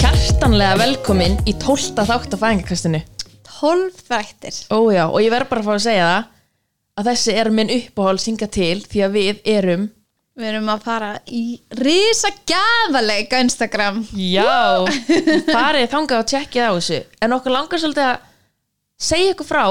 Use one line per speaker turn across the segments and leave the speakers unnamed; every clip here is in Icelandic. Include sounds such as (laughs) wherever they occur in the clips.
hjartanlega velkomin í 12. þátt á fæðingakastinu.
12 þættir
Ójá, og ég verð bara að fá að segja það að þessi er minn uppáhald synga til því að við erum
Við erum að fara í risa gæðaleik á Instagram
Já, (laughs) farið þangað og tjekkið á þessu en okkur langar svolítið að segja ykkur frá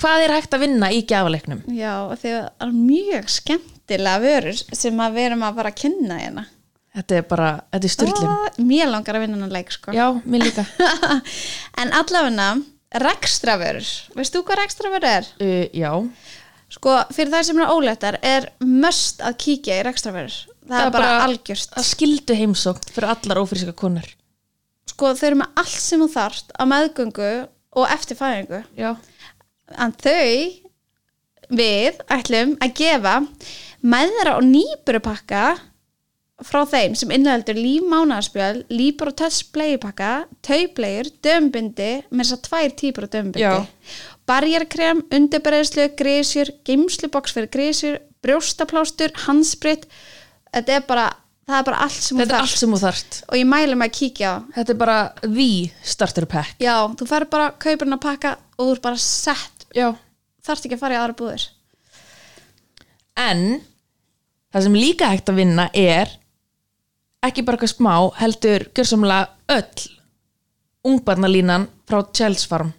hvað er hægt að vinna í gjafaleiknum
Já, og það er mjög skemmtilega vörur sem að við erum að fara að kynna hérna
Þetta er bara, þetta er styrlum
Ah, Mér langar að vinna hennar leik sko
Já, mér (laughs) líka
En allavega, rekstravörur Veist þú hvað rekstravörur er?
uh, Já,
Sko, fyrir það sem eru óléttar er möst að kíkja í rekstravörur Það, er bara, algjörst
Það skildu heimsókn fyrir allar ófríska konur
Sko, þau eru með allt sem þú þarft á meðgöngu og eftir fæðingu
Já,
en þau við ætlum að gefa mæðra og nýburupakka frá þeim sem innhaldur lífmánaðarspjöl, líbur og testplegjupakka, tauplegjur, dömbindi með þess að tvær típur af
Já.
dömbindi barjarkrem, undirbreðslu, grísjur geimsluboks fyrir grísjur brjóstaplástur, handsprit þetta er bara, það er bara allt sem
þetta er
þarft.
allt sem þú þarft
og ég mælum að kíkja á
Þetta er bara the starter pack
já, þú fer bara kaupurinn að pakka og þú er bara sett,
Já
þarft ekki að fara í aðra búður
En það sem líka hægt að vinna er ekki bara eitthvað smá heldur gjörsamlega öll ungbarnalínan frá Childs Farm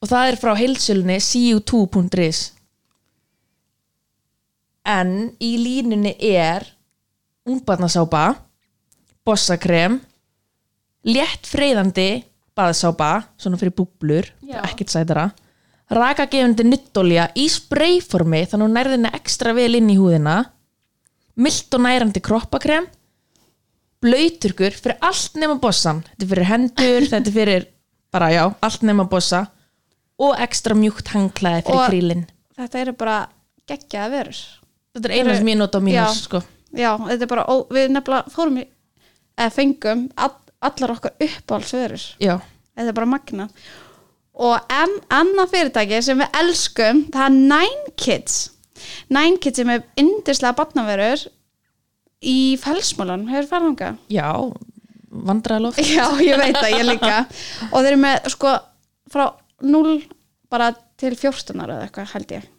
og það er frá heilsölunni cu2.is en í línunni er ungbarnasápa bossakrem létt freyðandi baðsápa, svona fyrir búblur
Já.
ekkert sætara rakagefandi nuttolja í sprayformi þannig hún nærðinni ekstra vel inn í húðina mild og nærandi kroppakrem blöyturkur fyrir allt nema bossan þetta er fyrir
(laughs)
hendur, þetta er fyrir bara já, allt nema bossa og ekstra mjúkt hangklæði fyrir
Og-
krílin
þetta eru bara geggjaða verur
þetta er eina sem ég nota á mínu
Já.
hús, sko.
já, þetta er bara, ó, við nefnilega fórum í, eða fengum all, allar okkar uppáhaldsverur
já,
þetta er bara magna og en, annað fyrirtæki sem við elskum það er Nine Kids Nine Kids sem er yndislega batnaverur í felsmólan, hefur farið þangað? (laughs)
já vandræðaloft
Já, ég veit það, ég líka og þeir eru með sko frá 0 bara til 14 ára eða eitthvað held ég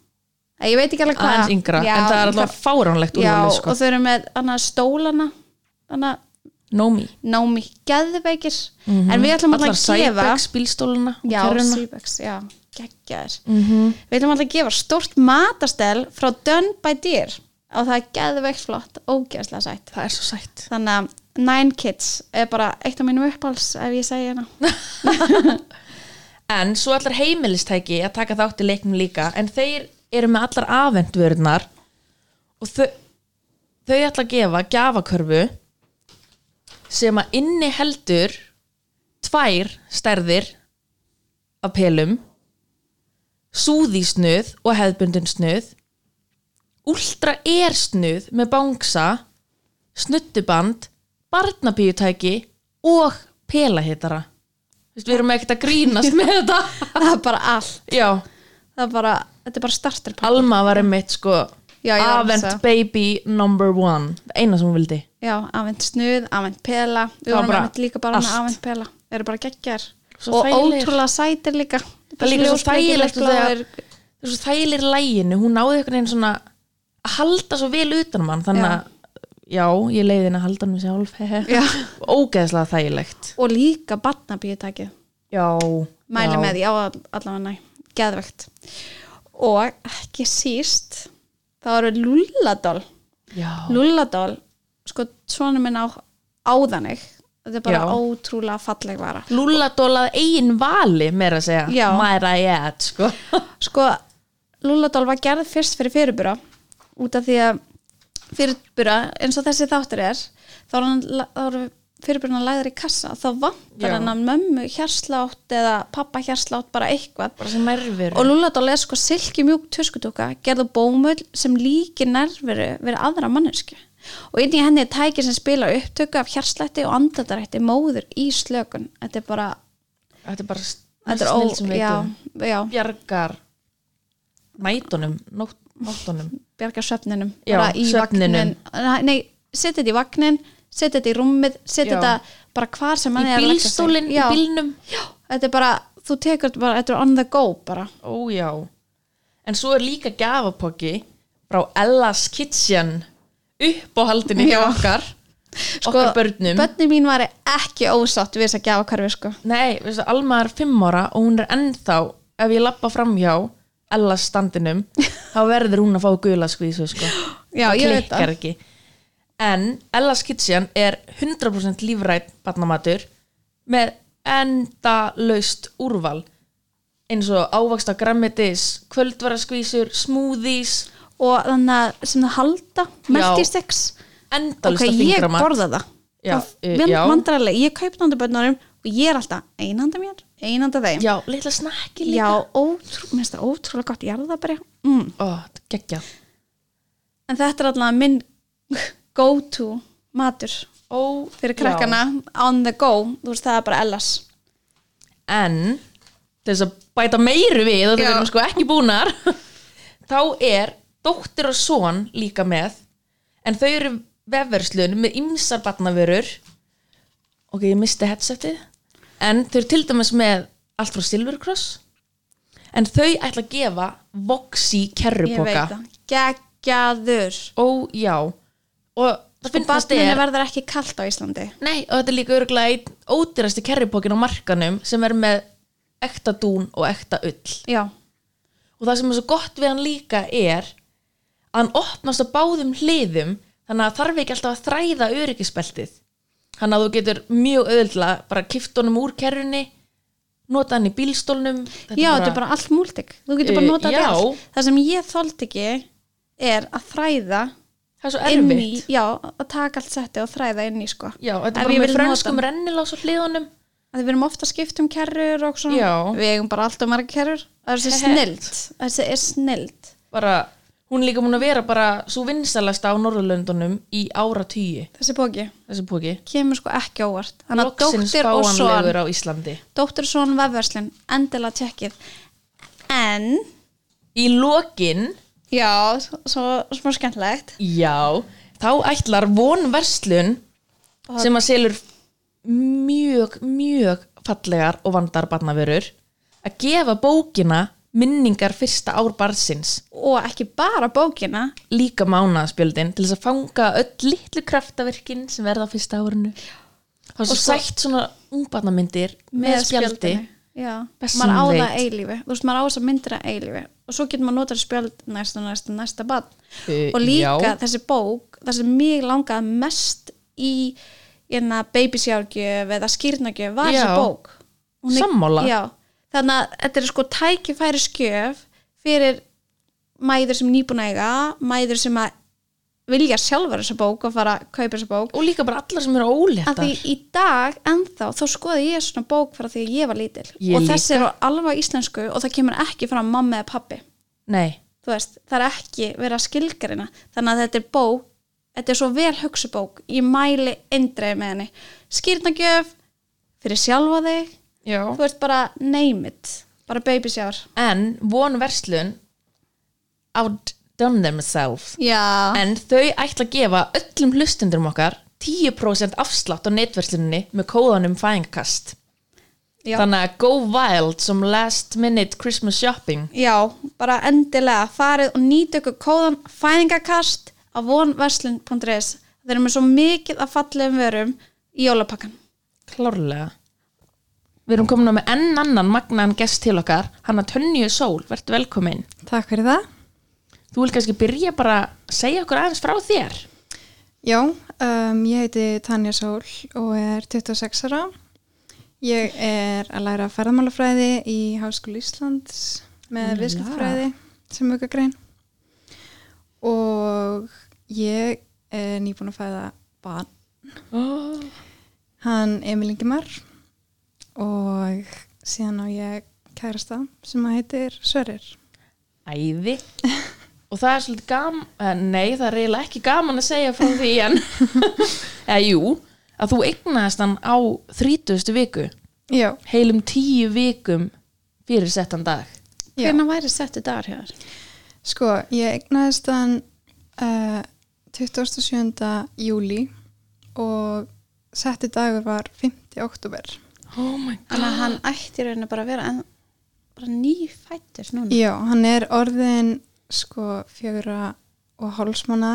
Eh, ég veit ekki alveg hvað
aðeins yngra, en það er alltaf fáránlegt
já,
úrvalið, sko.
og þau eru með annað, stólana annað,
Nómi,
námi geðveikir en við ætlum
allar
alltaf að gefa
sæbæks bílstóluna og
já,
kerruna.
Seabags, já, geggjaðir við ætlum alltaf að gefa stórt matastel frá Done by Deer og það er geðveikt flott, ógeðslega sætt
það er svo sætt
þannig að Nine Kids er bara eitt af mínum uppáls ef ég segi hérna (laughs)
En svo allar heimilistæki að taka þátt í leiknum líka en þeir eru með allar afendvörðnar og þau, þau ætla að gefa gjafakörfu sem að inni heldur tvær stærðir af pelum súðísnuð og hefðbundunsnuð ultra ersnuð með bangsa snuttuband barnabíutæki og pelahittara Vist, við erum ekkert að grínast með þetta
það er bara allt
(laughs) já,
það er bara, þetta er bara starterpakk
Alma var einmitt sko
Já, ég var að
Avent
hugsa.
baby number one það eina sem hún vildi
já, afhengt snuð, afhengt pela
Það
við
var
vorum
bara
afhengt líka bara með
allt.
afhengt pela eru bara geggjar
Svo
og
þægilegir.
ótrúlega sætir líka
Það er líka svo þægilegt og
þegar
þegar- það er svo þægilir læginu, hún náði einhvern veginn svona að halda svo vel utan um hann þannig
Já.
að, já, ég leiði henni að halda hann sjálf, (laughs) hehe,
Já.
ógeðslega þægilegt
og líka barnabíutæki
já,
mæli
já.
með því á all- allavega næ geðvegt og ekki síst þá eru lulladól
já,
lulladól, sko svona minn á áðanig þetta er bara
Já.
ótrúlega falleg vara
Lúlla dólað eigin vali meira að segja,
Já.
mæra ég að sko,
sko, Lúladól var gerð fyrst fyrir fyrirbura út af því að fyrirbura, eins og þessi þáttur er þá er hann þá eru fyrirburna læður í kassa, þá
Já.
vantar hann að mömmu hjarslátt eða pappa hjarslátt bara eitthvað
bara sem erfur
og Lúladól er sko silkimjúk tuskutúka gerð og bómull sem líkir nerveru verið aðra mannesku og inn í henni er tæki sem spila upptöku af hjarslætti og andatarætti móður í slökun þetta er bara
þetta er bara
þetta er
snill sem
ó,
veitum
já, já,
bjargar nætunum, nótt, nóttunum
bjarga svefninum
Já,
bara í
svefninum.
vagnin nei, setja þetta í vagnin setja þetta í rúmið, setja
Já.
þetta bara hvar sem
í
hann er að leggja sig.
bílstólinn, í
Já.
bílnum
Já, þetta er bara, þú tekur þetta bara, þetta er on the go bara.
Ó já En svo er líka gjafapokki frá Ella's Kitchen uppáhaldinni hjá
Já.
okkar okkar börnum
Börnin mín var ekki ósátt við þess að gefa hverfi, sko.
Nei, veistu, Alma er fimm ára og hún er ennþá ef ég lappa framhjá Ella's (laughs) standinum þá verður hún að fá gula skvísu sko.
Já,
Það
ég veit
klikkar
það.
ekki En Ella's Kitchen er 100% lífrætt barnamatur með endalaust úrval eins og ávaksta grammetis, kvöldvaraskvísur, smoothies
Og þannig að sem það halda, meltisticks, ok,
endalista okay,
ég
fingramat
borða það.
Já, eh,
það
já.
vandrarlega, ég kaup nanda börnunum og ég er alltaf einanda mér, einanda þeim.
Já, litla snakki
Já,
líka
ótrú, mér finnst það ótrúlega gott, ég er það bara, mm.
Ó, geggjað
En þetta er alltaf minn go-to matur
Ó,
fyrir
já.
krakkana on the go, þú veist það er bara ellas.
en til þess að bæta meiru við og það
Já.
verðum sko ekki búnar (laughs) þá er dóttir og son líka með en þau eru vefverslun með ymsar batnavörur ok, ég misti headsetið en þau eru til dæmis með allt frá Silvercross en þau ætla að gefa Voxy
Ég veit
kerrupoka
það, geggjaður.
ó já og það
Og
finnst
barninu
er
verður ekki kalt á Íslandi.
Sko, Nei, og þetta er líka örgulega einn ódýrasti kerripókin á markanum sem er með ekta dún og ekta ull.
Já,
Og það sem er svo gott við hann líka er að hann opnast á báðum hliðum þannig að þarf ekki alltaf að þræða öryggisbeltið. Þannig að þú getur mjög auðvitað bara kift honum úr kerrunni, nota hann í bílstólnum.
já þetta er bara allt múltik. Þú getur bara
Uh,
notað
já.
þetta í allt. Það sem ég þóld ekki er að þræða
Það er svo
inn í,
erfitt.
já, að taka allt setti og þræða inn í sko.
Já, þetta
Ef
er bara
ég
með
vil nota
frönskum
hann.
rennilás á hliðunum.
Af því Við erum ofta að skipta um kerrur og svona.
Já.
Við eigum bara alltaf marga kerrur. Það er þessi
(laughs) Hehe.
snilt. Þessi er snilt.
Bara, hún er líka múin að vera bara svo vinsælasta á Norðurlöndunum í ára tíu,
Þessi bóki
þessi póki.
kemur sko ekki óvart. Þannig að
Loksins
dóttir og son,
fáanlegur á Íslandi
dóttir og son vefverslun, endilega tjekkið. En,
Í lokin,
já, s- svo smá skemmtlegt.
já þá ætlar vonverslun sem að selur mjög, mjög fallegar og vandar barnavörur að gefa bókina minningar fyrsta ár barnsins
Og ekki bara bókina,
líka mánaðspjöldin til þess að fanga öll litlu kraftaverkin sem verða á fyrsta árinu það er svo
sko-
sætt svona ungbarnamyndir með, spjaldi
já,
Best
maður á
sem
það
veit.
eilífi þú veist, maður á þess að myndir að eilífi og svo getur maður notað spjald næsta, næsta, næsta bad
Uh,
og líka
já.
þessi bók það sem mig langaði mest í hérna, babysjárgjöf eða skýrnagjöf
Já.
var þessi bók Hún er-
Sammála.
já, þannig að þetta er sko tækifæri skjöf fyrir mæður sem nýbúna eiga mæður sem að vilja sjálfur þessa bók og fara að kaupa þessa bók
og líka bara allar sem eru
að
óléttar
því í dag ennþá þá skoði ég svona bók frá því að ég var lítil
Ég
og þessi er á alveg íslensku og það kemur ekki fram mamma eða pappi
nei,
þú veist, það er ekki verið að skilgarina þannig að þetta er bók þetta er svo vel hugsu bók ég mæli eindreið með henni skýrnagjöf, fyrir sjálfa þig
já
þú veist bara name it bara baby shower
en von verslun outdone themselves
já,
en þau ætla að gefa öllum hlustendurum okkar 10% afslátt á netversluninni með kóðanum fæðingkast
Já.
þannig að go wild some last minute Christmas shopping
já bara endilega farið og nýta ykkur kóðan fæðingakast á vonverslun.is þeir eru með svo mikið að fallegum vörum í jólapakkan
klárlega við erum komin á með enn annan magnaðan gest til okkar hann að Tönju Sól, vertu velkomin
Takk fyrir það.
þú vil kannski byrja bara að segja okkur aðeins frá þér
Já, um, ég heiti Tanja Sól og er 26 ára. Ég er að læra ferðamálafræði í Háskólu Íslands með viðskiptfræði sem auka grein. Og ég er nýbúin að fæða barn.
oh.
Hann Emil Ingimar og síðan á ég kærasta sem að heitir Sörir.
æði og það er svolítið gaman eh, nei, það er eiginlega ekki gaman að segja frá því en (laughs) eða jú, að þú eignaðist hann á 30. viku
Já,
heilum tíu vikum fyrir settan dag
Já.
Hvernig væri settu dagar hjá þér?
Sko, eh, ég eignaðist hann uh, 27. júli og setti dagur var 5. oktober.
Oh my
Þannig að hann ætti raunin bara að vera en, bara nýfættur núna.
Já, hann er orðin sko fjögurra og hálsmána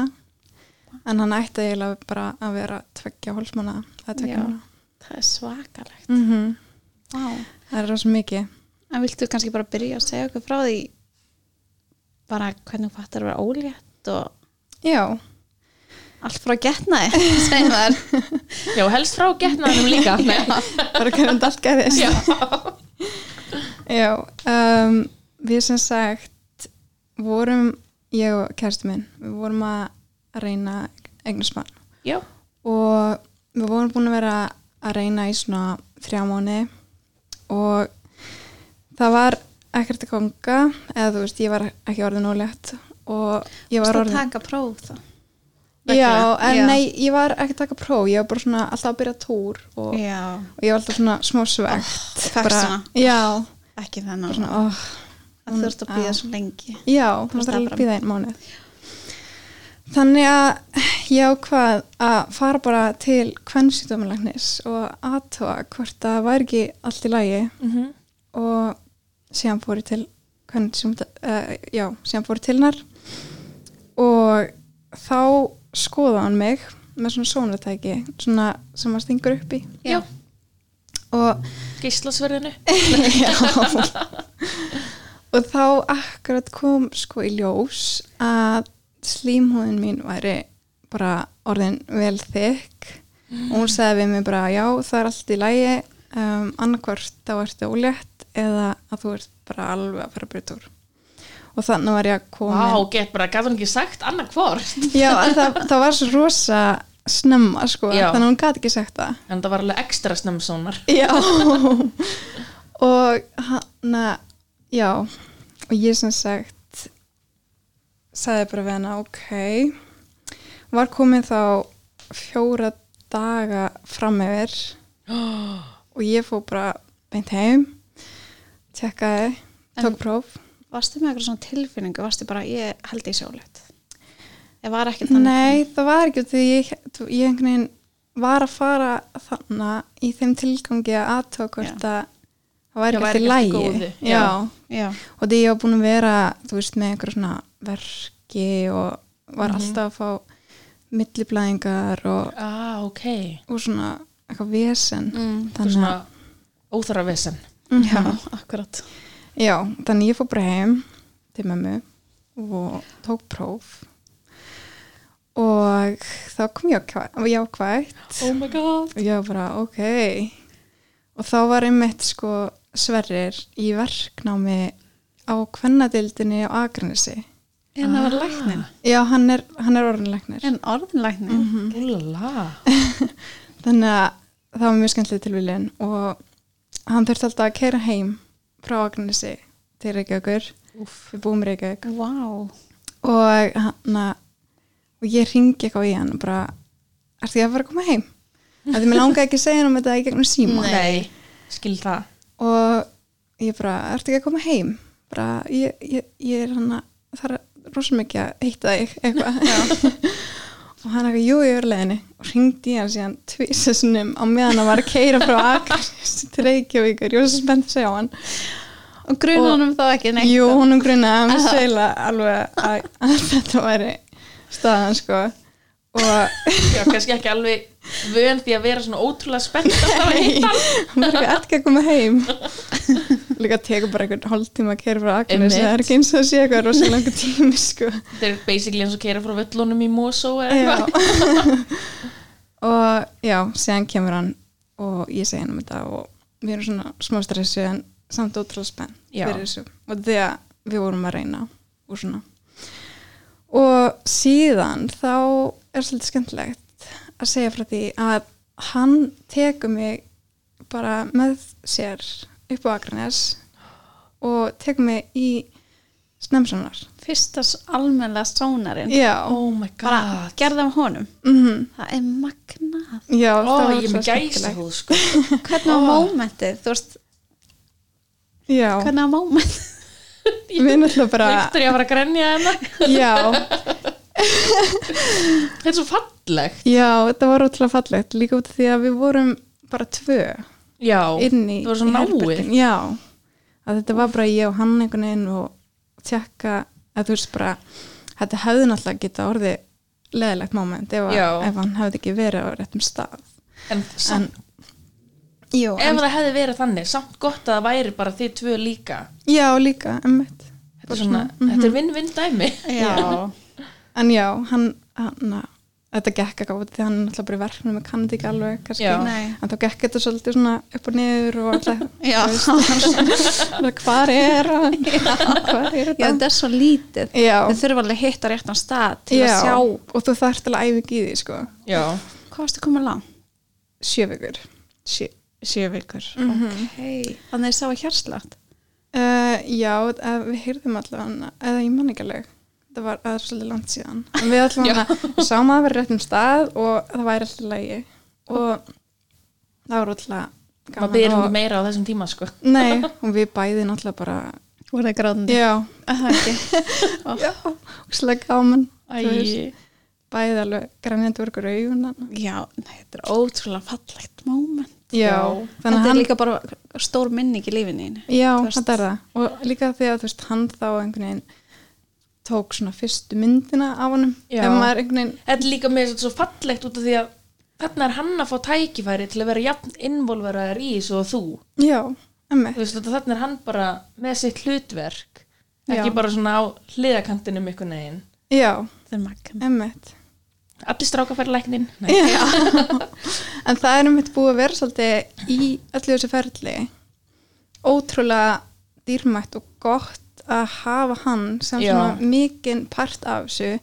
en hann ætti eiginlega bara að vera tveggja hálsmána eða
Já.
tveggja mánaða.
Það er svakalegt.
Mm
Vá.
Það er rosa mikið.
En viltu kannski bara byrja að segja okkur frá því bara hvernig þú fattar að vera ólétt og
Já,
allt frá getnaði, (laughs) segjum þær.
Já, helst frá getnaðanum líka
(laughs)
Nei.
bara hvernig allt gerðist.
Já.
Já, um, við sem sagt vorum, ég og kæristu minn, við vorum að reyna eignismann
Já.
og við vorum búin að vera að reyna í svona þrjá mánu og það var ekkert að ganga eða þú veist, ég var ekki orðin ólétt og ég var
að
orðin
taka próf þá.
Já,
reglulega.
en
Já.
nei, ég var ekki að taka próf ég var bara svona alltaf að byrja túr og,
Já,
og ég var alltaf svona smá svegt
fékkst svona.
Já,
ekki þennan.
svona, oh,
Það þurft að
Já.
býða svo lengi.
Já,
Þú
það
veist,
var
það
alveg
bara-
að býða einn mánuð. Þannig að ég ákvað að fara bara til kvennsýtdómalæknis og aðtóa hvort það væri ekki allt í lagi
Mm -hmm.
og síðan fór ég til kvennsýtdómalæknis, uh, já, síðan fór ég til hennar og þá skoða hann mig með svona sónutæki, svona sem maður stingur upp í
Já.
og
Geislasverðinu
Já. og þá akkurat kom sko í ljós að slímhóðin mín væri bara orðin vel þykk og hún sagði við mig bara já það er allt í lægi um, annarkvort þá ertu ólétt eða að þú ert bara alveg að fara að byrja úr og þannig var ég að koma
Vá, get bara, gæti hún ekki sagt annað hvort
já en það, það var svo rosa snemma sko
Já.
þannig að hún gati ekki sagt það
En það var alveg ekstra
(gasps)
snemmsónar
Já og hann já og ég sem sagt sagði bara við hana ok var komin þá fjóra daga fram yfir og ég fór bara beint heim tjekkaði, tók
En-
próf
Varstu með eitthvað svona tilfinningu, varstu bara, ég held ég sjólet. Ég var ekki þannig.
nei það var ekki því ég, ég einhvern veginn var að fara þannig í þeim tilgangi að aðtók hvort að það
Já,
væri
væri
ekki
ekki allt í
lægi
góðu. Já.
já.
Já,
og því ég var búin að vera þú veist með einhver svona verki og var alltaf að fá milliblæðingar og,
Ah, ok
og svona eitthvað vesen
Mm,
Þú
þannig,
svona
að- Mhm.
óþara vesen
já, akkurat.
já, þannig ég fór bara heim til mömmu og tók próf og þá kom ég jákvæ- jákvætt
Oh my god
og ég var bara ok og þá var einmitt sko sverrir í verknámi á kvennadildinni á Akranesi
En það Hérna
Ah.
Ah.
var læknin.
Já, hann er, hann er orðinleiknir.
En orðin læknin.
Mm.
Mhm.
Úlala
Þannig að það var mjög skemmtileg tilvílun og hann þurfti alltaf að keira heim frá Agnesi til Reykjavíkur.
Úff.
Við búum í Reykjavík.
Vá.
Og hann að, og ég ringi eitthvað í hann og bara, ertu ég að fara að koma heim? Það er mér langaði ekki að segja hann um þetta í gegnum síma.
Nei, skil það
Og ég bara, ertu ekki að koma heim? Bara, ég, ég, ég er hann að, það er rosa mikið að hitta þig eitthvað. (laughs) og hann eitthvað, jú, ég er leðinni og ringdi í hann síðan tvísasunum á meðan hann var að keira frá Akranis til Reykjavíkur, ég var svo spennt að segja á hann
Og grunanum þá ekki neitt.
jú, honum grunaði hann segla alveg að, að þetta væri staðan, sko og
Já, kannski ekki alveg vön því að vera svona ótrúlega spennt að
(laughs)
fara að hitta hann.
hann var eitthvað, ert ekki að koma heim líka tekur bara einhvern hálftíma að keira frá Akranis, það er ekki eins og það sé eitthvað rosa langur tími, sko
Þetta er basically eins og keira frá völlunum í Mosó eða
Já.
eitthvað
(laughs) og já, síðan kemur hann og ég segi hann um þetta og við erum svona smá stressu en samt ótrúlega spenn
Já.
fyrir þessu og því að við vorum að reyna og svona og síðan þá er svolítið skemmtilegt að segja frá því að hann tekur mig bara með sér upp á Akranes og tekur mig í snemsanar
Fyrsta s- almennilega sónarinn.
já,
Oh my
Bara
god
gerða á honum.
mm
Það er
(laughs)
magnað.
já
Ó,
það var
ég er
svo
með gæsa
skemmtilegt.
húð sko
Hvernig var mómentið? Þú veist,
Oh. já,
hvernig var mómentið?
við náttúrulega bara
hérna. Viktor, ég var að grenja hennar
já,
Þetta er svo fallegt
Já, þetta var ótrúlega fallegt líka út af því að við vorum bara tvö
já,
inn í,
það var svo
í herbergin.
náið
Já, að þetta var bara ég og hann einhvern veginn og tjekka að þú veist bara, þetta hefði náttúrulega geta orðið leðilegt moment ef, að,
Já.
ef hann hefði ekki verið á réttum stað
en samt,
Jú,
ef
en,
það hefði verið þannig samt gott að það væri bara þið tvö líka
já líka, emmitt
þetta er svona, þetta er
Mhm.
vinn-vinn dæmi
Já.
En já, hann, hann þetta gekk ekki á því að hann er náttúrulega bara í verknum með kannið ekki alveg, kannski
Já.
(laughs) Nei.
en þá gekk þetta svolítið svona upp og niður og alltaf
Já. (laughs)
hvað er hann hvað
Já,
er þetta
þetta er svo lítið.
já,
Þau þurfa alveg að hitta réttan stað til
já.
að sjá
og þú þarft alveg æfing í því sko.
já,
hvað varstu að koma langt?
sjö vikur
Sjö, sjö vikur. Ok. Mhm. Þannig að ég sá að hjarslátt.
uh, já, eh, við heyrðum allavega eða ég man ekki alveg það var aðeins svolítið langt síðan en við allavega við sáum að það vera réttum stað og það væri alltaf lægi og það var alltaf
maður byrjir
gaman
ekki meira á þessum tíma sko
nei, og við bæði náttúrulega bara
Þú voru að gráðandi.
já,
Það ekki.
(laughs) já, og slega gaman þú veist,
Æ,
bæði alveg grænjandi verkur augunan
Já, nei, þetta er ótrúlega fallegt moment.
Já, þannig
þetta
að
er
hann
líka bara stór minning í lífinu einu.
Já,
þú veist.
þetta er það og líka því að þú veist, hann þá einhvern veginn tók svona fyrstu myndina af honum
Já.
ef maður einhvern veginn
þetta er líka með svo fallegt út af því að þarna er hann að fá tækifæri til að vera jafn involveraðar í þessu og þú
Já, emmi
þú veist þetta þarna er hann bara með sitt hlutverk ekki
Já.
bara svona á hliðakantinum ykkur negin
Já,
Þetta er magna.
emmi
allir strákafæri læknin Nei.
En það er einmitt búið að vera svolítið í öllu þessu ferli ótrúlega dýrmætt og gott að hafa hann sem
Já.
svona mikinn part af þessu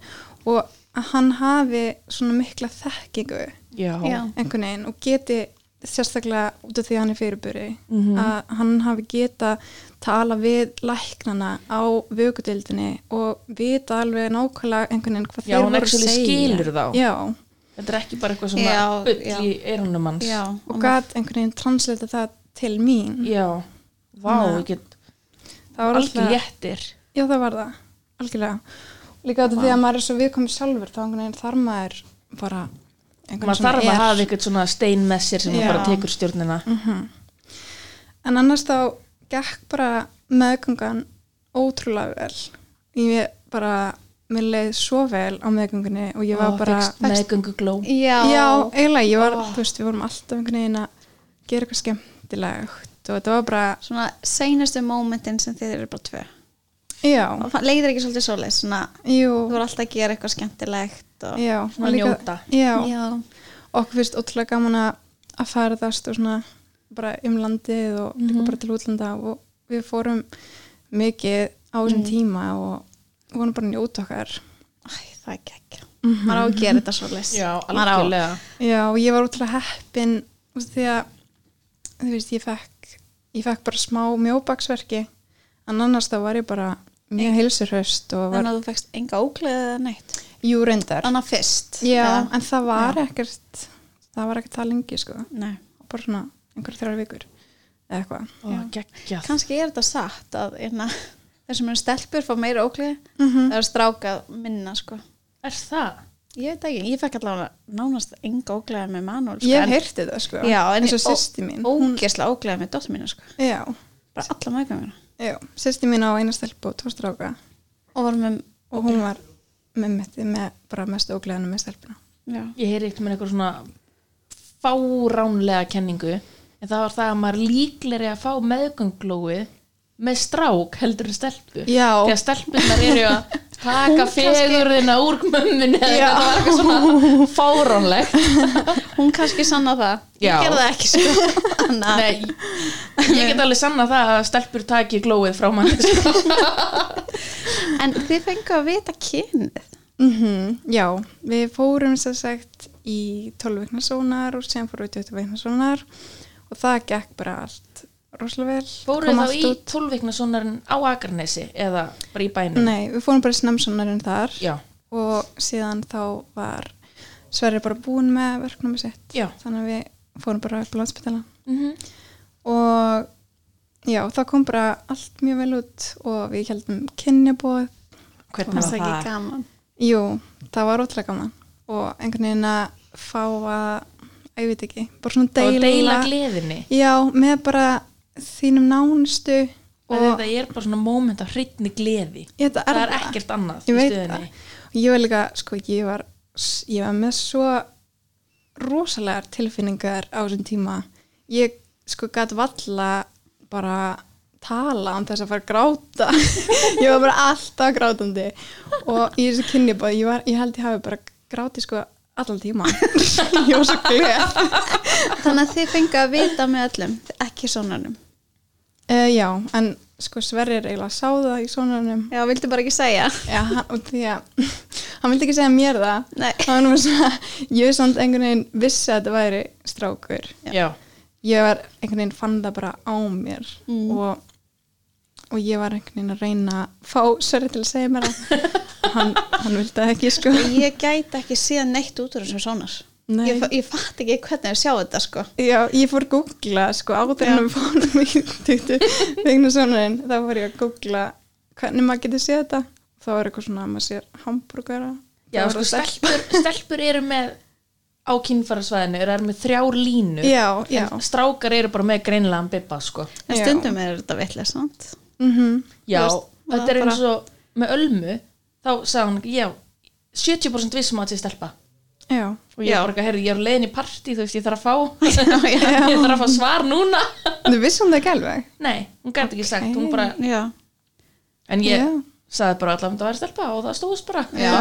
og að hann hafi svona mikla þekkingu
já,
Já.
einhvern veginn og geti sérstaklega út af því að hann er fyrirburi
Mhm.
að hann hafi geta tala við læknana á vökudildinni og vita alveg nákvæmlega einhvern veginn hvað
já
þeir
hún
voru
ekki
að segja
skilur þá
já,
þetta er ekki bara eitthvað
Já,
svona
já.
bull í eyrunum hans
Já.
og gæt einhvern veginn translita það til mín
já. vá,
Þannig að-
ég get
það var
algjör
alltaf,
léttir
já það var það algjörlega, líka út af því að maður er svo viðkomið sjálfur þá einhvern veginn þarf maður bara einhvern
maður
sem
þarf að
er.
hafa eitthvað svona stein með sér sem
Já.
maður bara tekur stjórnina
En annars þá gekk bara meðgangan ótrúlega vel. Ég bara, mér leið svo vel á meðgöngunni og ég var bara,
meðgöngu gló
Já.
já, eiginlega, ég var, þú veist, við vorum alltaf einhvern veginn að gera eitthvað skemmtilegt og þetta var bara,
Svona seinustu momentin sem þið eru bara tvö.
já,
Og það leiðir ekki svolítið svoleið, svona
jú,
þú voru alltaf að gera eitthvað skemmtilegt og...
já.
Svona
og
njóta.
Já,
Já.
okkur finnst ótrúlega gaman að að ferðast og svona bara um landið og líka bara til útlanda og við fórum mikið á þessum tíma og vorum bara að njóta okkar.
Æ, það er ekki ekki.
Mhm.
Maður á að gera þetta svoleiðis.
já,
Maður á-
algjörlega
Já, og ég var útrúlega heppin þú veist, því að þú veist, ég fekk, ég fekk bara smá mjóbaksverki en annars þá var ég bara mjög heilsurhaust og var
Þannig að þú fekst enga ógleðið eða neitt.
júrendar
Þannig að fyrst.
Já,
eða-
en það var ekkert það var ekkert það lengi sko
Nei.
bara svona einhverja þrjár vikur eða eitthvað
Ó, geggjað.
Kanski er þetta satt að einna, (laughs) þeir sem eru stelpur fá meira ógleði,
Mhm.
það eru strákað minna, sko.
er það?
Ég veit það ekki, ég fekk allavega nánast enga ógleði með Manuel, sko.
Ég
en-
hef heyrti það sko
Já, en
eins og
ég- ó-
sýsti mín
Ógeðslega ógleði með dóttur mínu, sko.
Já,
Bara alla meðgönguna.
já, sýsti mín á eina stelpu og tvo stráka
Og var með,
og hún var með mitt með bara mest ógleðanum með stelpuna
já.
ég heyri eitthvað með eitthvað svona fáránlega kenningu en það var það að maður líkleri að fá meðgönglóið með strák heldur en stelpu
Já.
þegar stelpunar eru að taka fegurðina úr mömmunni eða
Já.
eitthvað, það var eitthvað svona fáránlegt
Hún kannski sanna það.
Já.
Ég gerði það ekki, sko. (laughs) Þannig að-
Nei, ég get alveg sanna það að stelpur taki glóið frá manni sko.
En þið fengu að vita kynið.
Mm já, við fórum sem sagt í 12 vikna sónar og sem fórum við 20 vikna sónar og það gekk bara allt rosalega vel.
fóruð
Kom
þá
allt
í tólvikna sonarinn á Akarnesi eða bara í bænum
Nei, við fórum bara snemsónarinn þar
já,
og síðan þá var Sverri bara búin með verknámi sitt.
Já.
Þannig að við fórum bara upp á landspítala
mm
og já, það kom bara allt mjög vel út og við heldum kynjabóð.
hvernig
Fannst
var
það
það?
ekki gaman.
Jú, það var ótrúlega gaman og einhvern veginn að fá að, að ég veit ekki, bara svona
og
deila,
deila gleðinni
já, með bara þínum nánustu
og
og
þetta er bara svona moment af hreinni gleði
Ég, þetta
það er ekkert annað
ég
í
veit það
stöðinni
og ég var líka, sko, ég var ég var með svo rosalegar tilfinningar á þessum tíma ég, sko, gæt valla bara tala án þess að fara að gráta (laughs) ég var bara alltaf grátandi og í þessu kynni bara, ég, var, ég held ég hafi bara grátið sko allan tíma (laughs) ég var svo gleð
Þannig að þið fengu að vita með öllum, ekki sonanum.
uh, já, en sko Sverrir eiginlega sá það í sonanum
Já, viltu bara ekki segja?
já, hann- og því að hann vildi ekki segja mér það
Nei.
það var nú svona, ég er samt einhvern veginn vissi að þetta væri strákur
já,
ég var einhvern veginn fann það bara á mér
Mm.
og, og ég var einhvern veginn að reyna að fá Sverri til að segja mér það hann, hann vildi það ekki sko
Ég gæti ekki séð neitt út úr þessum sonar.
Nei.
Ég, fa- ég fatt ekki hvernig að sjá þetta, sko.
Já, ég fór að googla sko áður en við fórum í tuttu vegna sonarinn, þá fór ég að googla hvernig maður getur séð þetta þá er eitthvað svona að maður sér hambúrgara
já sko, stelpur, stelpur eru með á kynfarasvæðinu eru eru með þrjár línur
Já, já
en strákar eru bara með greinilegan bibba sko.
En
Já.
stundum er þetta vitlega, sant?
mm
já,
Þú veist,
þetta er
bara-
eins og með ölmu þá sagði hann, já 70% vissum um að þetta er stelpa
Já,
og ég
Já.
bara, herri, ég er á leiðin í partí þú veist, ég þarf að fá
já.
(laughs) ég þarf að fá svar núna (laughs)
þú vissum það ekki alveg
nei, hún gæti ekki sagt, hún bara
Já.
en ég
Já.
sagði bara allan þetta væri stelpa og það stóðs bara
Já.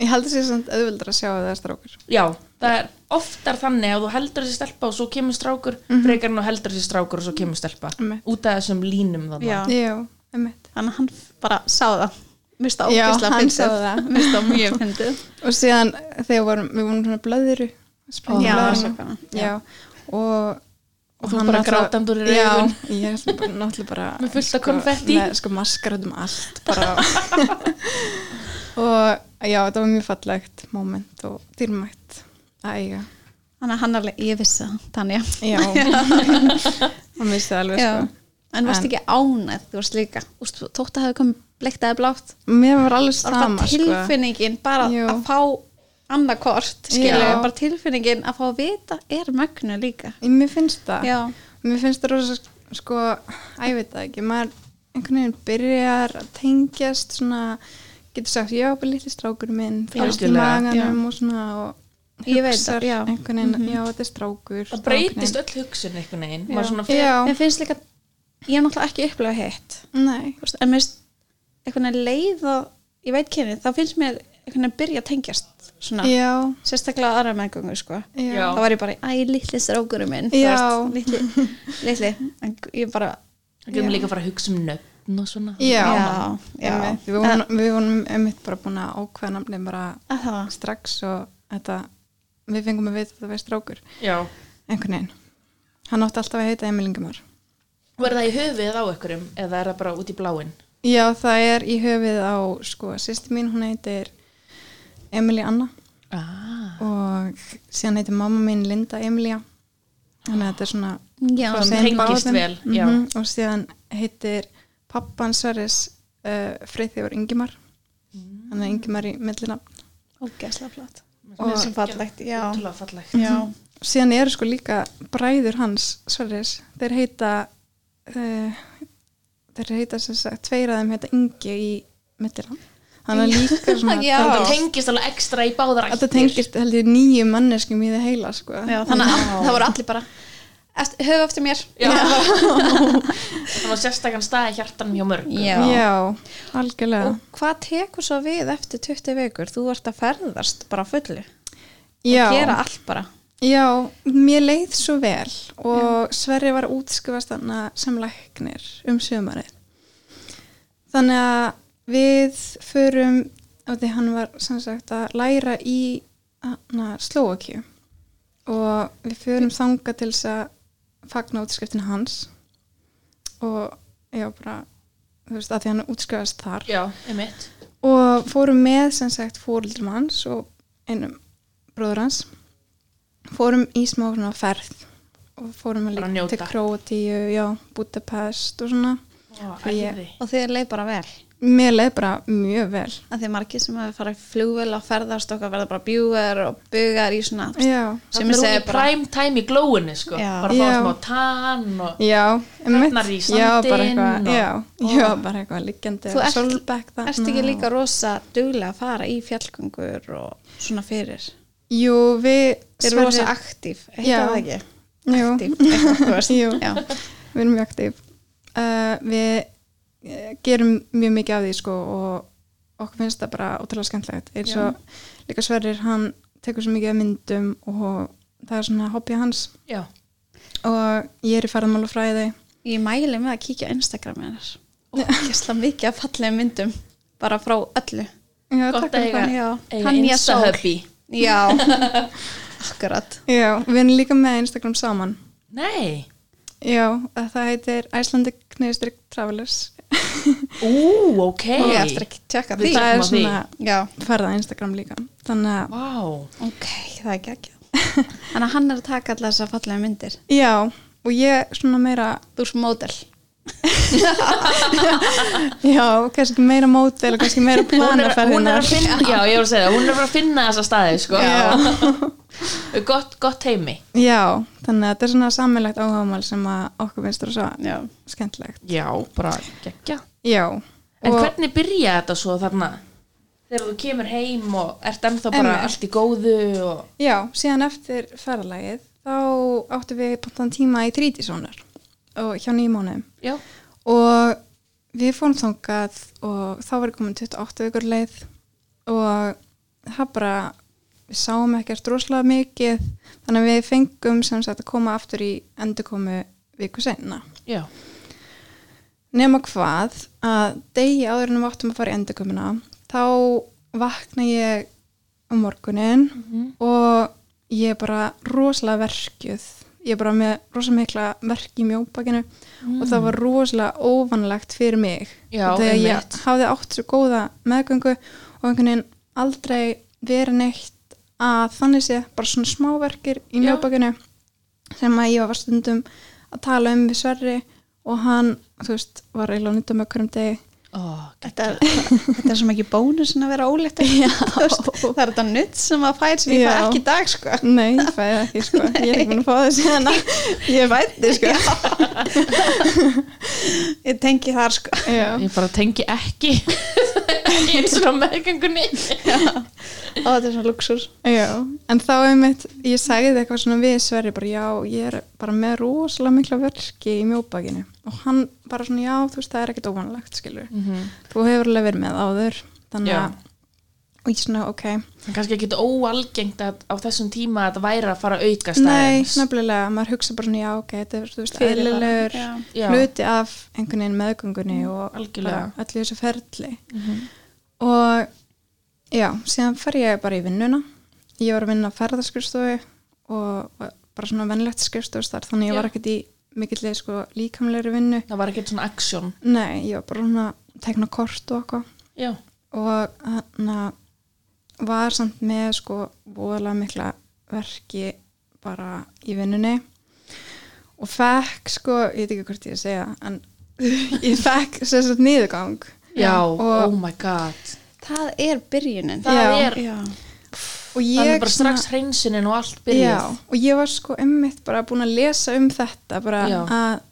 Ég held að sé samt auðveldur að sjá að það er strákur.
Já, það er oftar þannig að þú heldur þessi stelpa og svo kemur strákur frekar en þú heldur þessi strákur og svo kemur stelpa
Einmitt.
út af þessum línum þannig
Já.
Já, einmitt.
Þannig að hann f- bara sá það. Mér finnst það
Já,
ógislega
hann sá
fyndið.
það.
Mér finnst það mjög fyndið.
Og síðan þegar vorum, við vorum svona blöðuru. springa
Já,
blöðruna.
svo gaman.
Já, og...
Og þú bara
náttúrulega-
grátandi úr augun.
Já, ég er svona bara- náttúrulega bara...
Með fullt af konfetti.
Með sko maskar út um allt bara. og já, þetta var mjög fallegt moment og dýrmætt að eiga.
Þannig að hann alveg, ég vissi það, Tanja.
(laughs) Já, hann vissi það alveg
Já.
sko.
En varst
En-
ekki ánæð, þú varst líka. Úst, þótt að hafa komið bleikt eða blátt.
Mér var alveg
Það var
sama sko.
bara tilfinningin bara
Jú.
að fá annarkort, skilja,
Já.
bara tilfinningin að fá að vita er mögnu líka.
sko. Mér finnst það.
Já,
Mér finnst það rosa, sko, að ég veit það ekki, maður einhvern veginn byrjar að tengjast svona, getur sagt, já, bara litli strákur minn, fyrst í
Algjörlega,
maganum og svona og
Ég veit
hugsar
það, já. Mhm.
einhvern veginn, já, þetta er strákur.
að það breytist öll hugsun einhvern veginn
Já.
maður svona fyrir,
Já,
mér finnst líka, ég hef náttúrulega ekki upplega hitt,
nei,
Þú veist, en mér finnst einhvern veginn leið og, ég veit kynni, þá finnst mér einhvern veginn byrja að tengjast, svona,
já,
sérstaklega aðra meðgöngu, sko.
já,
Já.
Þá var ég bara, æ, litli strákurum minn,
Já.
þú veist, litli, litli, en ég bara,
það kemur líka að fara að hugsa um nöfn og svona
já,
já, já,
Einmitt, Við vorum, við vorum einmitt bara búin að ákveða nafnið bara
að það var,
strax og þetta, við fengum að vita að það væri strákur,
Já.
einhvern veginn. Hann átti alltaf að heita Emil Ingemar.
og er það í höfuðið á einhverjum eða er það bara út í bláin
Já, það er í höfið á, sko, sýsti mín, hún heitir Emilí Anna
ah.
og síðan heitir mamma mín Linda Emilía. Þannig að þetta er svona...
já,
frá
Svona
þeim
tengist
báðum.
vel, já.
Mhm, Og síðan heitir pappan Sverris uh, Freyþjóður Ingimar.
Mm.
Þannig að Ingimar í millina.
ógæslega flott.
Og-
Og svo fallegt, já.
útrúlega fallegt
Já,
Síðan eru sko líka bræður hans Sverris. Þeir heita, uh, þeir heita sem sagt, tveir af þeim heita Ingi í millina. Þannig að líka
(laughs)
svona...
Já.
þannig að það tengist alveg ekstra í báðar
Þetta tengist held ég nýju manneskum í það heila sko.
já þannig að það voru allir bara "Eft- höfu eftir mér
Já. (laughs) þannig að sérstakann staði hjartanum hjá mörg
Já.
Já, algjörlega.
og hvað tekur svo við eftir 20 vikur þú ert að ferðast bara á fullu
já,
og gera allt bara
já, mér leið svo vel og Sverri var útskrifast þarna sem læknir um sömarið. Þannig að við förum, af því hann var sem sagt að læra í hana, Slóakíu og við förum þanga til þess að fagna útskriftin hans og já bara, þú veist, að því hann útskrifast þar.
já, einmitt
og fórum með sem sagt fóreldrum hans og einum bróður hans fórum í smá svona ferð og fórum að
Bara
líka
njóta.
til Króatíu já, Budapest og svona
Ó,
Ég-
æði.
og þið leið bara vel
mér leið bara mjög vel.
að því að margir sem hefur farið flugvel á ferðast okkar verða bara bjúgar og bugar í svona
Já,
sem ég
Það
segi
er
bara
prime time í glóinu sko
Já.
bara að fá
Já.
smá tann og
já,
Þarna í
já, bara
sandinn
eitthvað,
og-
já, já, bara eitthvað liggjandi
Þú
eða
ert-
sólbekk þarna.
Ertu ekki líka rosa duglega að fara í fjallgöngur og svona fyrir?
Jú, við
Er
Sverrir-
rosa aktíf, eitthvað
Já.
það ekki?
Jú.
Aktíf, eitthvað þú veist.
Jú.
Já.
við erum mjög aktíf uh, við eh, gerum mjög mikið af því sko og okkur finnst það bara ótrúlega skemmtilegt eins og líka Sverrir hann tekur svo mikið af myndum og það er svona hobby hans
já,
og ég er í ferðmálafræði
Ég mæli með að kíkja á Instagram hennar og kessla mikið að fallega myndum bara frá öllu.
já,
Gott
takk
að eiga.
fyrir það.
Já,
Eiga
Tanja Sól.
Insta-hubby.
(laughs) Já, akkurat.
já, við erum líka með Instagram saman
nei
já, að það heitir Icelandic Kneistrick Travelers (laughs)
ú, ok
Ég eftir ekki tjekka því.
Við tökum
það er
á því.
svona
Já,
ferða Instagram líka þannig að
Vá,
ok, það er ekki (laughs) Þannig að hann er að taka allar þessar fallega myndir.
já, og ég svona meira
Þú er svo módel.
já, kannski meira mótel og kannski
(laughs)
meira
hún er,
plana
hún er
ferðina
að finna já, ég var að segja það, hún er að finna þessa staði sko.
Já.
(laughs) gott, gott heimi
Já, þannig að þetta er svona sammeilagt áhagamál sem að okkur finnst þú svo
Já.
skemmtilegt.
já, bara geggja
Já.
en
og-
hvernig byrja þetta svo þarna þegar þú kemur heim og ert ennþá bara
Einmitt.
allt í góðu og...
Já, síðan eftir ferðalagið þá áttum við pantan tíma í trítisónar og hjá nýjum mánuðum
já,
og við fórum þangað og þá var komin 28 vikur leið og það bara við sáum ekkert rosalega mikið þannig að við fengum sem sagt að koma aftur í endurkomu viku senna.
já,
nema hvað að degi áður en við áttum að fara í endurkomuna þá vakna ég á morgunin og ég er bara rosalega verkjuð ég er bara með rosalega mikla verk í mjóbakinu og það var rosalega óvanlegt fyrir mig
Já,
þegar ég
einmitt.
hafði átt svo góða meðgöngu og einhvern veginn aldrei verið neitt að þannig sé bara svona smáverkir í
Já.
mjóbakinu sem að ég var stundum að tala um við Sverri og hann, þú veist, var eiginlega nýtt um ökkurum degi.
ó,
Þetta, þetta er svo mikið bónusin að vera ólétt (laughs) Já. Það er þetta nutt sem að fæð sem ég fæ
Já.
ekki í dag sko.
Nei, ég fæði það ekki, sko. Ég er ekki búin að fá það síðan.
(laughs)
að-
(laughs) Ég fætti (laughs) sko. ég tengi þar sko.
Já.
ég bara tengi ekki (laughs) ekki eins og meðgangunni
(laughs) Ó, þetta er svona luxur.
Já. En þá einmitt, ég sagði eitthvað svona við Sverri, bara já, ég er bara með rosalega mikla verki í mjóbakinu. Og hann bara svona, já, þú veist, það er ekkit óvanlegt, skilur. Þú hefur alveg verið með áður, þannig
Já.
að, og ég svona, ok,
það er kannski ekki óalgengt að á þessum tíma að þetta væri að fara að auka
Nei,
staðins
nefnilega, maður hugsa bara svona, já, ok, þetta er, þú veist,
Fyrir bara,
eðlilegur
já.
Já.
hluti af einhvern veginn meðgöngunni og
algjörlega.
bara öllu þessu ferli. Og já, síðan fer ég bara í vinnuna. Ég var að vinna á ferðarskrifstofu og var bara svona vennlegt skrifstofustar, þannig ég
Já.
var ekkert í mikill sko, líkamlegri vinnu.
það var ekkert svona aksjón
Nei, ég var bara svona að tekna kort og eitthvað
já,
og hann var samt með sko voðalega mikla verki bara í vinnunni og fekk sko, ég veit ekki hvort ég að segja en (laughs) ég fekk sér satt niðurgang
já,
og-
oh my god
Það er byrjunin.
það
Já.
er
Já.
og ég,
Þannig bara
svona-
strax hreinsunin og allt byrjuð.
já, og ég var sko emmitt bara búin að lesa um þetta bara
Já.
að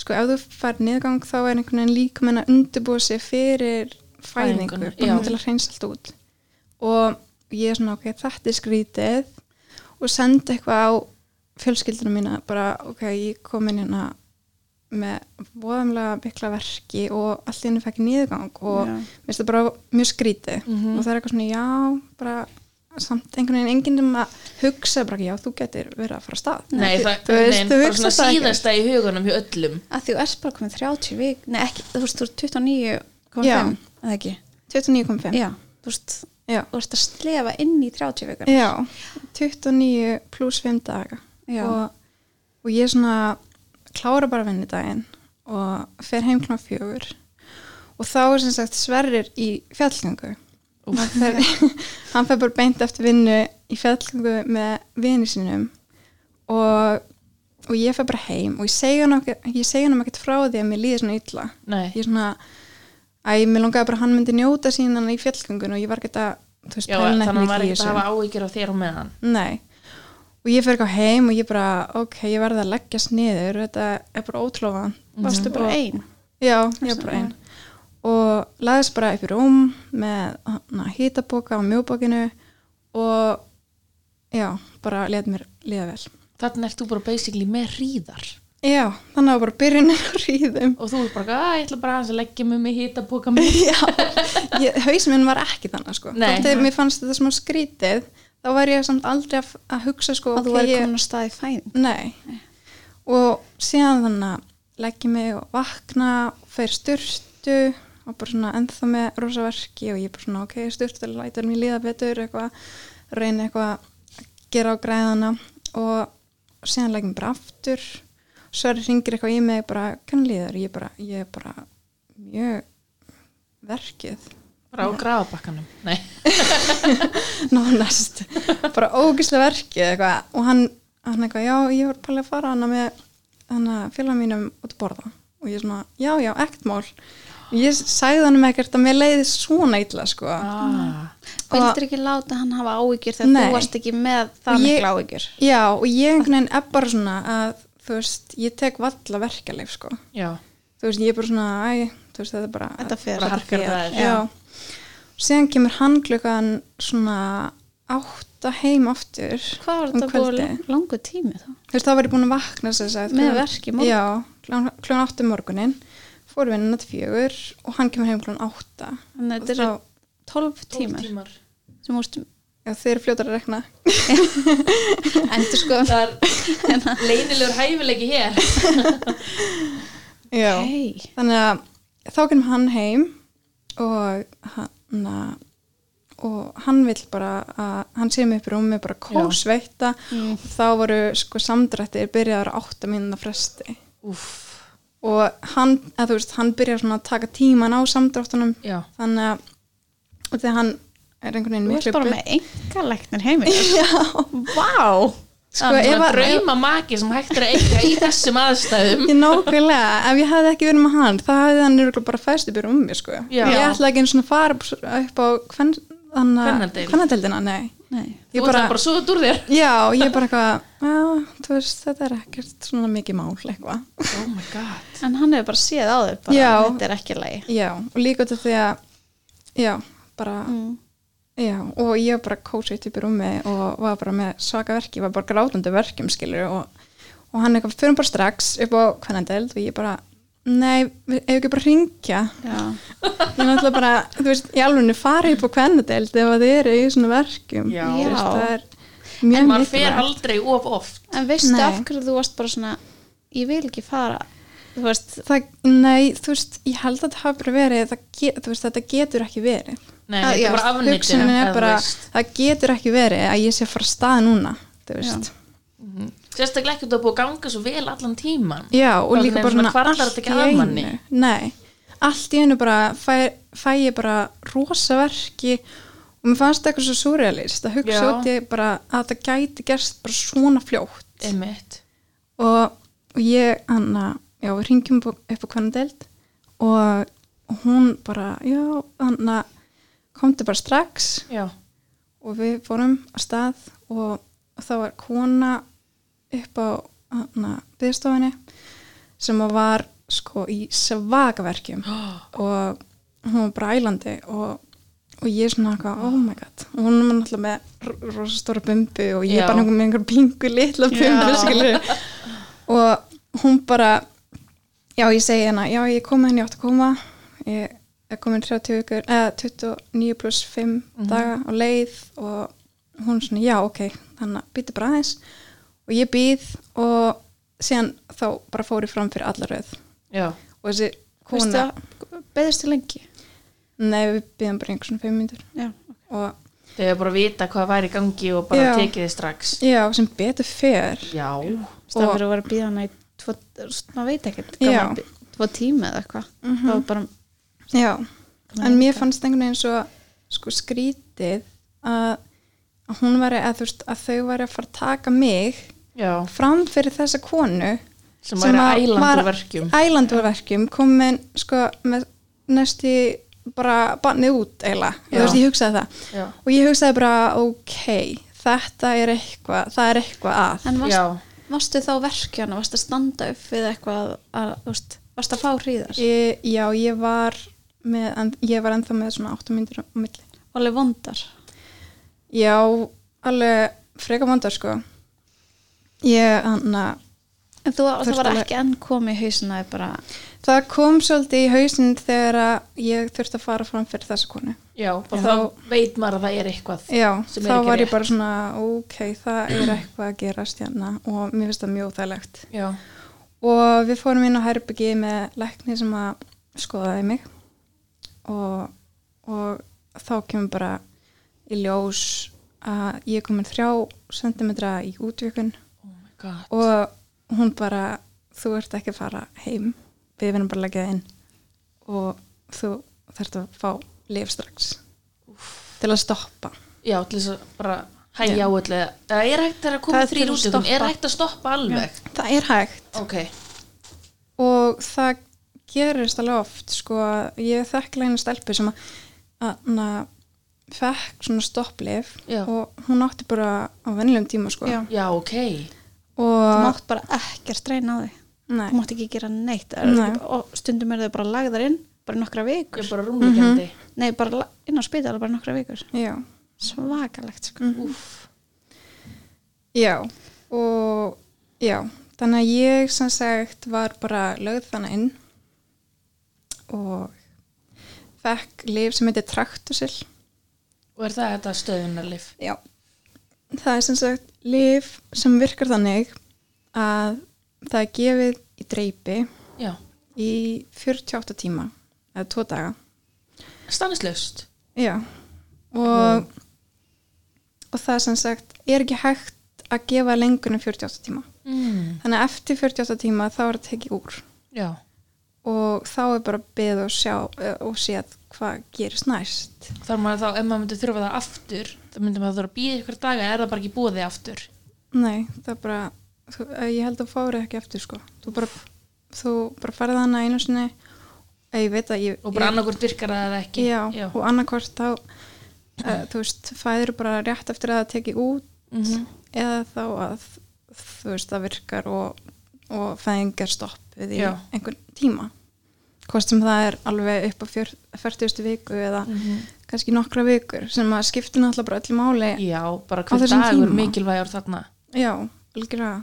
sko ef þú fær niðurgang þá er einhvern veginn líka menn að undirbúa sig fyrir fæðingu,
Fæðinguna,
bara
já.
til að hreinsa allt út og ég er svona ok, þetta er skrítið og sendi eitthvað á fjölskyldunum mína bara ok, ég kom inn hérna með voðamlega mikla verki og allt í henni fækki nýðgang og
Já.
mér finnst það bara mjög skrítið
Mhm.
og það er eitthvað svona já, bara samt einhvern veginn enginn um að hugsa bara já, þú getur verið að fara að stað
Nei, það
þú veist,
nei,
þú
bara
hugsa
svona
það ekki
síðasta í hugunum hjá öllum.
Að því þú ert bara komin 30 vik. Nei, ekki, þú veist, þú ert 29,5.
Já.
Eða ekki?
29,5
Já. Þú veist,
Já.
þú ert að slefa inn í 30 vikar.
Já, 29 pluss 5 daga
Já.
og, og ég svona klára bara vinnu daginn og fer heim kláð fjögur og þá er sem sagt Sverrir í fjallgöngu hann fer, (laughs) hann fer bara beint eftir vinnu í fjallgöngu með vini sínum og, og ég fer bara heim og ég segi hann ekki, ég segi hann ekki frá því að mér líður svona illa
Nei,
ég er svona Æ, mér langaði bara að hann myndi njóta sín hann í fjallgöngun og ég var ekki að, þú veist,
Já,
pæla
þannig
neitt
að hann var
mikið í
ekki að
þessu.
hafa áhyggjur á þér og með hann
Nei, og ég fer ekki á heim og ég bara, ok, ég verði að leggjast niður, þetta er bara ótrúlega
Mhm. Varstu bara
Og-
ein?
Já, ég var bara einn og laðist bara upp í rúm með hýtaboka á mjóbokinu og já, bara leð mér liða vel.
Þannig ert þú bara basically með ríðar
Já, þannig að bara byrjunin á rýðum.
og þú er bara, að ég ætla bara aðeins að leggja mig með hýta boka (laughs) mig
Já, ég, hausinn minn var ekki þannig sko.
Nei.
Þóttið mér fannst þetta smá skrítið, þá var ég samt aldrei að, að hugsa sko,
að þú
ok,
væri
ég-
komin á staði fæðin
Nei. Og síðan þannig að leggja mig og vakna og fer styrtu og bara svona ennþá með rosaverki og ég bara svona ok, styrtu lætur mér líða betur eitthvað, reyni eitthvað að gera á græðana og síðan leggjum bara aftur Sverri ringir eitthvað í mig bara, hvernig líður? Ég bara, ég er bara mjög verkið
bara á grafabakkanum Nei,
(laughs) nánast bara ógislega verkið eitthvað og hann, hann eitthvað, já, ég var pælið að fara hana með hana félag mínum út að borða og ég svona, já, já, ekkert mál ég sagði hann um ekkert að mér leiði svona illa, sko
ah.
Vildur ekki láta hann hafa áhyggjur þegar
Nei.
þú varst ekki með
Og
það
ég-
mikla áhyggjur
já, og ég einhvern veginn er bara svona að, þú veist, ég tek valla verkaleif, sko,
já,
þú veist, ég er bara svona æ, þú veist, þetta er bara
Þetta fer.
bara harkar það
já, síðan kemur hann klukkan svona átta heim aftur
Hvað var
um
þetta búið
kvöldið?
lang- langur tími þá?
Þú veist, þá var ég búin að vakna sem sagt,
Með
klukkan-
verk í morgun?
Já, klón áttu morgunin, um fór við hennar til fjögur og hann kemur heim klón átta.
Þannig að
Og
þetta
þá,
eru 12
tímar.
tímar sem úrstu
já, þeir eru fljótar að rekna.
endur sko
það er leynilegur hæfileiki hér
Já.
Hey.
Þannig að þá kemur hann heim og hann, og hann vill bara að hann sé mig upp í rúmi bara kósveita
Mm.
og þá voru sko samdrættir byrjaður á átta mínuna fresti.
Úf,
Og hann, eða þú veist, hann byrjar svona að taka tíman á samdráttunum
já
þannig að og þegar hann er einhvern veginn
Þú
miklu
ert bara
(laughs) bet-
með engaleknir heimi Vá
sko,
það er
ef
bara
að, ef,
drauma maki sem hægt er að eiga í þessum aðstæðum
ég nákvæmlega, ef ég hefði ekki verið með hann þá hefði hann örugglega bara fæst upp í rúmi sko.
Já.
ég ætla ekki einu svona að fara upp- upp á
Kvennadeild.
kvennadeldina nei,
Nei.
þú
ég
ert
bara,
það bara svo út úr þér
já, ég bara eitthvað, já, þú veist, þetta er ekkert svona mikið mál eitthvað
oh my god
En hann hefur bara séð á þau bara,
Já.
Þetta er ekki lægi
já, og líka til því að já, bara Já, og ég var bara kósið upp í rúmi og var bara með svaka verki, var bara grátandi verkjum skilur og, og hann eitthvað, förum bara strax upp á kvennandeld og ég bara, nei, við hefur ekki bara að ringja.
Já.
Ég náttúrulega bara, þú veist, í alveg farið upp á kvennandeld ef þið eru í svona verkjum.
Já.
Þú veist, það er
en
mjög
maður fer
mikilvægt.
aldrei of oft
En veistu
Nei.
af hverju þú varst bara svona Ég vil ekki fara Þú veist
Það, nei, þú veist, ég held að það hafa bara verið, það get, þú veist, þetta getur ekki verið.
Nei,
Ah,
þetta
já,
er bara afnýttin
Hugsunin er bara, það getur ekki verið að ég sé að fara af stað núna, þú veist.
Mhm. Sérstaklega ekki þú er búið að ganga svo vel allan tíman
Já, og
Bara
líka
svona
bara svona
hvarflar þetta ekki að manni?
Nei, allt í einu bara fæ, fæ ég bara rosa verki og mér fannst það eitthvað svo surrealist að hugsa
Já.
út ég bara að það gæti gerst bara svona fljótt
Einmitt.
og, og ég, hann að já, við ringjum upp, á- upp á hvernig deild og, og hún bara já, hann að komdu bara strax
Já,
og við fórum að stað og, og það var kona upp á byggstofinni sem að var sko í svagaverkjum og hún var bara ælandi og, og ég svona eitthvað, oh my god og hún var náttúrulega með r- rosa stóra bumbu og ég
Já.
bara með einhver pingu litla bumbu
Já.
skilur og hún bara já ég segi hérna, já ég kom henni átt að koma ég er komin 30 vikur, eða 29 pluss 5 daga á leið og hún svona já ok þannig að býti bara aðeins og ég býð og síðan þá bara fór ég fram fyrir alla röð
já,
og þessi
Veistu
kona,
að beðist til lengi
nei við býðum bara einhversum 5 mínútur
Já
og
þau hefur bara vita hvað væri í gangi og bara
Já.
tekið þið strax
já sem betur fer
Já,
Það
Og-
fyrir að vera að býða hana í tvo, maður veit ekkert,
Já. Mhm.
gaman, tvo tíma eða eitthvað. Það var bara,
Já,
Nei,
en mér fannst einhvern veginn svo sko skrítið að, að hún væri að, þú veist, að þau væri að fara að taka mig
já
fram fyrir þessa konu
sem, sem væri
að
ælandur
var
verkjum
ælandur verkjum komin sko með næsti bara bannið út eiginlega, þú
Já.
veist, ég hugsaði það
Já.
og ég hugsaði bara, ok þetta er eitthvað, það er eitthvað að
En varst,
Já.
varstu þá verkjana, varstu að standa upp við eitthvað að, þú veist, varstu að fá hríðar?
ég, já, ég var með, en, ég var ennþá með svona 8 myndir á milli
Og alveg vondar.
já, alveg freka vandar sko ég, hann að
En þú, það
Þurfti
var
alveg-
ekki enn komið í hausina þér bara,
það kom svolítið í hausinn þegar að ég þurfti að fara fram fyrir þessa konu
Já, og
Já.
þá veit maður að það er eitthvað
Já,
sem er
þá
ekki
var ég
rétt.
bara svona, ok, það er eitthvað að gerast hérna og mér finnst það mjög óþægilegt.
Já,
Og við fórum inn á herbyggi með lækni sem að skoðaði mig og, og þá kemur bara í ljós að ég er komin þrjá sentimetra í útvikun
oh my god
og hún bara, þú ert ekki að fara heim, við verðum bara að leggja það inn og þú þarft að fá lif strax til að stoppa.
Já, til þess að bara hægja á öllu Það er hægt þegar að koma
Það er
þrýr
til að
út um, er
stoppa.
hægt að stoppa alveg
Það er hægt.
Ok,
og það gerist alveg oft sko, að ég þekkla einu stelpu sem að, að, að fekk svona stopplif
Já.
og hún átti bara á vennilegum tíma sko.
Já.
já, ok
þú
og
mátt bara ekkert reyna á þig.
nei,
Þú mátt ekki gera neitt.
Nei.
Og stundum eru þau bara lagðar inn, bara í nokkra
Ég
vikur.
er bara rúmlegjandi
Nei, bara la- inn á spítala bara í nokkra vikur.
já,
Svakalegt, sko.
Mhm. já og já, þannig að ég sem sagt var bara lögð þannig inn og fekk lif sem heitir traktusil
Og er það þetta stöðunarlif?
Já. Það er sem sagt lif sem virkar þannig að það er gefið í dreipi
Já,
í 48 tíma eða tvo daga.
stannislaust
Já. Og, og það sem sagt er ekki hægt að gefa lengur en 48 tíma.
mm.
Þannig að eftir 48 tíma þá er það tekið úr
Já,
og þá er bara beð og sjá eh, og séð hvað gerist næst.
þar maður þá, ef maður myndi þurfa það aftur þá myndi maður þurfa að býða ykkur daga eða er það bara ekki búið þig aftur
Nei, það er bara, þú, eh, ég held að þú fáir ekki eftir sko. Þú bara, þú bara farið hana einu sinni, Eh, ég veit að ég...
og bara
ég,
annarkvort virkar það eða ekki
Já, og annarkvort þá, uh, þú veist, fæður bara rétt eftir að það teki út
Mhm.
eða þá að, þú veist, það virkar og, og fæðingar stoppið í
Já.
einhvern tíma. Hvort sem það er alveg upp á fjör, 40. viku eða kannski nokkra vikur sem að skiptir náttúrulega bara öllu máli.
Já, bara
Á
hver
þessum
dagur
tíma.
mikilvægur þarna
Já, algjörlega.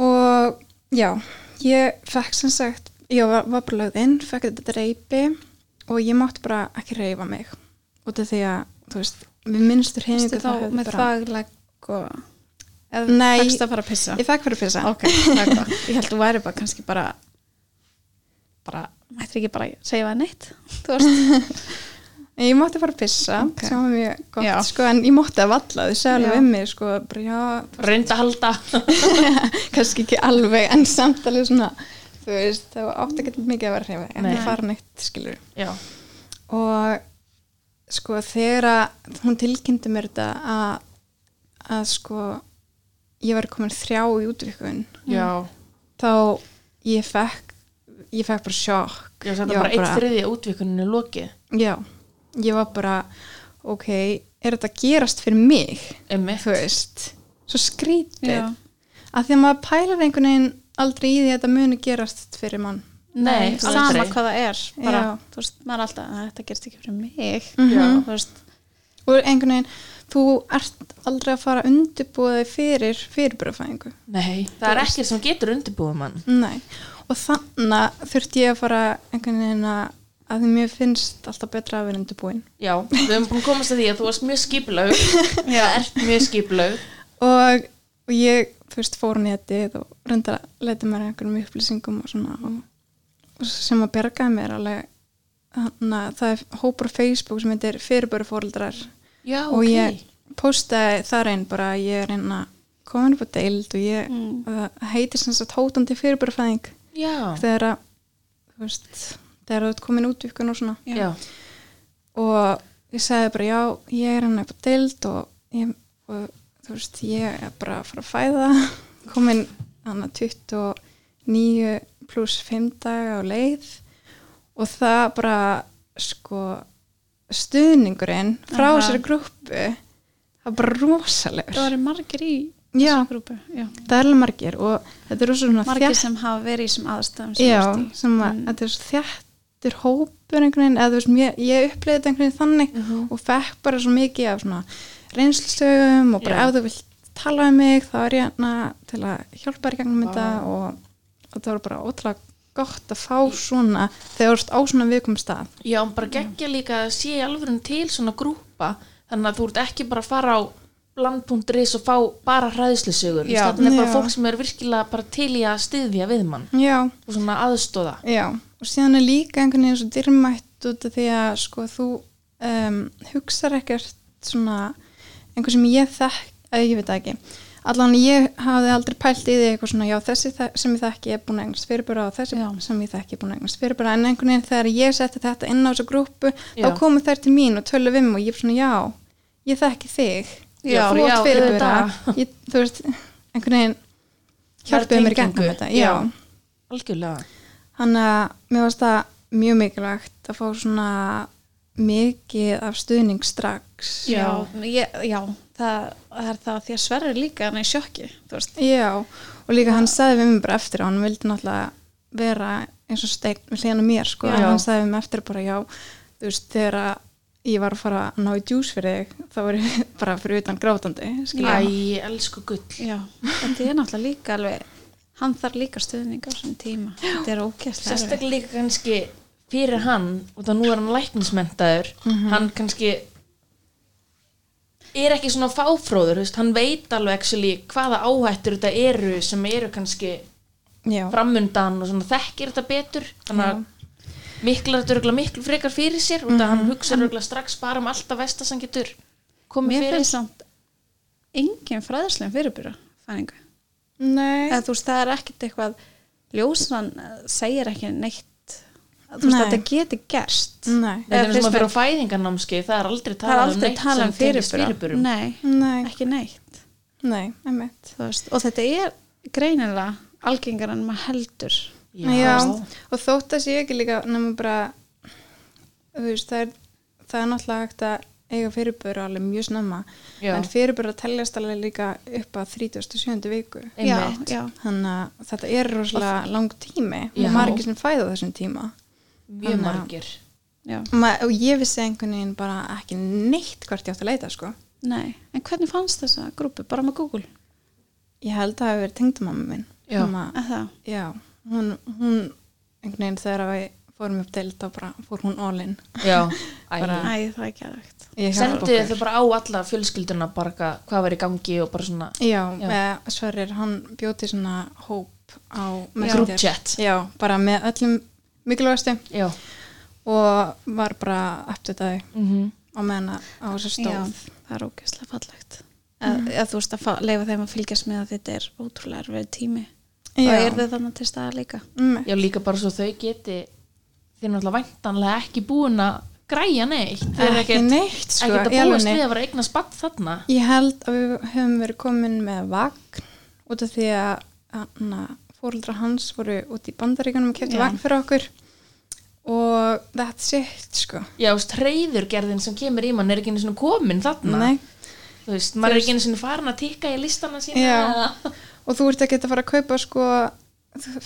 Og já, ég fekk sem sagt, ég var, var bara lögð inn, fekk þetta dreipi og ég mátti bara ekki reyfa mig. Út af því að, þú veist, við minnstur
Þú
heimingu
þá með þaglegg og... Eða
Nei.
fækst að fara að pissa?
Ég fekk fyrir pissa.
Ok, það er gott. Ég held þú væri bara kannski bara bara, mættir ekki bara segja það neitt þú veist,
En Ég mátti fara að pissa,
Ok.
sem var mjög gott,
Já.
sko, en ég mátti að valla því segja alveg
Já.
um mig, sko, bara já,
Reynda að halda
kannski ekki alveg, en samt alveg svona, þú veist, það átti ekki mikið að vera að reyfa, en
Nei.
það fara neitt, skilur.
Já,
og sko þegar að hún tilkynnti mér þetta að, að sko ég var komin þrjá í útvikun
já,
þá ég fekk ég fekk bara sjokk
já, þetta
Ég var
bara eitt þriðja útvikuninu lokið
já, ég var bara ok, er þetta að gerast fyrir mig
Einmitt.
þú veist, svo skrítið
Já.
að því að maður pælar einhvern veginn aldrei í því að þetta muni gerast fyrir mann
Nei,
þú veist, sama
aldrei.
hvað það er bara,
Já.
þú veist, maður er alltaf, "Æ, þetta gerst ekki fyrir mig
Mhm.
þú veist,
og einhvern veginn, þú ert aldrei að fara undirbúið fyrir fyrirbröðfæðingu
Nei, það er ekkert sem getur undirbúið mann
Nei, og þannig þurfti ég að fara einhvern veginn að að því mér finnst alltaf betra að vera undirbúin
Já, við höfum búin að komast að því að þú varst mjög skipulög Það ert mjög skipulög
og, og ég fyrst fór netið og reynda að leta mér að einhverjum upplýsingum og svona og, og sem að bergaði mér alveg þannig að það er hópur á Facebook sem heitir fyrirböru fóreldrar
Já,
og
ok
ég postaði þar einn bara að ég er einn að komin upp á deild og ég
Mm.
og það heitir sem sagt hótandi fyrirbörufæðing
Já,
þegar að þú veist, þegar þú ert komin út í ykkur og svona
já,
og ég sagði bara já, ég er hann upp á deild og, ég, og þú veist, ég er bara að fara að fæða (laughs) komin hann að 29 pluss 5 daga á leið og það bara sko stuðningurinn frá
Aha.
þessari grúppu það er bara rosalegur
Það eru margir í
Já.
þessu grúpu. Já.
það er alveg margir og þetta er rosa svona
Margir
þétt-
sem hafa verið í þessum aðstæðum sem
Já,
þú ert í.
sem að þetta er svo þjættur hópur einhvern veginn, eða þú veist, mér, ég uppleiði þetta einhvern veginn þannig og fekk bara svo mikið af svona reynslustögum og bara
Já.
ef þú vilt tala um mig þá er ég hérna til að hjálpa þér í gegnum þetta
Vá.
og, og það var bara ótrúlega gott að fá svona þegar þú ert á svona viðkom stað.
Já, en bara geggja líka að sé í alvöru til svona grúpa þannig að þú ert ekki bara að fara á land.is og fá bara hræðslusögur
Já.
þannig er bara
Já.
fólk sem er virkilega bara til í að styðja við mann
Já,
og svona aðstóða
já og síðan er líka einhvern veginn svo dyrmætt út af því að sko þú um, hugsar ekkert svona einhver sem ég þekk, að ég veit það ekki allan ég hafði aldrei pælt í því eitthvað svona, já þessi þe- sem ég þekki er búin að eignast fyrirbara og þessi
Já.
sem ég þekki er búin að eignast fyrirbara en einhvern veginn þegar ég setti þetta inn á þessu grúpu þá
Já.
komu þær til mín og tölu við mig og ég er svona, já, ég þekki þig
Já,
þú
já,
átt fyrirbara
auðvitað.
ég, þú veist, einhvern veginn
Það er
hjálpuðu mér í
tengingu.
gegnum þetta,
Já.
já.
algjörlega
Þannig að mér varst það mjög mikilvægt að fá svona mikið af stuðning strax.
Já, ég, já það, það er það því að Sverri líka hann er í sjokki, þú veist.
Já, og líka hann sagði við mér bara eftir og hann vildi náttúrulega vera eins og stein við hlýðan á mér sko,
Já.
en hann sagði við mér eftir bara já, þú veist, þegar að ég var að fara að ná í djús fyrir þig, þá var ég (laughs) bara fyrir utan grátandi, skilja.
Æ, elsku gull
Já, þetta er náttúrulega líka alveg, hann þarf líka stuðning á svona tíma. Þetta er ókjæslega.
sérstaklega líka kannski fyrir hann og það nú er hann læknismentaður hann kannski er ekki svona fáfróður þú veist, hann veit alveg actually, hvaða áhættur þetta eru sem eru kannski
Já,
framundan og svona þekkir þetta betur þannig að miklar þetta örgulega miklu frekar fyrir sér og það hann hugsa örgulega strax bara um alltaf vest að hann getur komið
Mér
fyrir
finnst samt engin fræðislega fyrirbyrja fæðingu.
nei,
Eða, þú veist, það er ekkert eitthvað ljósan eh, segir ekki neitt þú veist,
Nei.
þetta geti gerst
nei,
þetta er
Eða
svona
fyrst
fyrir
mér-
fæðingarnámski það er aldrei
það er
Mm. talað um
aldrei
neitt
tala um
sem tengist
fyrirbyrja
fyrirbyrjum
nei,
nei,
ekki neitt
nei, einmitt.
þú veist, og þetta er greinilega algengar en maður heldur
Já, og þótt að sé ekki líka nema bara þú veist, það er, það er náttúrulega hægt að eiga fyrirböru alveg mjög snemma
Já.
en fyrirböru að teljast alveg líka upp að 37. viku
einmitt
já, já.
þannig að þetta er rosalega lang tími
Já.
og margir sem fæða á þessum tíma
mjög
Þannig að-
margir
Já.
og, maður, og ég vissi einhvern veginn bara ekki neitt hvort ég átt að leita sko.
Nei. en hvernig fannst þessa grúpu, bara með Google
ég held að það hefur verið tengdamamma minn
Já.
Sem að,
að það,
já hún, hún einhvern veginn þegar við fórum upp deild þá bara fór hún all in
já,
Bara-
æ
æ, það er ekki aðvægt
Ég hjálpa
sendu
okkur.
þau bara á alla fjölskylduna bara hvað- hvað var í gangi og bara svona
Já,
Já.
já. Sverrir, hann bjóti svona hóp á Messenger.
group chat
Já, bara með öllum mikilvægastu
já,
og var bara aftur
mm
á meðan að- á þessu
Já,
stóð.
það er ógeðslega fallegt Mhm. að, að þú veist að fa- leyfa þeim að fylgjast með að þetta er ótrúlega erfið tími
Já.
og er þau þannig til staða líka
Mm.
já líka bara svo þau geti þeir náttúrulega væntanlega ekki búin að græja neitt Þeir eru
Ekki
ekkert-
neitt, sko.
ekkert
í
að búast
alvörunni.
við að vera eigna spatt þarna
Ég held að við höfum verið komin með vagn út af því að hana, fóruldra hans voru út í bandaríkanum og kefti
Já.
vagn fyrir okkur og that's it, sko.
já, þú veist, reyðurgerðin sem kemur í mann er ekki einu sinni komin þarna
Nei.
þú veist, maður er ekki einu sinni farin að tikka í listana sína
Já.
eða- (laughs)
og þú ert ekkert að fara að kaupa sko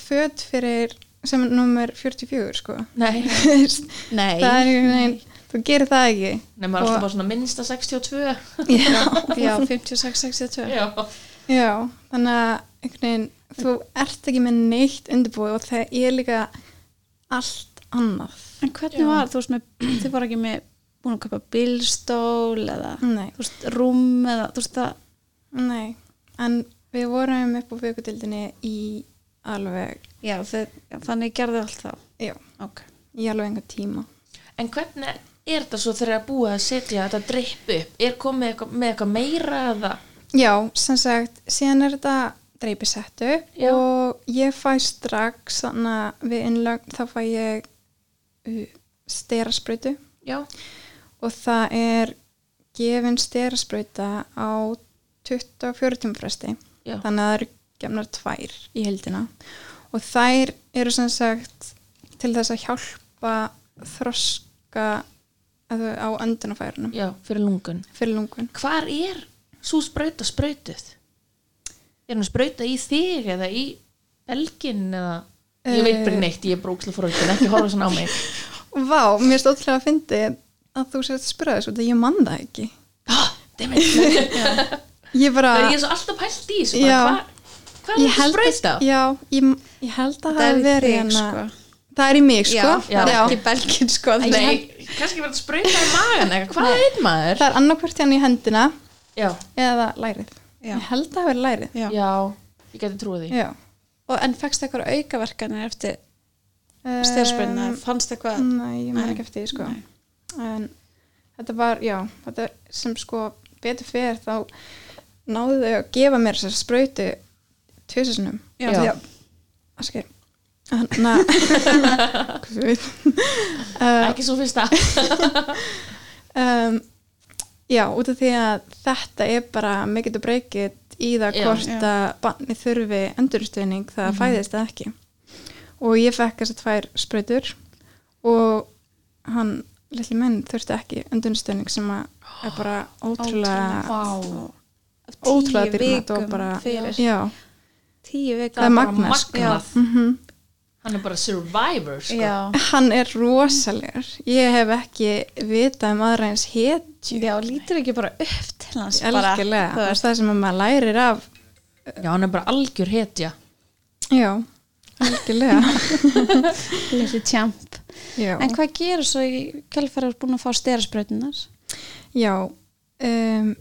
föt fyrir sem er nummer 44 sko (laughs)
nei,
það
Nei,
er einhvern veginn, þú gerir það ekki
nei, maður er alltaf bara svona minnsta 62
(laughs) já,
já, 56-62
já,
já, þannig að einhvern veginn, þú ert ekki með neitt undirbúið og það er líka allt annað
En hvernig var, þú veist, með, þið voru ekki með búin að kaupa bílstól eða,
nei,
þú veist, rúm eða, þú veist, það,
nei en við vorum upp á vökutildinni í alveg
já, þið, já, þannig gerðu allt þá
já,
Ok,
í alveg einhver tíma
en hvernig er þetta svo þegar að búa að setja þetta dripp upp er komið eitthvað, með eitthvað meira eða
Já, sem sagt, síðan er þetta dreipisettu
Já.
og ég fæ strax þannig að við innlögn þá fæ ég uh, sterasprutu
já,
og það er gefin sterasprauta á 24 tíma fresti
já,
þannig að það eru gefnar tvær í heldina og þær eru sem sagt til þess að hjálpa hjálpa þroska að þau- á öndunafærunum
Já, fyrir lungun.
fyrir lungun.
Hvar er svo sprauta sprautuð? Er hún sprauta í þig eða í belgin eða? Ég veit
Eh.
bara ekki neitt, ég er bróksla fóröldin, ekki horfa svona á
(laughs)
mig.
Vá, mér stóðlega að fyndi að þú sért að spyrja þessu, þetta ég man það ekki.
Ah, dammit. Nei,
Ég bara...
Ég er svo alltaf pælt í þessu,
Já.
bara hvað, hvað er það sprauta?
að, já, ég, ég held að
sko. Það er
það hafi
í
verið
þig,
hérna
sko.
það er í mig sko
Já.
það er ekki belgin sko
Nei, kannski verður sprauta í magan eða hvað er maður?
það er annarkvört hérna í hendina
Já,
eða lærið,
Já.
ég held að það hafi verið lærið
Já.
já, ég geti trúið því.
já,
og en fækst eitthvað aukaverkanir eftir
Um,
stjárspilna fannst eitthvað
nei, ég man
Nei.
ekki eftir því sko
Nei.
en þetta var, já þetta sem sko betur fer þá náðu þau að gefa mér þessar sprautu tvisasunum
Já.
askir þannig (laughs) að
Ekki svo fyrsta.
um, Já, út af því að þetta er bara mikið og breykið í það
Já.
hvort
Já.
að barni þurfi endurstuðning það fæðist það ekki og ég fekk þess að tvær sprautur og hann litli menn þurfti ekki endurstuðning sem að er bara ótrúlega
Vá.
ótrúlega
tíu
dýrmætt og
vikum
bara-
fyrir
já,
tíu
það
vikar
er
bara
magnað sko.
magnað.
Mhm.
Hann er bara survivor, sko.
já,
hann er rosalegur ég hef ekki vitað um aðra eins hetju
já, lítur ekki bara upp til hans bara,
algjörlega,
þú
það er
veist.
það sem að maður lærir af
Já, hann er bara algjör hetja.
já, algjörlega
(laughs) litli tjamp
já.
en hvað gerur svo í kjálfærar búin að fá stjárspilnar
Já, um,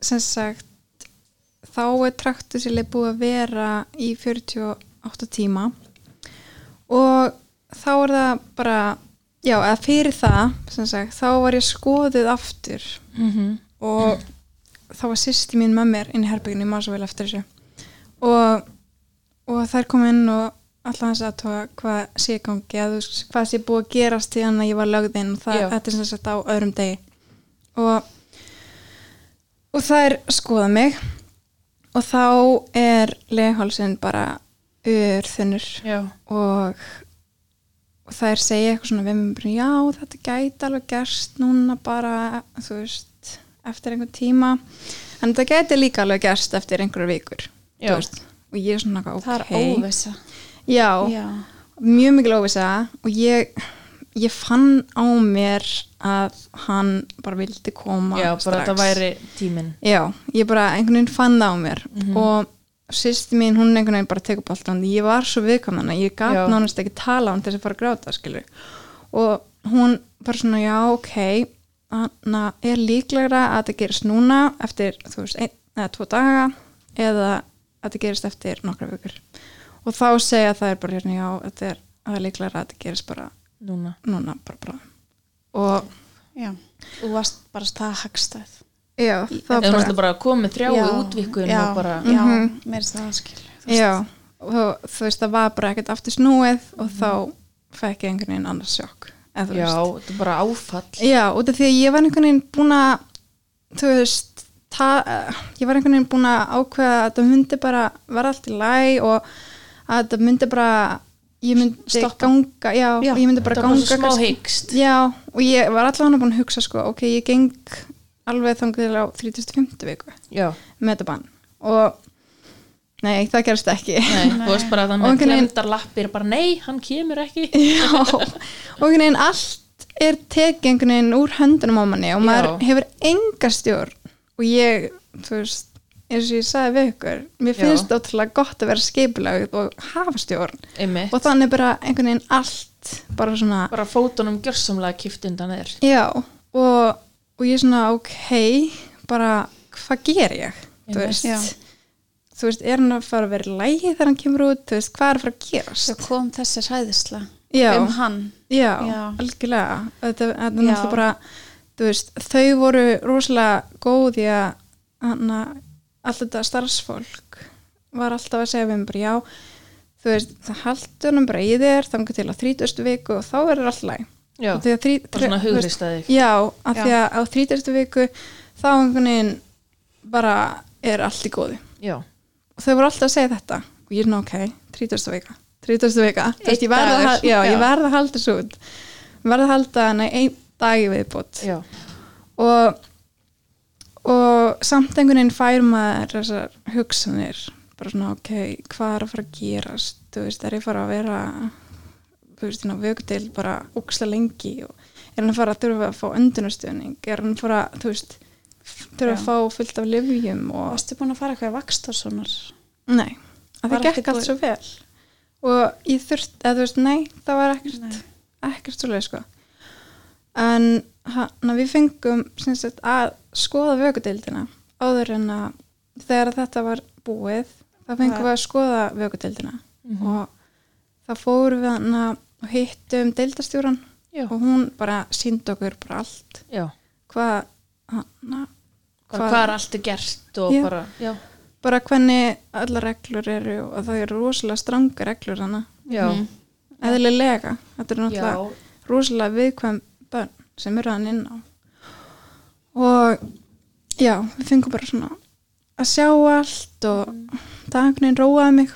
sem sagt þá er traktusileg búið að vera í 48 tíma og þá er það bara, já, eða fyrir það sem sagt, þá var ég skoðuð aftur
Mm -hmm.
Mhm. og þá var sýsti mín með mér inn í herbygginu, ég maður svo vel eftir þessu og, og þær kom inn og alltaf hans að tóa hvað sé í gangi, að þú veist, hvað sé búið að gerast til hann að ég var lögðin og það,
Já.
þetta er sem sagt á öðrum degi og, og þær skoða mig og þá er leghalsin bara urþunur
Já.
og, og þær segja eitthvað svona við mér bara, já þetta gæti alveg gerst núna bara, þú veist eftir einhvern tíma en þetta gæti líka alveg gerst eftir einhverjar vikur þú
Já.
veist. og ég er svona eitthvað, ok
það er óvissa
já,
já,
mjög mikil óvisa og ég, ég fann á mér að hann bara vildi koma
Já, bara
strax.
þetta væri tíminn.
Já, ég bara einhvern veginn fann það á mér og sýsti mín hún einhvern veginn bara tekur upp allt ég var svo viðkomann að ég
Já.
gat nánast ekki tala án þess að fara að gráta skilur. og hún bara svona já ok þannig er líklegra að þetta gerist núna eftir þú veist einn eða tvo daga eða að þetta gerist eftir nokkra vikur og þá segja það er bara hérna já þetta er, það er líklegra að þetta gerist bara
Núna.
núna bara bara og
já þú varst bara það hagstæð
já,
Það er náttúrulega bara komið þrjáu
Já,
útvikun
já, Mm,
og bara,
já,
Mhm.
mér er það skil
Já, og þú veist, það var bara ekkert aftur snúið og þá fekk ég einhvern veginn annars sjokk. eða þú
Mhm. já,
veist.
þetta er bara áfall.
Já, út af því að ég var einhvern veginn búin að, þú veist, ta, ég var einhvern veginn búin að ákveða að það myndi bara vera allt í læg og að það myndi bara, ég myndi
Stoppa.
ganga, já,
Já,
og ég myndi bara
Þetta var
ganga.
svo smá
kannski-
hyggst.
Já, og ég var allavega búin að hugsa, sko, ok, ég geng alveg þangað til á 35. viku
Já,
með þetta bann og nei, það gerst ekki.
nei, þú veist bara að það
Og
með
einhvern veginn-
glemdar lappir, bara nei, hann kemur ekki.
Já, og einhvern veginn allt er tekið einhvern veginn úr höndunum á manni og maður
Já.
hefur enga stjórn og ég, þú veist, eins og ég sagði við ykkur, mér
Já.
finnst ótrúlega gott að vera skipulagð og hafa stjórn
Einmitt.
og þannig bara einhvern veginn allt bara svona,
Bara fótunum gjörsamlega kipt undan þér.
já og, og ég svona, ok bara, hvað ger ég? Þú
Einmitt.
veist,
Já.
þú veist, er hann að fara að vera í lægi þegar hann kemur út, þú veist, hvað er að fara að gerast?
svo kom þessi hræðisla
Já.
um hann
Já,
Já.
algjörlega þetta, þetta er
Já.
náttúrulega bara þú veist, þau voru rosalega góð í að hana, allt þetta starfsfólk var alltaf að segja við mér bara já þú veist, það haldur hann bara í þér þangar til á 30. viku og þá verður allt læg
Já,
og þegar þrí,
bara svona
þú veist,
hugrist að þig.
Já, af
Já.
því að á 30. viku þá einhvern veginn bara er allt í góðu
Já,
og þau voru alltaf að segja þetta og ég er ná ok, 30. vika 30. vika, þú veist,
Einn
ég verð að,
dagur.
hal- já,
Já.
ég verð að halda þessu út verða að halda hana einn dag í viðbútt
Já.
og, og samt einhvern veginn fær maður þessar hugsanir bara svona ok, hvað er að fara að gerast þú veist, er ég fara að vera þú veist, hérna vökudil bara óksla lengi og er hann að fara að þurfa að fá öndunarstöðning er hann að fara, þú veist
Já.
þurfa að fá fullt af livjum og
Varstu búin að fara eitthvað að vaksta svona?
nei,
Var
að það
allt í
gekk allt
góðu?
svo vel og ég þurft, eða þú veist, nei það var ekkert ekkert svolítið sko en hann við fengum sem sagt, að skoða vökudeildina áður en að þegar þetta var búið þá fengum
Já. Mhm.
við að skoða vökudeildina
Mhm.
og þá fórum við hann og hittum deildastjóran
Já.
og hún bara síndi okkur bara allt
Já.
hvað hana,
Hvað, hvað er allt er gert og
Já.
bara, já.
bara hvernig allar reglur eru og það eru rosalega stranga reglur hana
Já.
Mhm.
eðlilega, þetta er
já.
náttúrulega rosalega viðkvæm bönn sem eru hann inn á og já, við fengum bara svona að sjá allt og
Mm.
það einhvern veginn róaði mig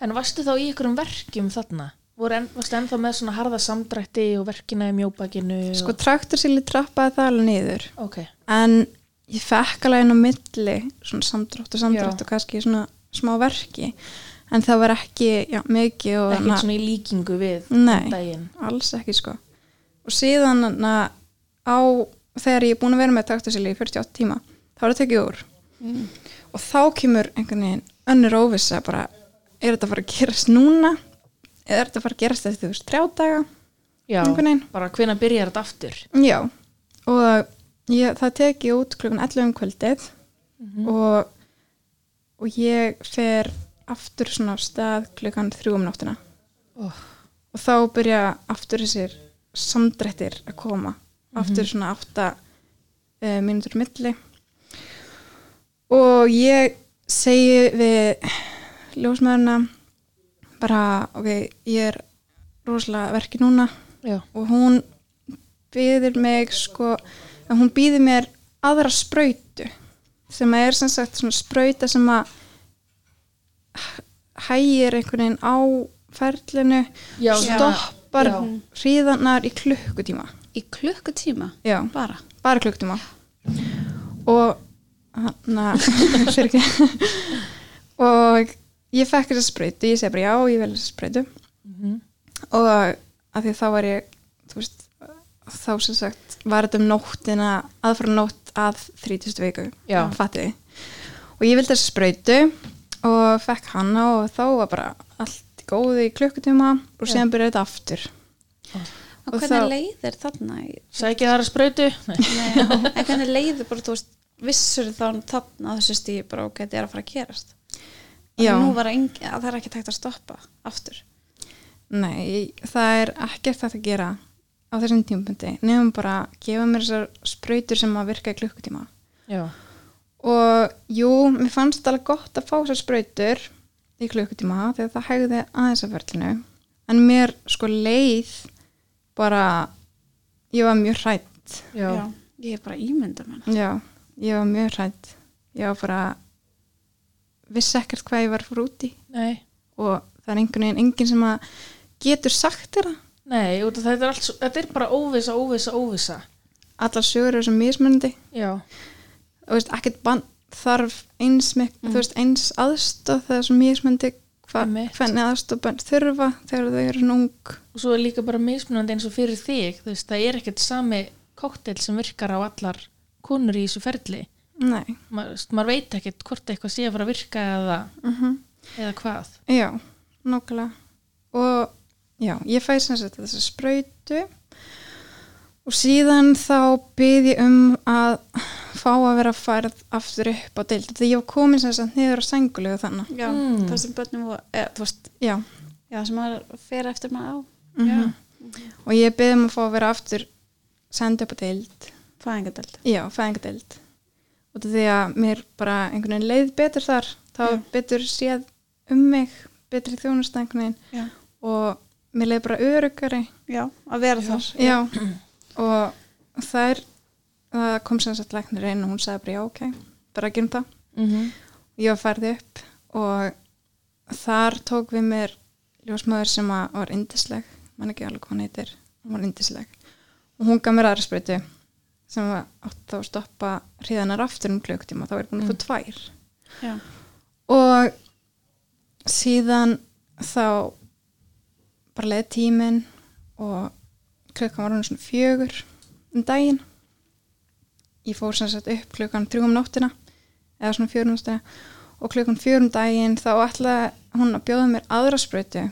En varstu þá í einhverjum verkjum þarna? Voru En, varstu ennþá með svona harða samdrætti og verkina í mjóbakinu?
sko
og...
traktorsýli trappaði það alveg niður
Ok,
en ég fekk alveg inn á milli svona samdrátt og samdrátt
Já.
og kannski svona smá verki en það var ekki, já, mikið og
ekkert svona í líkingu við
nei,
daginn.
alls ekki sko og síðan na, á þegar ég er búin að vera með traktorsýli í 48 tíma, þá er það tekið úr
Mm.
og þá kemur einhvern veginn önnur óvissa bara, er þetta að fara að gerast núna eða er þetta að fara að gerast eftir þú veist þrjá daga,
Já,
einhvern veginn
bara hvena byrjar þetta aftur?
já, og eh, ég, það tek ég út klukkan 11 um kvöldið
Mhm.
og, og ég fer aftur svona á stað klukkan 3 um nóttina
Oh.
og þá byrja aftur þessir samdrættir að koma aftur svona 8 uh, mínútur á milli og ég segi við ljósmaðurna bara, ok, ég er rosalega verki núna
Já.
og hún býður mig sko, að hún býður mér aðra sprautu sem er sem sagt svona sprauta sem að hægir einhvern veginn á ferlinu
Já, svona-
stoppar
já.
hríðanar í klukkutíma
Í klukkutíma?
já,
Bara?
bara klukkutíma og (laughs) hann að fyrir ekki og ég fekk þessa sprautu ég segi bara já, ég vel þessa sprautu
Mhm.
og að því þá var ég þú veist, þá sem sagt var þetta um nóttina aðfara nótt að 30 viku
Já.
fattið þið. og ég vildi þessi sprautu og fekk hana og þá var bara allt í góðu í klukkutíma og
Já.
síðan byrjaði þetta aftur
Og,
Og
hvernig
þá-
leiðir þarna? í-
Sækja þar að sprautu? Nei.
Nei, (laughs) en hvernig leiðir bara, þú veist, vissur þá þarna á þessu stíði bara ok, þetta er að fara að gerast? Já.
Já.
Nú var engin, að það er ekki tækt að stoppa aftur.
Nei, það er ekkert hægt að gera á þessum tímapunkti nefnum bara að gefa mér þessar sprautur sem að virka í klukkutíma
Já.
og jú, mér fannst alveg gott að fá þessar sprautur í klukkutíma þegar það hægði aðeins að verðinu en mér sko leið bara ég var mjög hrætt
Já. Já.
Ég er bara ímynda með hana.
já, ég var mjög hrætt ég var bara vissi ekkert hvað ég var fór út í
Nei.
og það er einhvern veginn enginn sem að getur sagt þér það
Nei, út af þetta er, allt, svo- þetta er bara óvisa, óvisa, óvisa.
allar sögur eru svo mismunandi
Já.
þú veist, ekkert bann þarf eins, mik-
Mm.
þú veist, eins aðstof það er svo mismyndi hva,
Einmitt.
hvernig aðstof bönn þurfa þegar þau eru svona ung
Og svo er líka bara mismunandi eins og fyrir þig, þú veist, það er ekkert sami kóktel sem virkar á allar konur í þessu ferli.
Nei,
Ma, þú veist, maður veit ekkert hvort eitthvað sé að fara að virka eða,
mm
eða hvað.
já, nokkulega og já, ég fæ sem sagt þessa sprautu og síðan þá byrð ég um að fá að vera færð aftur upp á deild því ég var komin sem sagt niður á sængulegu þannig
Já,
Mm.
það sem börnum og, eða, þú veist,
já,
já, sem maður fer eftir maður á Mhm.
mm og ég byrði um að fá að vera aftur senda upp á deild
fæðingadeld.
Já, fæðingadeild og því að mér bara einhvern veginn leið betur þar þá
Já.
betur séð um mig betri þjónust einhvern veginn
Já.
og mér leið bara örugari
Já, að vera þar. (clears throat)
já, og það er það kom sem sagt læknir einn og hún sagði bara já, ok bara gerum það
Mm -hmm.
ég var færði upp og þar tók við mér ljósmaður sem að var indisleg mann ekki alveg hvað hann heitir hún var yndisleg og hún gaf mér aðra sprautu sem var átt þá að stoppa hriðanar aftur um klukkutíma, þá er hún að fá tvær
Já.
og síðan þá bara leið tíminn og klukkan var hún svona fjögur um daginn ég fór sem sagt upp klukkan þrjúum nóttina eða svona fjörum stegja og klukkan fjörum daginn þá ætlaði hún að bjóða mér aðra sprautu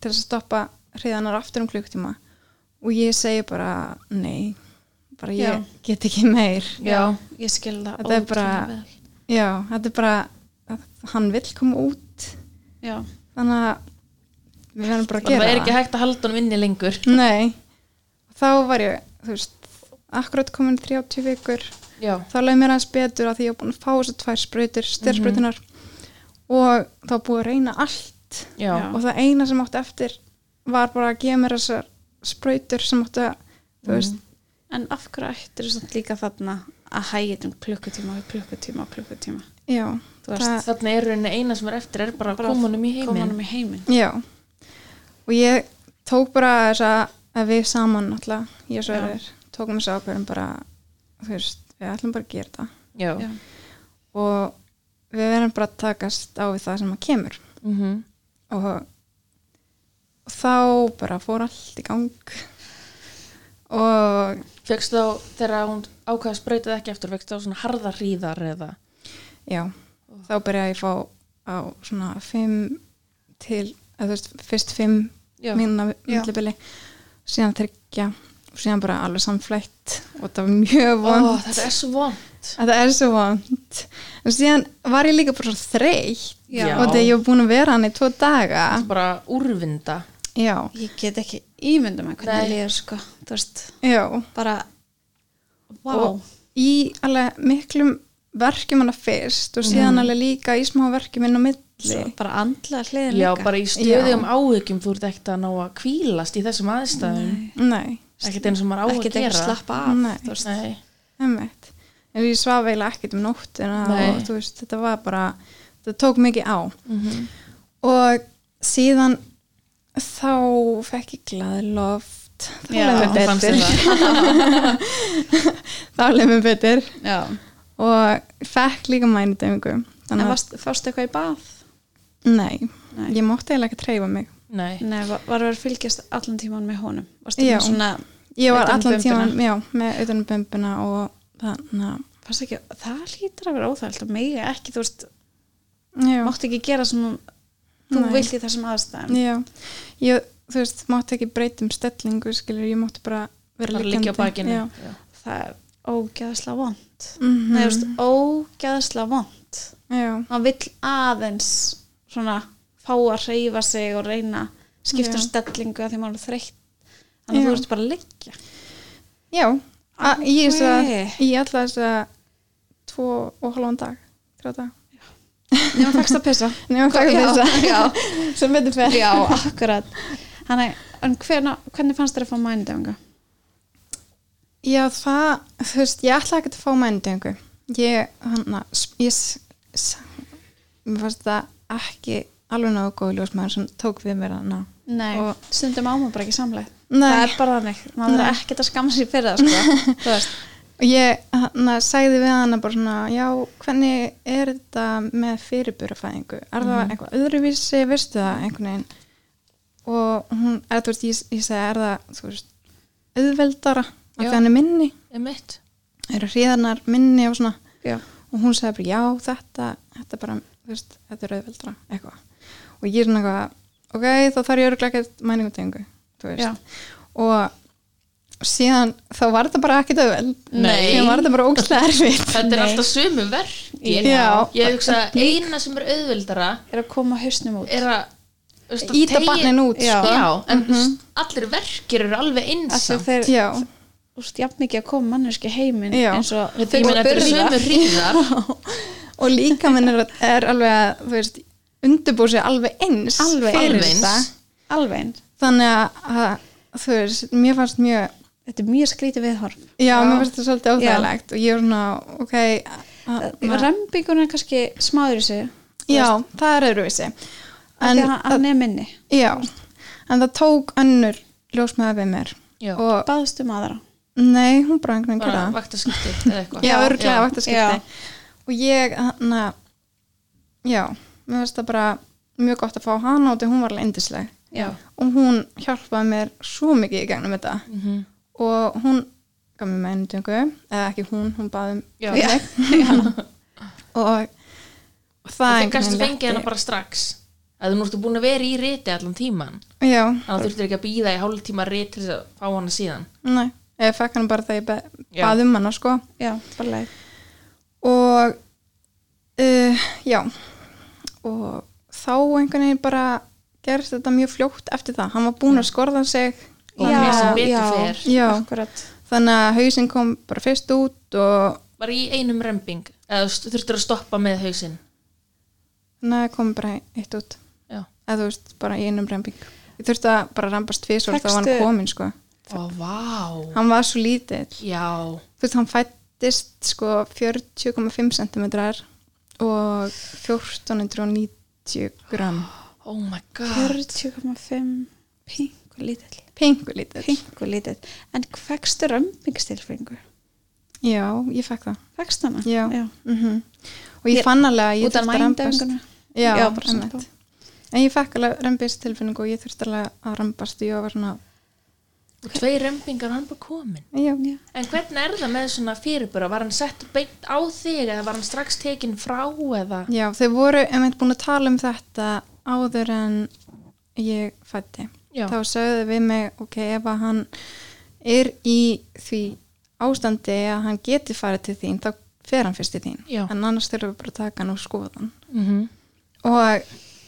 til þess að stoppa hriðanar aftur um klukkutíma og ég segi bara nei bara ég
Já.
get ekki meir
Já.
ég skil það
Þetta er bara-
ótrúlega vel.
já, þetta er bara að hann vill koma út
Já.
þannig að við verðum bara að
Það
gera
er ekki hægt að halda honum inni lengur
Nei, þá var ég, þú veist, akkurat komin 30 vikur,
Já,
þá leið mér aðeins betur að því ég var búin að fá þessu tvær sprautir, styrrsprautinar og þá búið að reyna allt
já,
Já.
og það eina sem átti eftir var bara að gefa mér þessar sprautur sem átti að, þú veist,
en af hverju ættir þú samt líka þarna að hægja um klukkutíma og klukkutíma og klukkutíma
já,
þú veist,
Þannig er rauninni eina sem er eftir er bara að
Bara
koma honum í
koma
heiminn
honum í heiminn
já. Og ég tók bara þess að, að við saman alltaf, ég
Já.
og Sverrir, tókum þess að ákveðum bara, þú veist, við ætlum bara að gera þetta.
Já,
Já.
og við verðum bara að takast á við það sem að kemur
mhm
og, og þá bara fór allt í gang og
Fjöxt þá, þegar hún ákvaða sprautið ekki eftir, fjöxt þá svona harða hríðar eða
já, þá byrjaði ég að fá á svona fimm til, eða þú veist, fyrst fimm
Já.
mínuna
Já.
millibili síðan þryggja og síðan bara alveg samflætt og þetta var mjög vond
Ó, þetta er svo vond
þetta er svo vond en síðan var ég líka bara svo þreytt
Já.
og þegar ég var búin að vera hann í tvo daga
Bara úrvinda
já,
ég get ekki ímyndum að
Nei.
hvernig líður sko, þú veist,
já
bara vá,
og í alveg miklum verkjum hana fyrst og síðan alveg líka í smá verkjum inn á milli
Mhm. Svo bara andla hliðin
Já,
líka
bara í stöðum áhyggjum þú ert ekkert að ná að kvílast í þessum aðstæðum
nei,
Ekkert eins og maður á að
ekki
gera
ekki slappa af
Nei.
þú veist.
Nei,
emmitt en ég svaf eiginlega ekkert um nóttina
Nei.
og þú veist, þetta var bara þetta tók mikið á
Mhm.
og síðan þá fekk ég glaði loft þá
Já,
leið mér
hvernig fannst þér
betur
það?
(laughs) þá leið mér betur
Já.
og fekk líka mænudöfingu
en
þannig að,
varst, fástu eitthvað í bað
nei,
Nei.
ég mátti eiginlega ekki treyfa mig
Nei,
Nei, var, var að fylgjast allan tíman með honum varstu
Já.
með svona,
Ég var
Utan um
allan
bumbuna.
tíman, já, með utanum bumbuna og þannig að,
varstu ekki það hlýtur að vera óþægt og mega ekki, þú veist,
já,
máttu ekki gera svona þú
Nei.
vilt í þessum aðstæðum
já, ég, þú veist, mátti ekki breyta um stellingu, skilur, ég mátti bara vera
bara
liggjandi.
liggja á bakinu
Já,
Já.
það er ógæðslega vond
Mhm.
Nei, þú veist, ógæðslega vond
já,
hann vill aðeins svona fá að reyfa sig og reyna skipta um
Já.
stellingu að því maður er þreytt þannig að
Já.
þú ert bara að leggja
já, að, ég er svo að,
Ókei.
ég ætla þess að tvo og hálfan dag, þrjá dag.
nema fækst að pissa
Nei, ég fæk þess að,
já,
(laughs) sem betur fer.
já, akkurat Þannig, en hvena, hvernig fannst þér að fá mændöfinga?
Já, það, þú veist, ég ætla ekki að fá mænudöngu. Ég, hann að, ég, s- s- mér fannst það ekki alveg náðu góð ljósmaður sem tók við mér hann að.
Nei,
Og-
stundum á maður bara ekki samlega
Nei.
það er bara þannig, maður er ekkert að skamma sér fyrir það sko. þú veist,
Og ég hana, sagði við hana bara svona, já, hvernig er þetta með fyrirburafæðingu? Er það eitthvað öðruvísi, veistu það einhvern veginn? Og hún, er, þú veist, ég, ég sagði, er það, þú veist, auðveldara, af
Já.
því hann er minni,
Einmitt.
eru hríðarnar minni og svona.
já,
Og hún sagði bara, já, þetta, þetta bara, þú veist, þetta er auðveldara, eitthvað. Og ég er svona eitthvað, ok, þá þarf ég öruglega ekkert mæningutengu, þú veist.
já,
Og síðan, þá var þetta bara ekkert auðveld.
Nei.
Síðan var þetta bara ógstlega erfitt.
Þetta er
Nei.
alltaf sömu verkin
Já.
Ég hugsa að eina sem er auðveldara
er að koma hausnum út
er að þú veist, að
Íta
teygja-
barninu út,
Já,
sko.
já en allir verkir eru alveg
af því
einsam
að þeir,
Já,
þú veist, jafn mikið að koma manneski heimin
Já.
eins og
Þetta ég meina, þetta eru
burða.
sömu hríðar (laughs)
og líka minn er, er alveg að, þú veist, undirbúið sér alveg eins
Alveg
fyrir
eins.
þetta.
alveg eins
Þannig að, að, þú veist, mér fannst mjög, já,
Þetta er mjög skrítið viðhorf.
mér fannst þetta svolítið óþægilegt og ég er svona, ok, að,
Rembingun Eh, er kannski smáður í sig,
já, það er öðruvísi.
en
En,
hann, hann er minni.
já, en það tók önnur ljósmaður við mér
Já.
og
Baðstu maður á?
nei, hún bara einhvern veginn
bara
gera
vaktaskipti eða
það.
eitthvað
já,
Já,
örglega
já.
vaktaskipti og ég, hann já, mér finnst það bara mjög gott að fá hana og því hún var alveg indisleg
Já.
og hún hjálpaði mér svo mikið í gegnum þetta
Mhm.
og hún gaf mér með einundingu eða ekki hún, hún baði um
(laughs) Já.
mig. og og það
og
einhvern
þú kannski
veginn
fengið hana
létti.
bara strax að þú ertu búin að vera í riti allan tíman
já,
þannig að þú þurftir ekki að býða í hálftíma rit til þess að fá hana síðan
nei, ég fekk hana bara þegar ég be-
Já.
bað um hana sko
Já, bara leið.
og uh, já og þá einhvern veginn bara gerst þetta mjög fljótt eftir það hann var búinn að skorða sig
Og hann er sem betur fer.
Já.
akkurat.
þannig að hausinn kom bara fyrst út og
bara í einum remping eða þú st- þurftir að stoppa með hausinn
þannig að kom bara eitt út
já
eða þú veist, bara í einum rembing ég þurfti að bara rembast tvisvar þá var hann
Fékkstu-
komin sko
og vá
hann var svo lítill
já
þú veist, hann fættist sko 40,5 cm og 1490 gram
oh my
Ah.
god
40,5 pingu lítill.
pingu lítill
Pingu lítill. En fækstu römpingstilfingu?
já, ég fekk það
Fækstu hana?
já.
Já.
mhm. og ég
Ég-
fann alveg að ég
Út af
þurfti að rembast
mændöfinguna?
já,
Já,
já
bara svona bara.
en ég fekk alveg rembist tilfinningu og ég þurfti alveg að rembast og ég var svona,
og tvei rempingar og hann bara komin
já,
Já.
en hvernig er það með svona fyrirbura var hann sett beint á þig eða var hann strax tekin frá eða
já þau voru einmitt búin að tala um þetta áður en ég fætti
já,
þá sögðu við mig ok, ef að hann er í því ástandi að hann geti farið til þín þá fer hann fyrst til þín
Já.
en annars þurfum við bara að taka hann og skoða hann
mm
og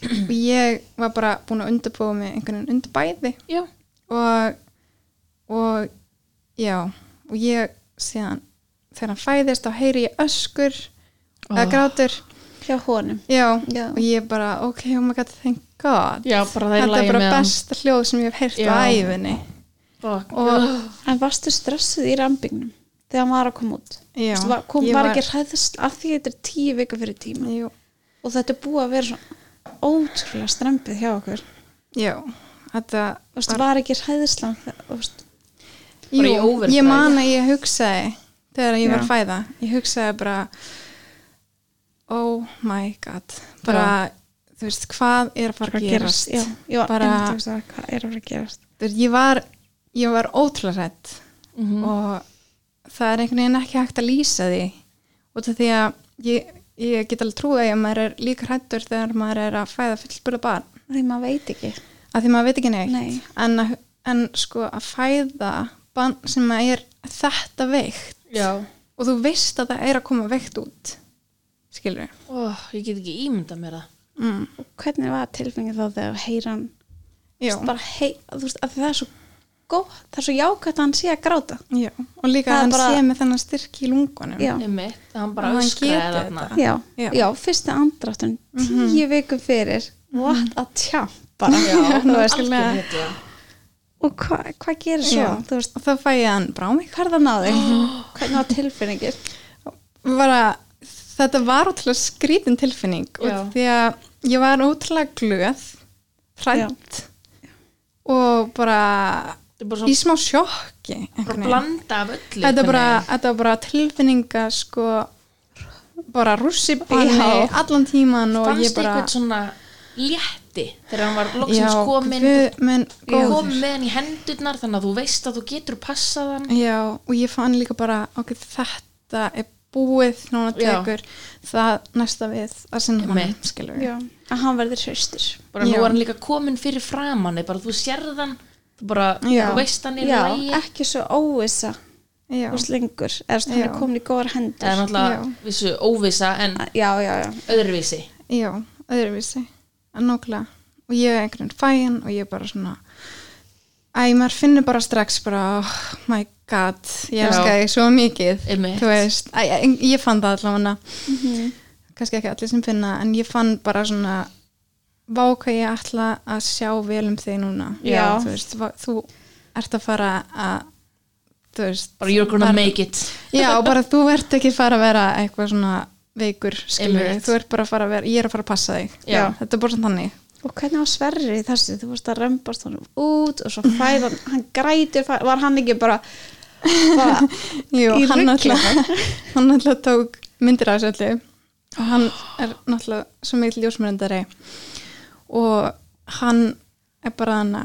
(clears throat) ég var bara búin að undirbúa mig einhvern veginn undir bæði
já.
og, og já og ég síðan þegar hann fæðist þá heyri ég öskur eða
Oh.
grátur
Hjá honum.
já,
Já.
og ég bara ok, oh my god, thank god
já bara það er
þetta
lægi
er bara
með
besta hljóð sem ég hef heyrt á
Já.
æfinni
hann og,
og
En varstu stressuð í rambingnum þegar maður að koma út?
já,
Veistu, var, kom,
ég
var ekki hræðist af því þetta er tíu vika fyrir tíma
jú,
og þetta er búið að vera svona ótrúlega strempið hjá okkur.
já, þetta
Varstu, var ekki hræðislan veist,
Bara í
jú,
overdrive.
ég man að ég hugsaði þegar ég
Já.
var að fæða ég hugsaði bara oh my god bara, þú veist, hvað er að fara
hvað
að
gerast?
gerast,
Já, já,
Bara-
bara, einmitt, hugsa, hvað er að fara að gerast?
Þú veist, ég var, ég var ótrúlega hrætt Mhm.
Mm.
og það er einhvern veginn ekki hægt að lýsa því út af því að ég, ég get alveg trúið að maður er líka hrættur þegar maður er að fæða fullburða barn
Því maður veit ekki.
af því maður veit ekki neitt
Nei.
En, að, en sko að fæða barn sem að er þetta veikt
já
og þú veist að það er að koma veikt út skilur
oh, ég get ekki ímyndað mér það
mm.
Og hvernig var tilfengið þá þegar þú heyra hann?
já,
Bara hei, þú veist, að það er svo góð, það er svo jákvæmt að hann sé að gráta.
já, og líka
Það er
að hann
bara-
sé með þennan styrk í lungunum
Já.
Einmitt, hann bara
Hann
öskraði
getur
þarna
þetta.
Já,
Já. Mhm.
já. fyrsti andráttun tíu vikum fyrir what a champ bara Þú veist,
algjör hetja.
og hva- hvað gerir svo
Já.
þú veist,
og þá fæ ég hann brá mig
hvað er það náði
(gasps)
hvernig var tilfinningir
bara, þetta var ótrúlega skrítin tilfinning
Já.
og því að ég var ótrúlega glöð hrætt og bara
þetta er bara
í
svona
smá sjokki einhvern
bara
veginn.
blanda af öllu
þetta er bara,
einhvern
þetta er bara tilfinninga sko bara rússipanni
Já.
allan tíman
veginn.
og
fannst
ég bara
eitthvað svona létti þegar hann var
já,
loksins komin
guð, menn,
komin með hann í hendurnar þannig að þú veist að þú getur passað hann
já, og ég fann líka bara ok, þetta er búið núna
Já.
tekur það næsta við að sinna hann
Einmitt.
skilur
já. að hann verður hraustur
bara nú
Já.
var hann líka komin fyrir framann bara þú sérð hann þú bara
Já.
þú veist hann er í
já,
lagi
ekki svo óvissa
já,
þú veist lengur eða þú veist, hann
Já.
er komin í góðar hendur
það er náttúrulega
Já.
vissu óvisa en
já, já, já,
öðruvísi
já, öðruvísi en nákvæmlega, og ég er einhvern veginn fæin og ég er bara svona æ, maður finnur bara strax bara, oh my god, ég
Já.
elska þig svo mikið
Einmitt.
þú veist, æ, ég, ég fann það allavega Mhm. kannski ekki allir sem finna en ég fann bara svona vá hvað ég ætla að sjá vel um þig núna
Já.
þú veist, vá- þú ert að fara að þú veist
bara you're gonna make it
já, bara þú ert ekki fara að vera eitthvað svona veikur skilur,
Einmitt.
þú ert bara að fara að vera ég er að fara að passa þig
Já.
þetta er bara svona þannig
og hvernig var Sverri í þessu þú varst að römbast honum út og svo fæð hann, hann grætur, fæ, var hann ekki bara, bara
(laughs) Jú,
Í
hann
rugli.
náttúrulega, hann náttúrulega tók myndir af þessu öllu og hann er náttúrulega svo mikil ljósmyndari og hann er bara hann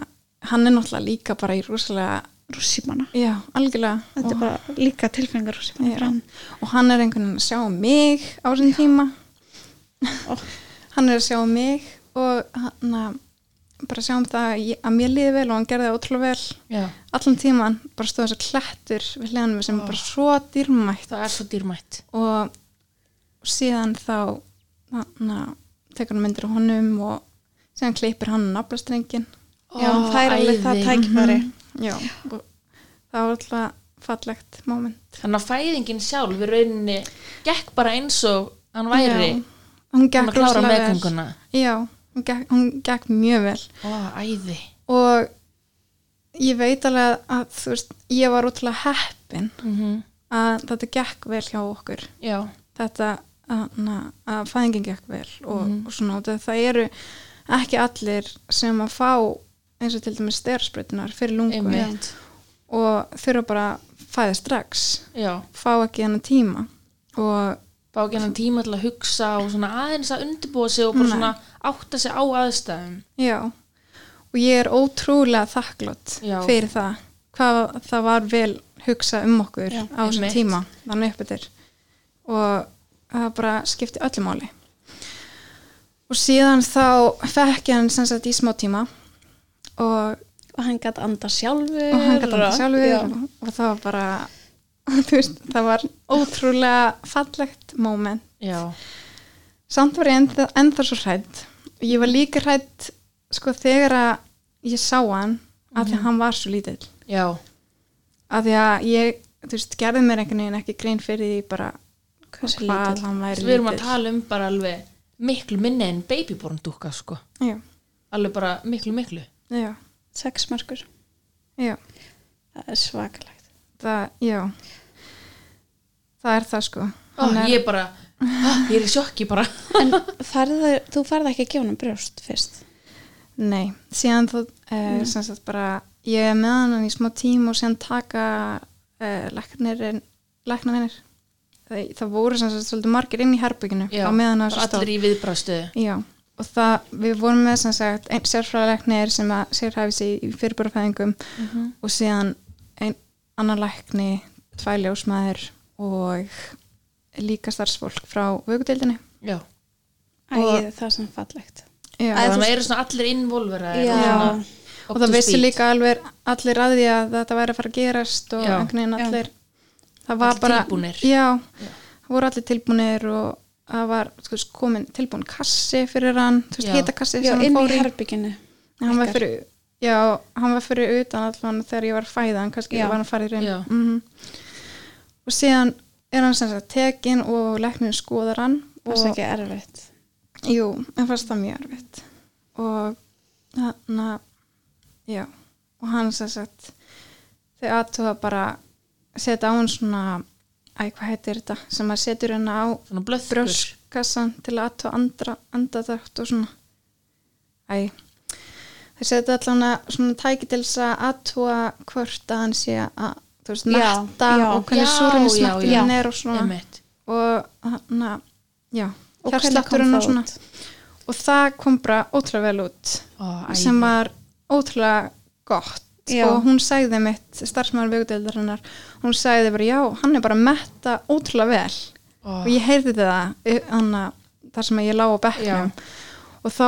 hann er náttúrulega líka bara í rosalega
rússimanna
já, algjörlega
þetta er
og,
bara líka tilfengar rússimanna
já,
fyrir hann
og hann er einhvern veginn að sjá um mig á sinn tíma
Ó.
(laughs) hann er að sjá um mig og hann að bara sjá um það að ég- að mér líði vel og hann gerði það ótrúlega vel
Já,
allan tíman bara stóð þessi klættur við hliðanum
Oh.
sem er bara svo dýrmætt
það er svo dýrmætt
og síðan þá na, tekur hann myndir á honum og síðan klippir hann naflastrengin
já,
Ó,
það er alveg það
æði. Mhm.
tækifæri
já, og það var alltaf fallegt moment
Þannig að fæðingin sjálf í rauninni gekk bara eins og hann væri
já, hún
hann
gekk
að klára
rosalega vel.
meðganguna
já, hún gekk, hún gekk mjög vel
Ó, æði
og ég veit alveg að þú veist, ég var útrúlega heppin
mm
að þetta gekk vel hjá okkur
Já,
þetta að, na, að fæðingin gekk vel og, og svona, og það, það eru ekki allir sem að fá eins og til dæmis styrsprytunar fyrir lungu
einmitt
og þurfa bara að fæða strax
Já,
fá ekki hennar tíma og
fá ekki hennan tíma til að hugsa og svona aðeins að undirbúa sig og bara
Nei.
svona átta sig á aðstæðum
já og ég er ótrúlega þakklátt
Já.
fyrir það hvað það var vel hugsað um okkur
Já,
á þessum
einmitt.
tíma þannig uppbyttir og það bara skipti öllu máli og síðan þá fekk ég hann sem sagt í smá tíma og
og hann gætt anda sjálfur
og hann gæti hann
já.
sjálfur og, og það var bara (laughs) þú veist, það var ótrúlega fallegt moment
Já,
samt var ég ennþá, ennþá svo hrætt og ég var líka hrætt sko þegar að ég sá hann að því
Mhm.
að hann var svo lítill
já,
að því að ég, þú veist, gerði mér einhvern veginn ekki grein fyrir því bara
Hversu
hvað
lítill.
hann væri
við erum að tala um bara alveg miklu minni en babyborn dúkka sko,
já,
alveg bara miklu miklu
já,
sex mörgur,
já,
það er svakalegt
það, já það er það sko
Ó,
Hann er-
ég bara, ah, ég er í sjokki bara
en farðu, þú farði ekki að gefa hann brjóst fyrst
Nei, síðan þú uh, sem sagt bara, ég er með hann í smá tíma og síðan taka uh, læknirinn, læknarvinnir það, það voru sem sagt svolítið margir inn í herbygginu
Já,
á meðan að
bara allir í viðbraðstöðu
Já, og það, við vorum með sem sagt einn sérfræðalæknir sem að sérhæfi sig í fyrirbúrafæðingum og síðan einn annan lækni, tvær ljósmaður og líka starfsfólk frá vökudeildinni
Já,
Æ, það er sem fallegt
Já,
Æ,
þannig að eru svona allir innvolverað
Já.
og það vissi líka alveg allir að því að þetta væri að fara að gerast og
Já.
einhvern veginn
Já.
allir það var
Allir
bara
tilbúnir.
já, það voru allir tilbúnir og það var sko, komin tilbúin kassi fyrir hann, þú
Já.
veist, hitakassi
já,
sem
inn
hann
í
fór í
herbygginu
hann var
ykkar.
fyrir, já, hann var fyrir utan allan þegar ég var að fæða hann kannski
Já.
var hann farið inn
Já.
mm og síðan er hann sem sagt tekin og læknirinn skoðar hann
það
og
er ekki erfitt
Jú, en fannst það mjög erfitt og hann já, og hann sem sagt þau aðtóða bara setja á hann svona æ, hvað heitir þetta, sem að setur hann á
Svona blöðkur
brjóskassan til að aðtóða andra, andadrætt og svona æ þau setja allan að svona tæki til þess að aðtóða hvort að hann sé að þú veist,
Já,
netta
já.
og hvernig
Já,
súrinni
já, já.
smettin er og svona
Einmitt.
og hann já,
Og hvernig kom
hjartslátturinn og
það
svona
út?
og það kom bara ótrúlega vel út
Ó, æði.
sem var ótrúlega gott
Já.
og hún sagði mitt starfsmæður vögudeildarinnar, hún sagði bara já, hann er bara að metta ótrúlega vel
Ó,
og ég heyrði það hana, þar sem ég lá á bekknum og þá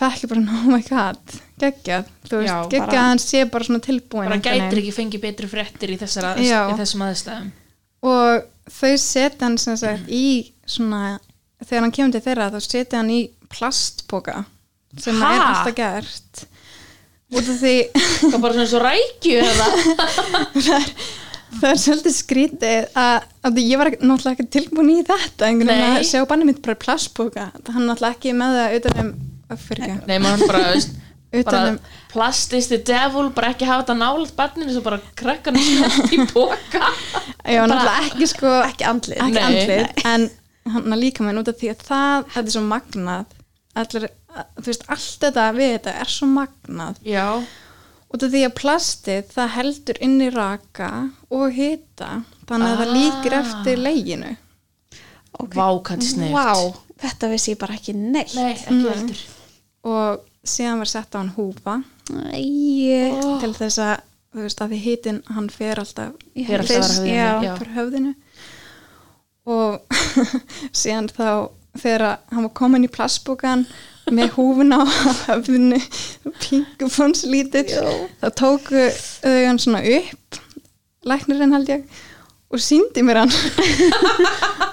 fekk ég bara oh my god, geggjað þú veist,
Já,
geggjað
bara-
að hann sé bara svona tilbúin
bara
einhvern veginn.
gætir ekki fengið betri fréttir í, þessara,
Já.
í þessum aðstæðum
og þau setja hann sem sagt í svona þegar hann kemur til þeirra þá setja hann í plastpoka sem
Ha?
er alltaf gert út af því (laughs)
Það var bara svona svo rækju eða
það er svolítið skrítið að, að ég var ekki- náttúrulega ekki tilbúin í þetta einhvern veginn
Nei.
að sjá banni mitt bara í plastpoka hann er náttúrulega ekki með það utan um að fyrir ekki,
Nei, maður bara, veist,
Utan
bara
um-
plast is the devil, bara ekki hafa þetta nálægt barninu svo bara krakkan skjátt í boka
ég var náttúrulega ekki sko
ekki andlið
ekki
Nei.
andlið en hann líka minn út af því að það, þetta er svo magnað allir að- þú veist, allt þetta við þetta er svo magnað
Já,
út af því að plastið það heldur inn í raka og hita þannig að það líkir
Ah.
eftir leginu
Ok.
Vá, hvað þetta er sniðugt.
Vá, þetta vissi ég bara ekki neitt.
nei, ekki veldur
og síðan var sett á hann húfa
Æi.
Oh.
til þess að þú veist að því hitin hann fer alltaf
Ég
Fer
held
alltaf
fyrst-
að höfðinu,
já.
já.
fyrir höfðinu og (laughs) síðan þá þegar hann var komin í plastbókan með húfuna á höfðinu pingu fóns lítill þá tóku þau hann svona upp læknirinn held ég og síndi mér hann (laughs)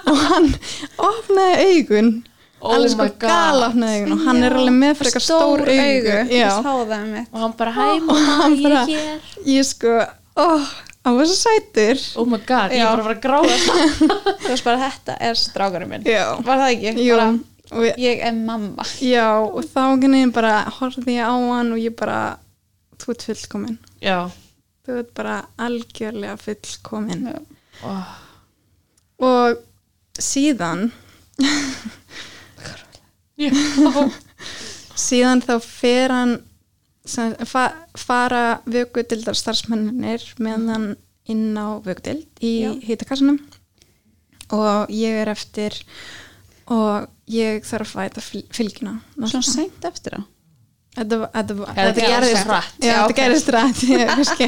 og hann opnaði augun
Oh
alveg
my
sko
God.
gala opnaði augun og hann er alveg með frekar stór, stór augu,
Ég
Já.
sá það um mitt.
Og hann bara, hæ, mamma,
hann
ég
bara-
er hér
ég sko oh, hann var svo sætur
Oh my god, ég er bara að fara að gráða
Þú veist bara, þetta er strákurinn minn.
Já.
Var það ekki?
Jú,
Bara,
og ég,
ég er mamma.
já, og þá einhvern veginn bara horfði ég á hann og ég bara þú ert fullkomin
Já,
þú ert bara algjörlega fullkomin
Já.
oh,
og síðan
já.
síðan þá fer hann sem, fa, fara vökudildar starfsmenninir meðan inn á vökudild í
Já.
hýtakassanum og ég er eftir og ég þarf að fæta fyl- fylgina
Svona seint eftir á.
Þetta, var- þetta, var-
Já, þetta gerðist hratt.
Já,
Já,
þetta
ok.
gerðist rætt Ég kannski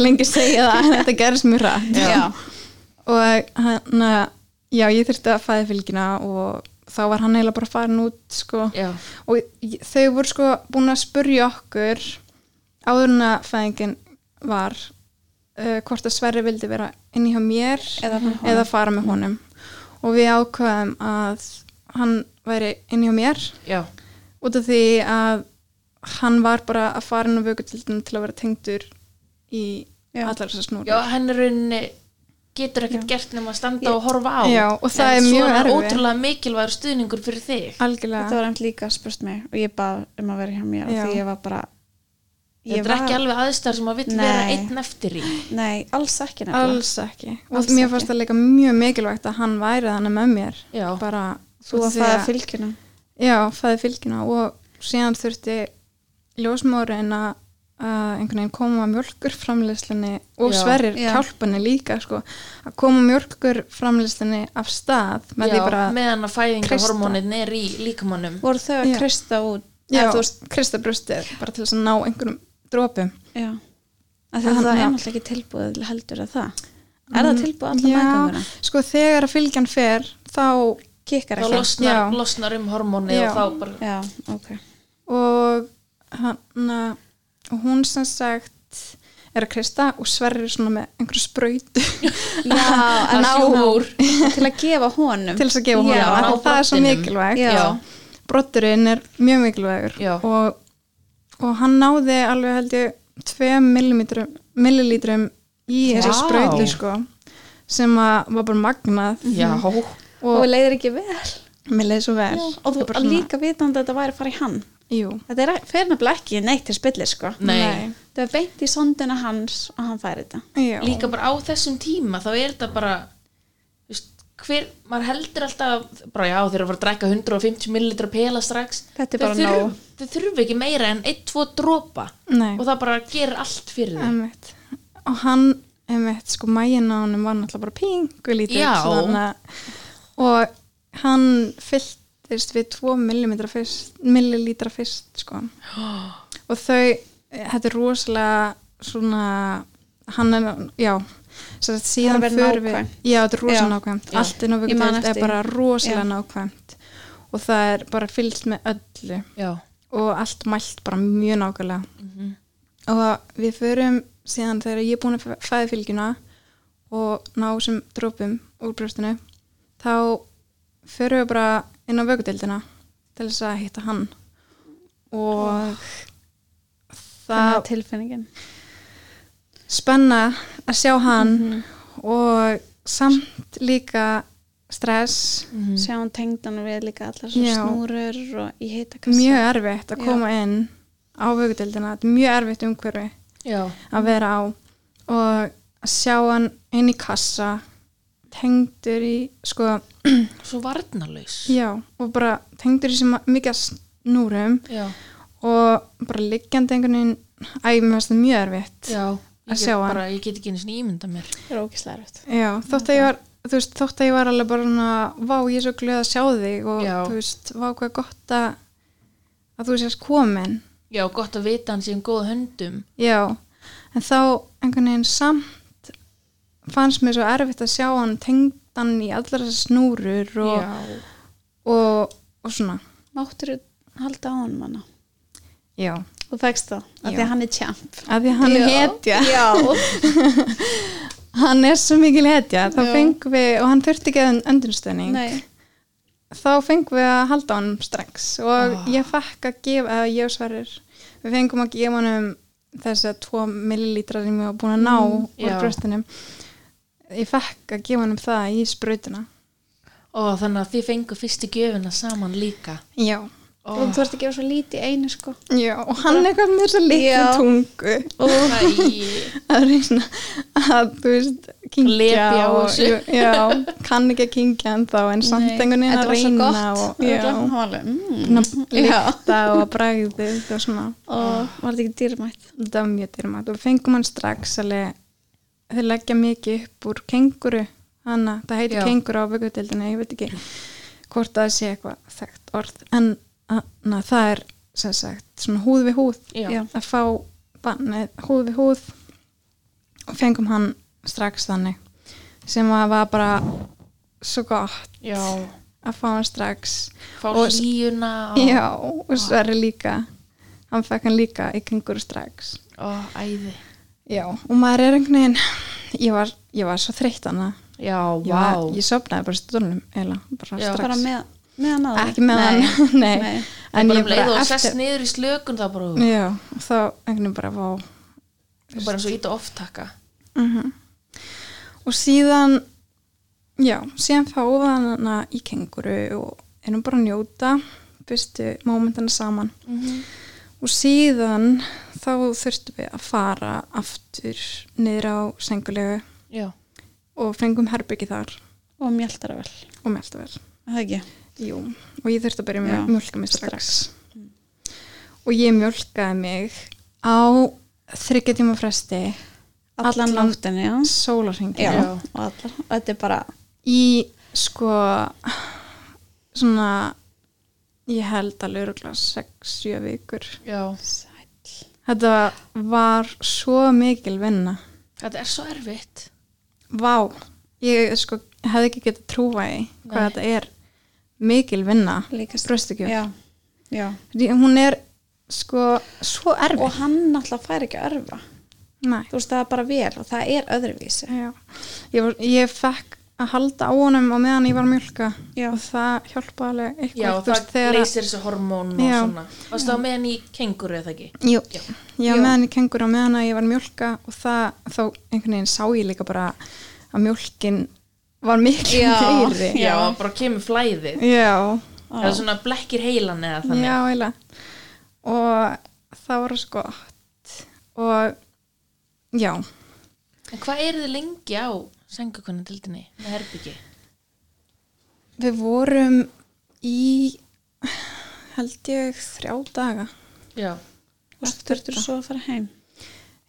lengi segja það en þetta gerðist mjög rætt
Já.
og hann, eh, já, ég þurfti að fæði fylgina og þá var hann eiginlega bara farin út sko.
Já.
og ég- þau voru sko búin að spurja okkur áður en að fæðingin var uh, hvort að Sverri vildi vera inn í hjá mér
Eða með honum.
eða fara með honum og við ákvaðum að hann væri inn hjá mér
Já,
út af því að hann var bara að fara inn á vökutildinu til að vera tengdur í
Já.
allar þessar snúru
já henn er rauninni getur ekkert gert nema að standa og horfa á
Já, og það
En
er mjög
svona
erfitt.
ótrúlega mikilvægur stuðningur fyrir þig
Þetta
algjörlega
var emt líka spurst mig og ég bað um að vera hjá mér
Já.
og því ég var bara ég
Þetta er ekki alveg aðstæður sem að vill vera
Nei.
einn eftir í
Nei, alls ekki nefnilega
alls ekki
Alls
og mér
ekki.
fannst það líka mjög mikilvægt að hann væri þannig með mér
Já.
bara
Þú
út af
að
því
fæða fylgjuna
já, fæði fylgina og síðan þurfti ljósmórin að að einhvern veginn koma að mjölkur framleyslunni og
Já.
sverrir
Já.
kjálpunni líka sko, að koma mjölkur framleyslunni af stað með
Já,
því bara
meðan að fæðingarhormónin er í líkamannum
Voru þau að
Já.
krysta út
Já,
Eða þú
þú
veist,
veist, krista brjóstið bara til þess að ná einhverjum drópum.
já að Mm. Þetta
Þannig
er
að-
náttúrulega ekki tilbúið heldur að það Er það tilbúið alltaf
Já,
mæganguna?
Sko, þegar að fylgjan fer, þá
Kikkar
þá
ekki
losnar,
Já.
losnar um hormónið
Já.
og þá bara
Já, ok
og hann, og hún sem sagt er að krista og sverrir svona með einhverju spröytu
(laughs) Já,
að
en á
sjúga úr.
(laughs) Til að gefa honum
(laughs) til þess að gefa hún
Já,
það,
á
það er svo
broddinum.
mikilvægt.
Já.
Brodurinn er mjög mikilvægur
Já.
og, og hann náði alveg held ég 2 millilítrum, millilítrum í þessa
Vá.
spröytu sko sem að var bara magnað
Já,
Og
og
leiðir ekki vel
mér leiði svo vel
Já, Og þú
Ég bara
að
svona-
líka vitandi að þetta væri að fara í hann
Jú,
Þetta er fyrir nefnilega ekki neitt til spillir sko
nei,
Þau er beint í sonduna hans og hann fær þetta
Já.
líka bara á þessum tíma þá er þetta bara þú veist, hver, maður heldur alltaf bara já, þeir eru að fara að drekka 150 millilitra pela strax
Þetta er
Þau
bara
þurf-
nóg.
þau þurfa ekki meira en 1-2 dropa
Nei.
og það bara gerir allt fyrir þau
Einmitt. og hann einmitt, sko, mægin á hann var náttúrulega bara pingu lítið
Já.
og hann fylltist við 2 millilítra fyrst, millilítra fyrst sko. og þau þetta er rosalega svona hann er, já sem sagt, síðan
Það er verið
förum við-
nákvæmt.
já, þetta er rosalega
Já.
nákvæmt
Já.
allt inn á
Ég man
vikutöld
eftir
er
því.
bara
Já.
rosalega nákvæmt og það er bara fylgst með öllu
já, Mhm.
og allt mælt bara mjög nákvæmlega og við förum síðan þegar ég er búin að fæði fylgjuna og ná sem drópum úr brjóstinu þá förum við bara inn á vökudeldina til þess að hitta hann og
Þannig
það
að tilfinningin
spenna að sjá hann
Mhm.
og samt líka stress
Mhm.
sjá hún tengdan við líka allar sem
Já.
snúrur og í heita
mjög erfitt að
Já.
koma inn á vökudeldina, þetta er mjög erfitt umhverfi
já,
að vera á og að sjá hann inn í kassa tengdur í sko,
svo varnarlaus
já, og bara tengdur í sem mikið að núrum
já,
og bara liggjandi einhvern veginn æ, mér finnst það mjög erfitt
já
Að
ég
sjá
get,
hann.
bara, ég get ekki einu sinni ímynda mér
Það er ógislega rætt.
Já, þótt að ég var þú veist, þótt að ég var alveg bara svona vá, ég er svo glöð að sjá þig og
Já.
þú veist, vá hvað gott að að þú sést komin
já, gott að vita hann sé um góð höndum
Já, en þá einhvern veginn samt fannst mér svo erfitt að sjá hann tengdan í allar þessar snúrur og,
já,
og, og svona,
Máttur halda á hann manna.
já
Þú fækst það, af því
Já.
að hann er champ.
að því að hann er hetja
Já.
hann er svo mikil hetja, þá
Já.
fengum við og hann þurfti ekki öndunstöning
Nei.
þá fengum við að halda hann strax og
Ah.
ég fekk að gefa eða ég og sverir, við fengum að gefa hann þess að 2 millilítrar sem ég var búin að ná úr
já.
bröstinum ég fekk að gefa hann það í sprautina
og þannig að þið fengu fyrstu gjöfuna saman líka
Já,
Og þú ert að gefa svo lítið í einu, sko.
Já, og hann eitthvað með þessa litlu
Já.
tungu
Æ,
að reyna að, þú veist, kingja
Lepja á
og-
þessu.
Já, kann ekki að kingja en þá, en samt einhvern veginn að reyna og,
Þetta
já,
var svo gott. Já. Já.
lykta og bragðið og svona,
Og var þetta ekki dýrmætt?
þetta var mjög dyrmat og við fengum hann strax alveg, þau leggja mikið upp úr kenguru hana, það heitir
Já.
kenguru á vöggutildinu, ég veit ekki hvort það sé eitthvað þekkt orð, en hana, það er sem sagt, svona húð við húð
Já.
að fá bannið húð við húð og fengum hann strax þannig sem að var bara svo gott
já,
að fá hann strax
fá
Og-
hlýjuna og,
já, og sverri líka hann fekk hann líka í kengur strax
og æði
já, og maður er einhvern veginn ég var, ég var svo þreytt hana
já,
ég,
vá
var, ég sopnaði bara stundum eila, bara
Já.
strax
Bara með, með hann aður.
ekki með hann, (laughs) nei,
Nei.
en
en
bara
ég
um leið
bara
og
eftir
sest niður í slökun þá bara,
já, og þá einhvern veginn bara vá Mhm.
bara eins og íta oftaka
og síðan já, síðan fáðu hann hana í kenguru og erum bara að njóta fyrstu mómentana saman Mhm. og síðan þá þurftum við að fara aftur niður á sengulegu
já,
og fengum herbyggi þar
Og mjöldara vel.
og melta vel
Það ekki.
Jú, og ég þurfti að byrja með
Já,
að mjölka mig strax, og ég mjölkaði mig á þryggja tíma fresti
Allan
Allan-
nóttinni, já.
sólarhengi
Já.
Já.
Og allar. Og þetta er bara,
í sko svona ég held alveg öruglega 6-7 vikur
já
þetta var svo mikil vinna
þetta er svo erfitt
vá, ég sko hefði ekki getað trúa í hvað
Nei.
þetta er mikil vinna
Líka-
bröstukjöf,
já. Já.
hún er sko svo erfið
Og hann náttúrulega fær ekki að örfa.
Nei.
Þú veist, það er bara vel og það er öðruvísi.
Já. ég, var, ég fekk að halda á honum og meðan ég var að mjölka
Já.
og það hjálpa alveg eitthvað
já, það
þú veist, þegar að-
leysir þessu hormón og
Já.
svona varst það meðan í kenguru eða ekki
Jú,
Já.
já,
Jú.
meðan ég kengur og meðan að ég var að mjólka og það, þá einhvern veginn sá ég líka bara að mjólkin var miklu
Já.
meiri.
já, bara kemur flæðið
Já,
það er svona blekkir heilan eða þannig
já, eila. Og það var svo gott og já,
en hvað eru þið lengi á sengakonundildinni með herbyggi
við vorum í held ég þrjá daga.
já,
Og svo þurftur svo að fara heim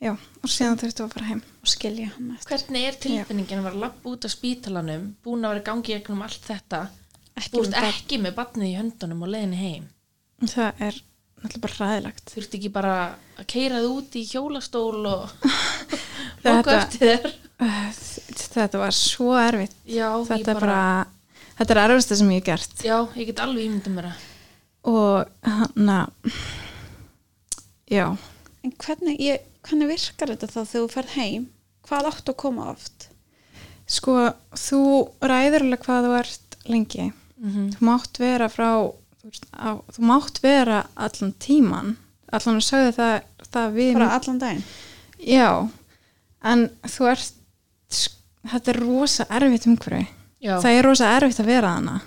Já, og síðan þurftum við að fara heim.
og skilja hann eftir.
hvernig er tilfinningin að vera lapp út af spítalanum búin að vera í gangi gegnum allt þetta
Ekki um
þú veist
með barn.
ekki með batnið í höndunum og leiðinni heim
Það er náttúrulega bara ræðilegt.
þurfti ekki bara að keira þið út í hjólastól (laughs) og loka
Þetta-
eftir þér
Þetta var svo erfitt.
já, ég
Þetta er bara, þetta er erfista sem ég hef gert.
já, ég get alveg ímyndið mér að
og hann að já,
En hvernig, ég, hvernig virkar þetta þá þegar þú ferð heim? Hvað áttu að koma oft?
sko þú ræður alveg hvað þú ert lengi
Mhm.
þú mátt vera frá þú, veist, á, þú mátt vera allan tíman allan að sögðu það, það við
Bara allan daginn?
já, en þú ert sk- þetta er rosa erfitt umhverfi
já,
það er rosa erfitt að vera þarna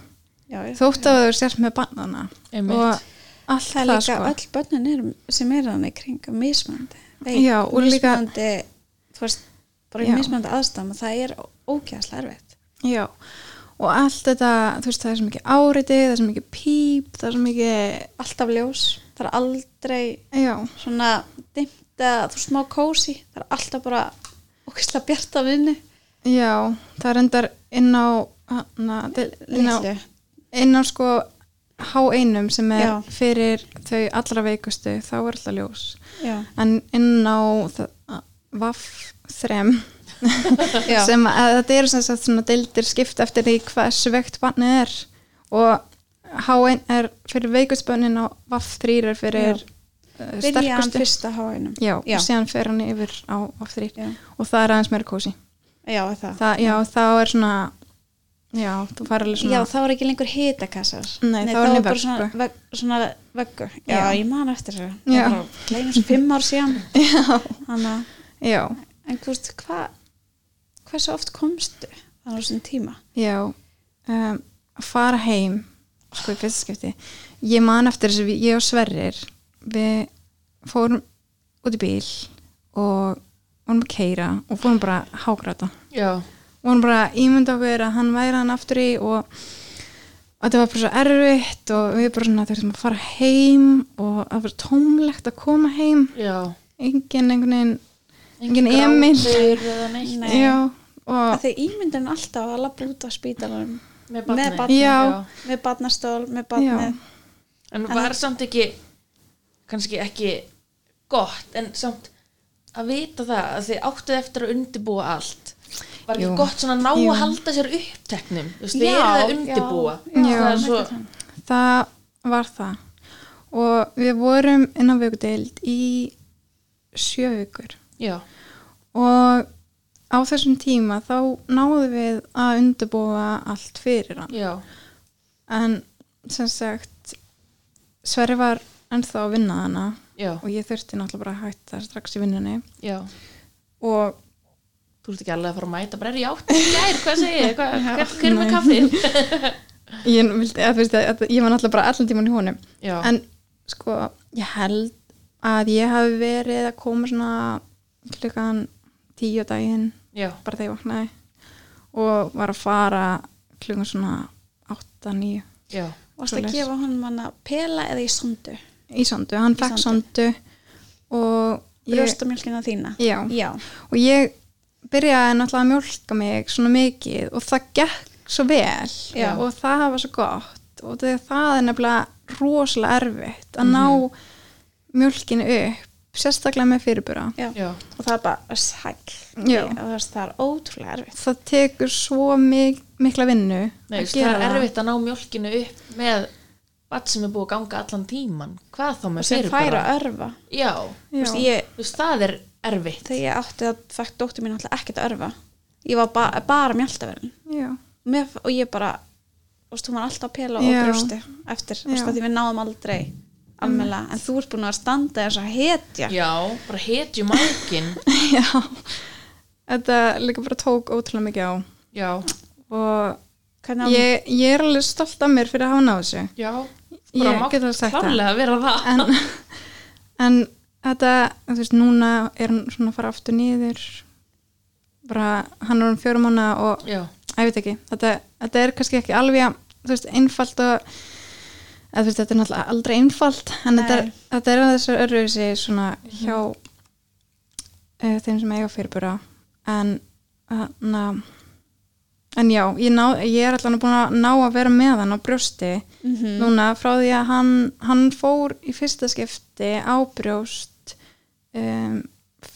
Já, já.
þótt að þú sért með bannana
Einmitt.
og allt
það er
það,
líka
sko
öll börnin er, sem er hann í kring mismandi.
Já, og líka-
mismandi, þú veist, bara
Já.
mismandi aðstæðum og það er ógæðslega erfitt.
Já, og allt þetta, þú veist, það er svo mikið áriði, það er svo mikið píp, það er svo mikið,
alltaf ljós það er aldrei
já,
svona dimmt eða þú smá kósi það er alltaf bara okkislega bjart af vinnu
já, það er endar inn á, hana, inn á,
Litlu.
inn á sko H1 sem er
Já.
fyrir þau allra veikustu, þá er alltaf ljós.
já,
En inn á það- vaff þrem
já,
sem að þetta eru sem sagt svona deildir skipt eftir því hversu veikt barnið er og H1 er fyrir veikustbönnin og Vaff3 er fyrir uh,
byrja hann
sterkustu
fyrst að háa einum
já,
Já.
og síðan fer hann yfir á Vaff3
já,
og það er aðeins meira kósi
já, er það.
það, já, þá er svona já, þú fara alveg svona
já, þá er ekki lengur hitakassar
Nei, þá er hann í
bara
vöggu.
svona, veg, svona vöggu já,
Já.
ég man eftir þessu
Já.
það var leimur svo fimm ár síðan (laughs) Hanna,
já,
en þú veist hvað hversu oft komstu þannig á þessum tíma
já um, að fara heim sko í fyrsta skipti ég man eftir þessu, við- ég og Sverrir við fórum út í bíl og vorum að keira og fórum bara að hágráta
já,
og hann bara ímyndi okkur að hann væri hann aftur í og og þetta var bara svo erfitt og við bara svona þurftum að fara heim og það var tómlegt að koma heim
já
engin einhvern veginn Engin Emil.
grátur eða neitt
Nei.
já,
að
og
þið ímyndum alltaf að labba út á spítalunum
með barni,
Með barni,
Já.
með barnastól, með
Já.
barnið
en var samt ekki kannski ekki gott en samt að vita það að þið áttuð eftir að undibúa allt var ekki
Jú.
gott svona að ná
Jú.
að halda sér uppteknum þú veist,
Já,
þið eru að
já,
undibúa
já.
það er svo,
það var það og við vorum inn á vögudeild í sjö vikur
já,
og á þessum tíma þá náðum við að undirbúa allt fyrir hann
já,
en sem sagt Sverri var ennþá að vinna hana
já,
og ég þurfti náttúrulega bara að hætta strax í vinnunni
já
og
þú ert ekki alveg að fara að mæta bara er ég átt í gær, hvað segir ég, hvað, hver, hver er með kaffið
ég, vildi, að, veist, að, ég var náttúrulega bara allan tíman í honum
já,
en sko ég held að ég hafi verið að koma svona klukkan tíu á daginn
já,
bara þegar ég vaknaði og var að fara klukkan svona átta, níu
já
og það
Svoleiðis.
gefa honum hann að pela eða í sondu
í sondu, hann
Í
fekk sondu og ég,
brjóstamjölkina þína
já,
já,
og ég byrjaði náttúrulega að mjólka mig svona mikið og það gekk svo vel
Já.
og það var svo gott og þegar það er nefnilega rosalega erfitt
Mhm.
að ná mjólkinu upp sérstaklega með fyrirbura
já.
já,
og það er bara sæl
Já.
og það er- það er ótrúlega erfitt
það tekur svo mik mikla vinnu
Nei,
að
þú veist,
gera
það er erfitt að ná mjólkinu upp með bat sem er búið að ganga allan tíman hvað þá
og
með
sem færa
fyrirbara?
örfa
já,
Þú veist,
Já.
ég,
þú veist, það er erfitt
þegar ég átti að fætt dóttir mín alltaf ekkert að örfa ég var ba bara mjöldaverðin
Já.
og ég bara þú veist, hún var alltaf að pela og
Já.
brjósti eftir, þú
Já. Mm.
veist að því við náðum aldrei almennilega, en þú ert búin að standa þess að hetja
já, bara hetjum mækin
(laughs) Já. þetta líka bara tók ótrúlega mikið á
já,
og
Hvernig á-
ég, ég er alveg stolt af mér fyrir að hafa náðu þessu
já bara
ég
mátt
get alveg sagt það
klárlega vera það
en, (laughs) en þetta, þú veist, núna er hann svona að fara aftur niður bara, hann er um fjórum mánu og,
já,
að ég veit ekki, þetta, þetta er kannski ekki alveg, jafn, þú veist, einfalt og eða þú veist, þetta er náttúrulega aldrei einfalt, en
Nei. Mhm.
þetta er, þetta er þessu örðuðsi svona hjá uh, þeim sem eiga fyrirbúra en na, en já, ég, ná, ég er allan búin að ná að vera með hann á brjósti
Mhm.
núna frá því að hann, hann fór í fyrsta skipti á brjóst um,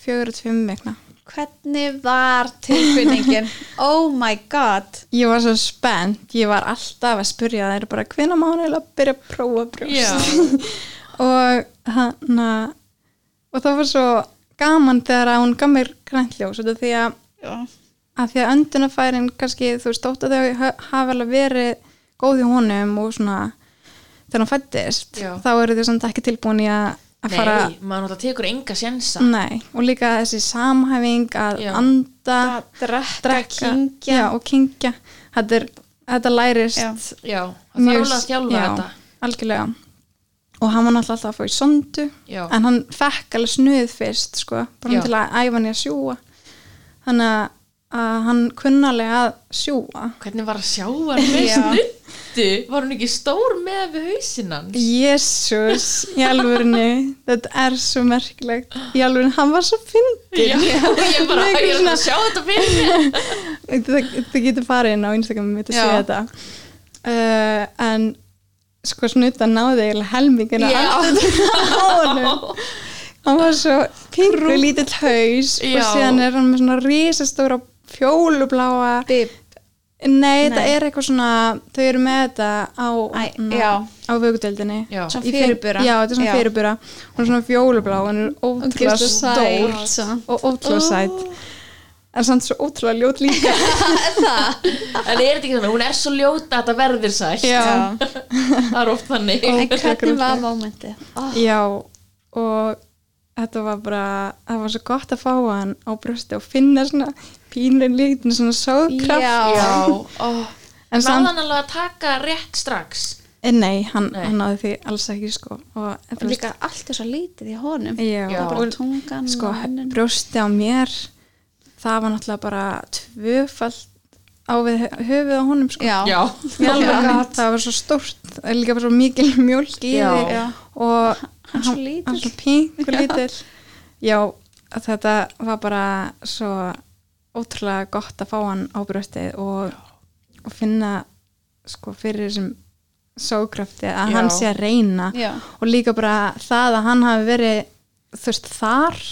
fjögur og tveim vegna
hvernig var
(laughs)
tilfinningin oh my god
Ég var svo spennt, ég var alltaf að spurja þeir bara hvenær má hann eiginlega byrja að prófa
já,
brjóst og hann og það var svo gaman þegar að hún gaf mér grænljós út af því að
já,
að því að öndunafærin kannski þú veist þótt að þau ha- hafa alveg verið góð í honum og svona þegar hann fættist
Já.
þá eru þau samt ekki tilbúin í að, að
nei,
fara Mm.
maður náttúrulega tekur enga sjensa
nei, og líka þessi samhæfing að
Já.
anda
að drekka,
drekka
kynkja
já, og kynkja þetta, er, þetta lærist
Já.
já, það þarf alveg að þjálfa
já,
þetta
algjörlega og hann var náttúrulega alltaf að fá í sondu
Já.
en hann fekk alveg snuð fyrst sko, bara
Já.
til að æfa hann í að sjúa þannig að að hann kunnalega að sjúa.
Hvernig var að sjá hann með
Já.
snuttu? Var hún ekki stór með við hausinn hans?
Jésús, í alvörinu, (laughs) þetta er svo merkilegt. Í alvörinu, hann var svo fyndið.
Já, (laughs) ég bara, ég
Einhver
er
svona-
að sjá þetta fyrir mér.
Þið getur farið inn á Instagram mitt að
Já.
sé þetta. Uh, en sko snutta náði eiginlega helmingina
Já.
(laughs) á honum. Hann var svo pingu lítill haus og
Já.
síðan er hann með svona risastóra fjólubláa.
Bip.
Nei, þetta
Nei.
er eitthvað svona, þau eru með þetta á,
Æ,
na,
já.
á vögudeldinni.
Já.
Svona
Í feng-
fjörubura.
Já, þetta er svona
Já.
fyrirbura. Hún er svona fjólublá, hún er ótrúlega
Ógeðslega
stór
sæt. samt.
og ótrúlega sætt. En samt svo ótrúlega ljót líka.
(laughs)
En er þetta ekki þannig, hún er svo ljóta að þetta verður sætt.
já,
Það er oft þannig.
En
Ógeðslega
hvernig var
grúslegt.
mómentið? Oh,
já, og þetta var bara, það var svo gott að fá hann á brösti og finna svona pínlein líktin, svona sóðkraft.
Já.
oh.
En samt,
Náðan alveg að taka rétt strax.
eh, nei, hann,
Nei.
hann náði því alls ekki sko. Og,
Og líka allt er svo lítið í honum.
já,
Já.
Það er
og
bara tungan
sko,
og hennin.
brjósti á mér það var náttúrulega bara tvöfalt á við hö- höfuð á honum sko.
Já.
Í alvöru,
Já.
það- það var svo stórt það er líka bara svo mikil mjólk í
Já.
því
Já.
og
Hann svo lítill.
hann svo
(laughs)
pinkur lítill já, þetta var bara svo ótrúlega gott að fá hann á brjóstið og, og finna sko fyrir þessum sókrafti að
Já.
hann sé að reyna
Já.
og líka bara það að hann hafi verið þú veist þar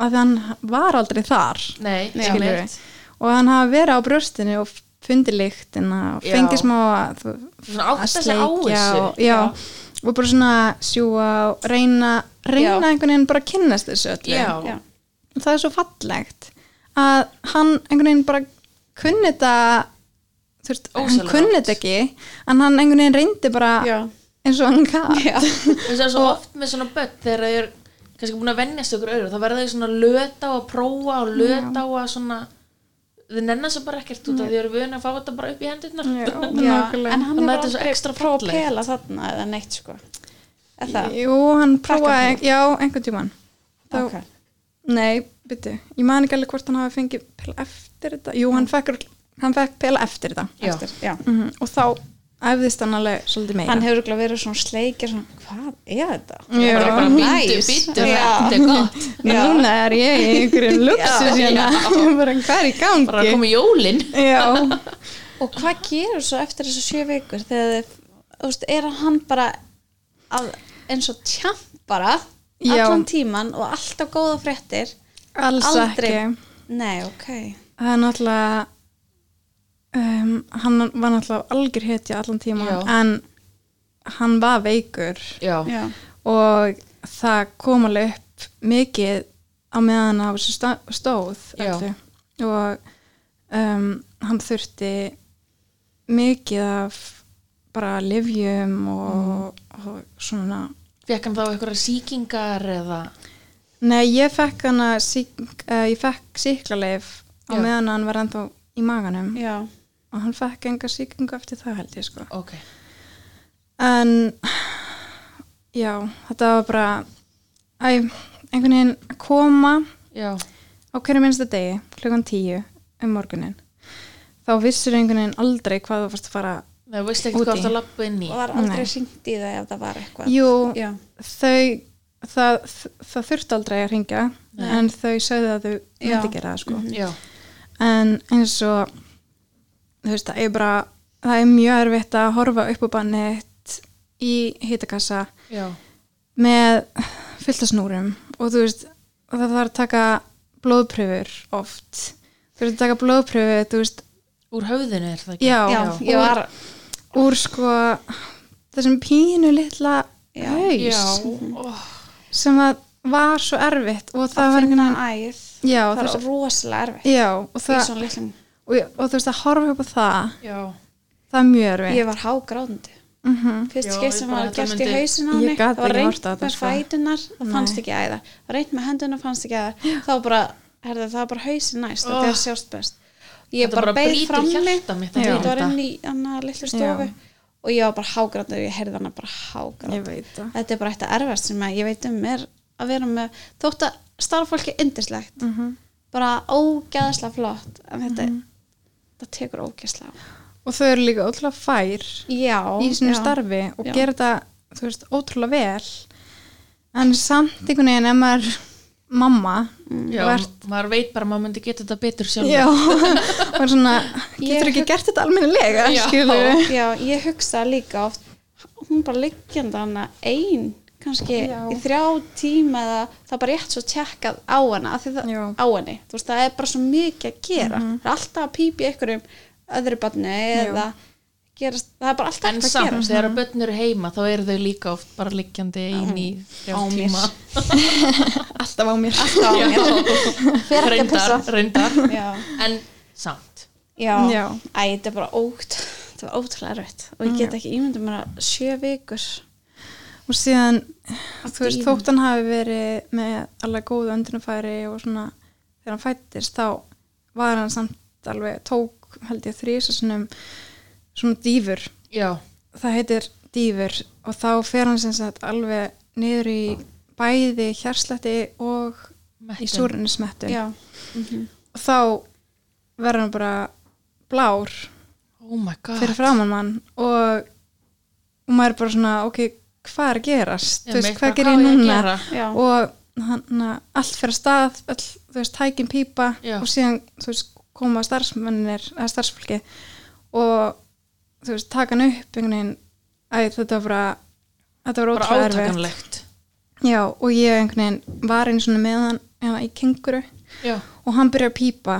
að hann var aldrei þar
Nei,
Nei,
skilur
skilurðu. og hann hafi verið á brjóstinu og fundið lyktina og
Já.
fengið smá að, þú-
Svona átta sig á þessu.
og, já, og bara svona sjúa og reyna, reyna
Já.
einhvern veginn bara að kynnast þessu öllu
Já.
Já.
það er svo fallegt að hann einhvern veginn bara kunni þetta þú veist, hann
Ósjálfrátt.
kunni þetta ekki en hann einhvern veginn reyndi bara
Já.
eins og hann gaf
Já. (laughs)
Það er svo oft með svona börn þegar þau eru kannski búin að vennjast ykkur öðru þá verða þau svona löt á að prófa og löt á að svona þau nennan svo bara ekkert út af því þau eru vöna að fá þetta bara upp í hendurnar
Já, nákvæmlega.
En hann
Þannig að
er
þetta er svo extra
aldrei prófa að
fallegt.
pela þarna eða neitt sko. Er það?
Jú, hann prófaði,
Krakkapelar.
já, einhvern tímann þá,
Ok.
nei, byrju ég man ekki alveg hvort hann hafi fengið pela eftir þetta, jú, hann fekk, hann fekk pela eftir þetta
Já.
Eftir, já.
mm og þá æfðist hann alveg svolítið meira
Hann hefur örugglega verið svona sleikir svona, hvað er þetta?
Já.
Það er bara býtu,
Nice.
býtu,
Já.
þetta er gott
Já.
núna er ég í einhverjum luxus
(laughs) Já.
hérna, (laughs) bara hvað er í gangi
bara að koma í jólin
já,
(laughs)
Og hvað gerur svo eftir þessu sjö vikur þegar þið, þú veist, er hann bara að, eins og tjamp bara
Já.
allan tíman og alltaf góða fréttir
alls
Aldrei.
ekki
Nei, ok
það er náttúrulega um, hann var náttúrulega algjör hetja allan tíma
Já.
en hann var veikur
já,
og það kom alveg upp mikið á meðan á þessu sta- stóð
Já.
öllu. og um, hann þurfti mikið af bara livjum og,
Mm.
og svona
fekk hann þá einhverja sýkingar eða
nei ég fekk hann að sík, uh, ég fekk síklarleif á
Já.
meðan hann var ennþá í maganum
Já,
og hann fekk enga síkingu eftir það held ég sko
ok,
en já, þetta var bara æ, einhvern veginn að koma
já,
á hverju minnsta degi, klukkan tíu um morgunin þá vissur einhvern veginn aldrei hvað þú varst að fara
það veist ekki
Úti.
hvað það lappa inn í
og var aldrei
Nei.
syngt í það ef það var eitthvað
jú,
Já,
þau það, það þurfti aldrei að ringja
Nei.
en þau sögðu að þau
Já.
myndi gera það sko
já,
en eins og þú veist, það er bara það er mjög erfitt að horfa upp á bannett í hitakassa
já,
með fullt af snúrum og þú veist, það þarf að taka blóðpröfur oft þú veist að taka blóðpröfu, þú veist
úr höfðinu er það ekki
já,
já ég
úr,
var
úr sko þessum pínu litla
Já.
já,
haus
oh,
sem að var svo erfitt og það
að
var
finna
einhvern veginn-
æð
já,
Það
þess,
er rosalega erfitt
já og,
Í
það,
svona litlum
og, og þú veist að horfa upp á það
já
það er mjög erfitt
Ég var hágráðandi
mm
Fyrst
Já,
skipt
ég
sem
bara-
var
þetta
gert í
myndi-
hausin á
Ég
henni
gat
Það var
ekki
reynt
horft á þetta,
með
sko.
fætunar Það
Nei.
fannst ekki æða Það var reynt með hendunar, fannst ekki æða Það var bara, herðu, það var bara hausin næst
Oh.
Það er sjást best Ég
Þetta
bara
bara
beið
brýtur
frammi
hjarta mitt að
Já.
heyra
Þetta var
þetta.
inn í hana litlu stofu
Já.
Og ég var bara hágráðandi og ég heyrði hana bara hágráðandi
ég veit það
Þetta er bara eitt að erfast sem að ég veit um er að vera með Þótt að starffólki yndislegt
mm -hmm.
bara ógeðslega flott en þetta, þetta tekur ógeðslega á.
og þau eru líka ótrúlega fær
já,
í sínu
já.
starfi og
Já.
gera þetta þú veist, ótrúlega vel en samt einhvern veginn ef maður er mamma
Mm.
Já, maður veit bara að maður myndi geta þetta betur sjálf (laughs)
já, og er svona
Ég
getur ekki gert þetta almennilega
Já.
skilur
já, ég hugsa líka oft hún bara liggjandi hana ein kannski
Já.
í þrjá tíma eða það er bara rétt svo tjekkað á hana af því það,
Já.
á henni, þú veist það er bara svo mikið að gera, það er alltaf að pípi einhverjum öðru barni eða gerast, það er bara alltaf
En
eitthvað að
samt,
gerast
þegar börn eru heima þá eru þau líka oft bara liggjandi einn í þrjá
Á mér.
(laughs) tíma
alltaf á mér
alltaf á (laughs) mér, fer ekki að
Reyndar,
pissa
reyndar
já,
En samt
já,
Já.
æ, þetta er bara ótt þetta var ótrúlega rögt og ég get ekki ímyndum mér að sjö vikur
og síðan, þú veist,
bíða.
þótt hann hafi verið með alveg góðu öndunafæri og svona, þegar hann fættist þá var hann samt alveg tók, held ég, þrýs svona, svona dýfur
Já,
það heitir dýfur og þá fer hann sem sagt alveg niður í bæði hjarsletti og
Mettun.
í súrinnismettu
já,
og þá verður hann bara blár
oh my god
fyrir framann mann og, og maður er bara svona ok, hvað er að gerast?
Ég
Þú veist,
meina,
hvað
hvað
gerir
á
ég
ég að
núna?
gera?
Já.
og hann allt fyrir að stað all, þú veist, tækin pípa
Já.
og síðan þú veist, koma starfsmennir eða starfsfólki og þú veist, taka hann upp einhvern veginn að þetta var bara þetta var
Bara
ótrúlega erfitt
átakanlegt
Já, og ég einhvern veginn var einu svona með hann hérna, í kenguru
Já,
og hann byrjaði að pípa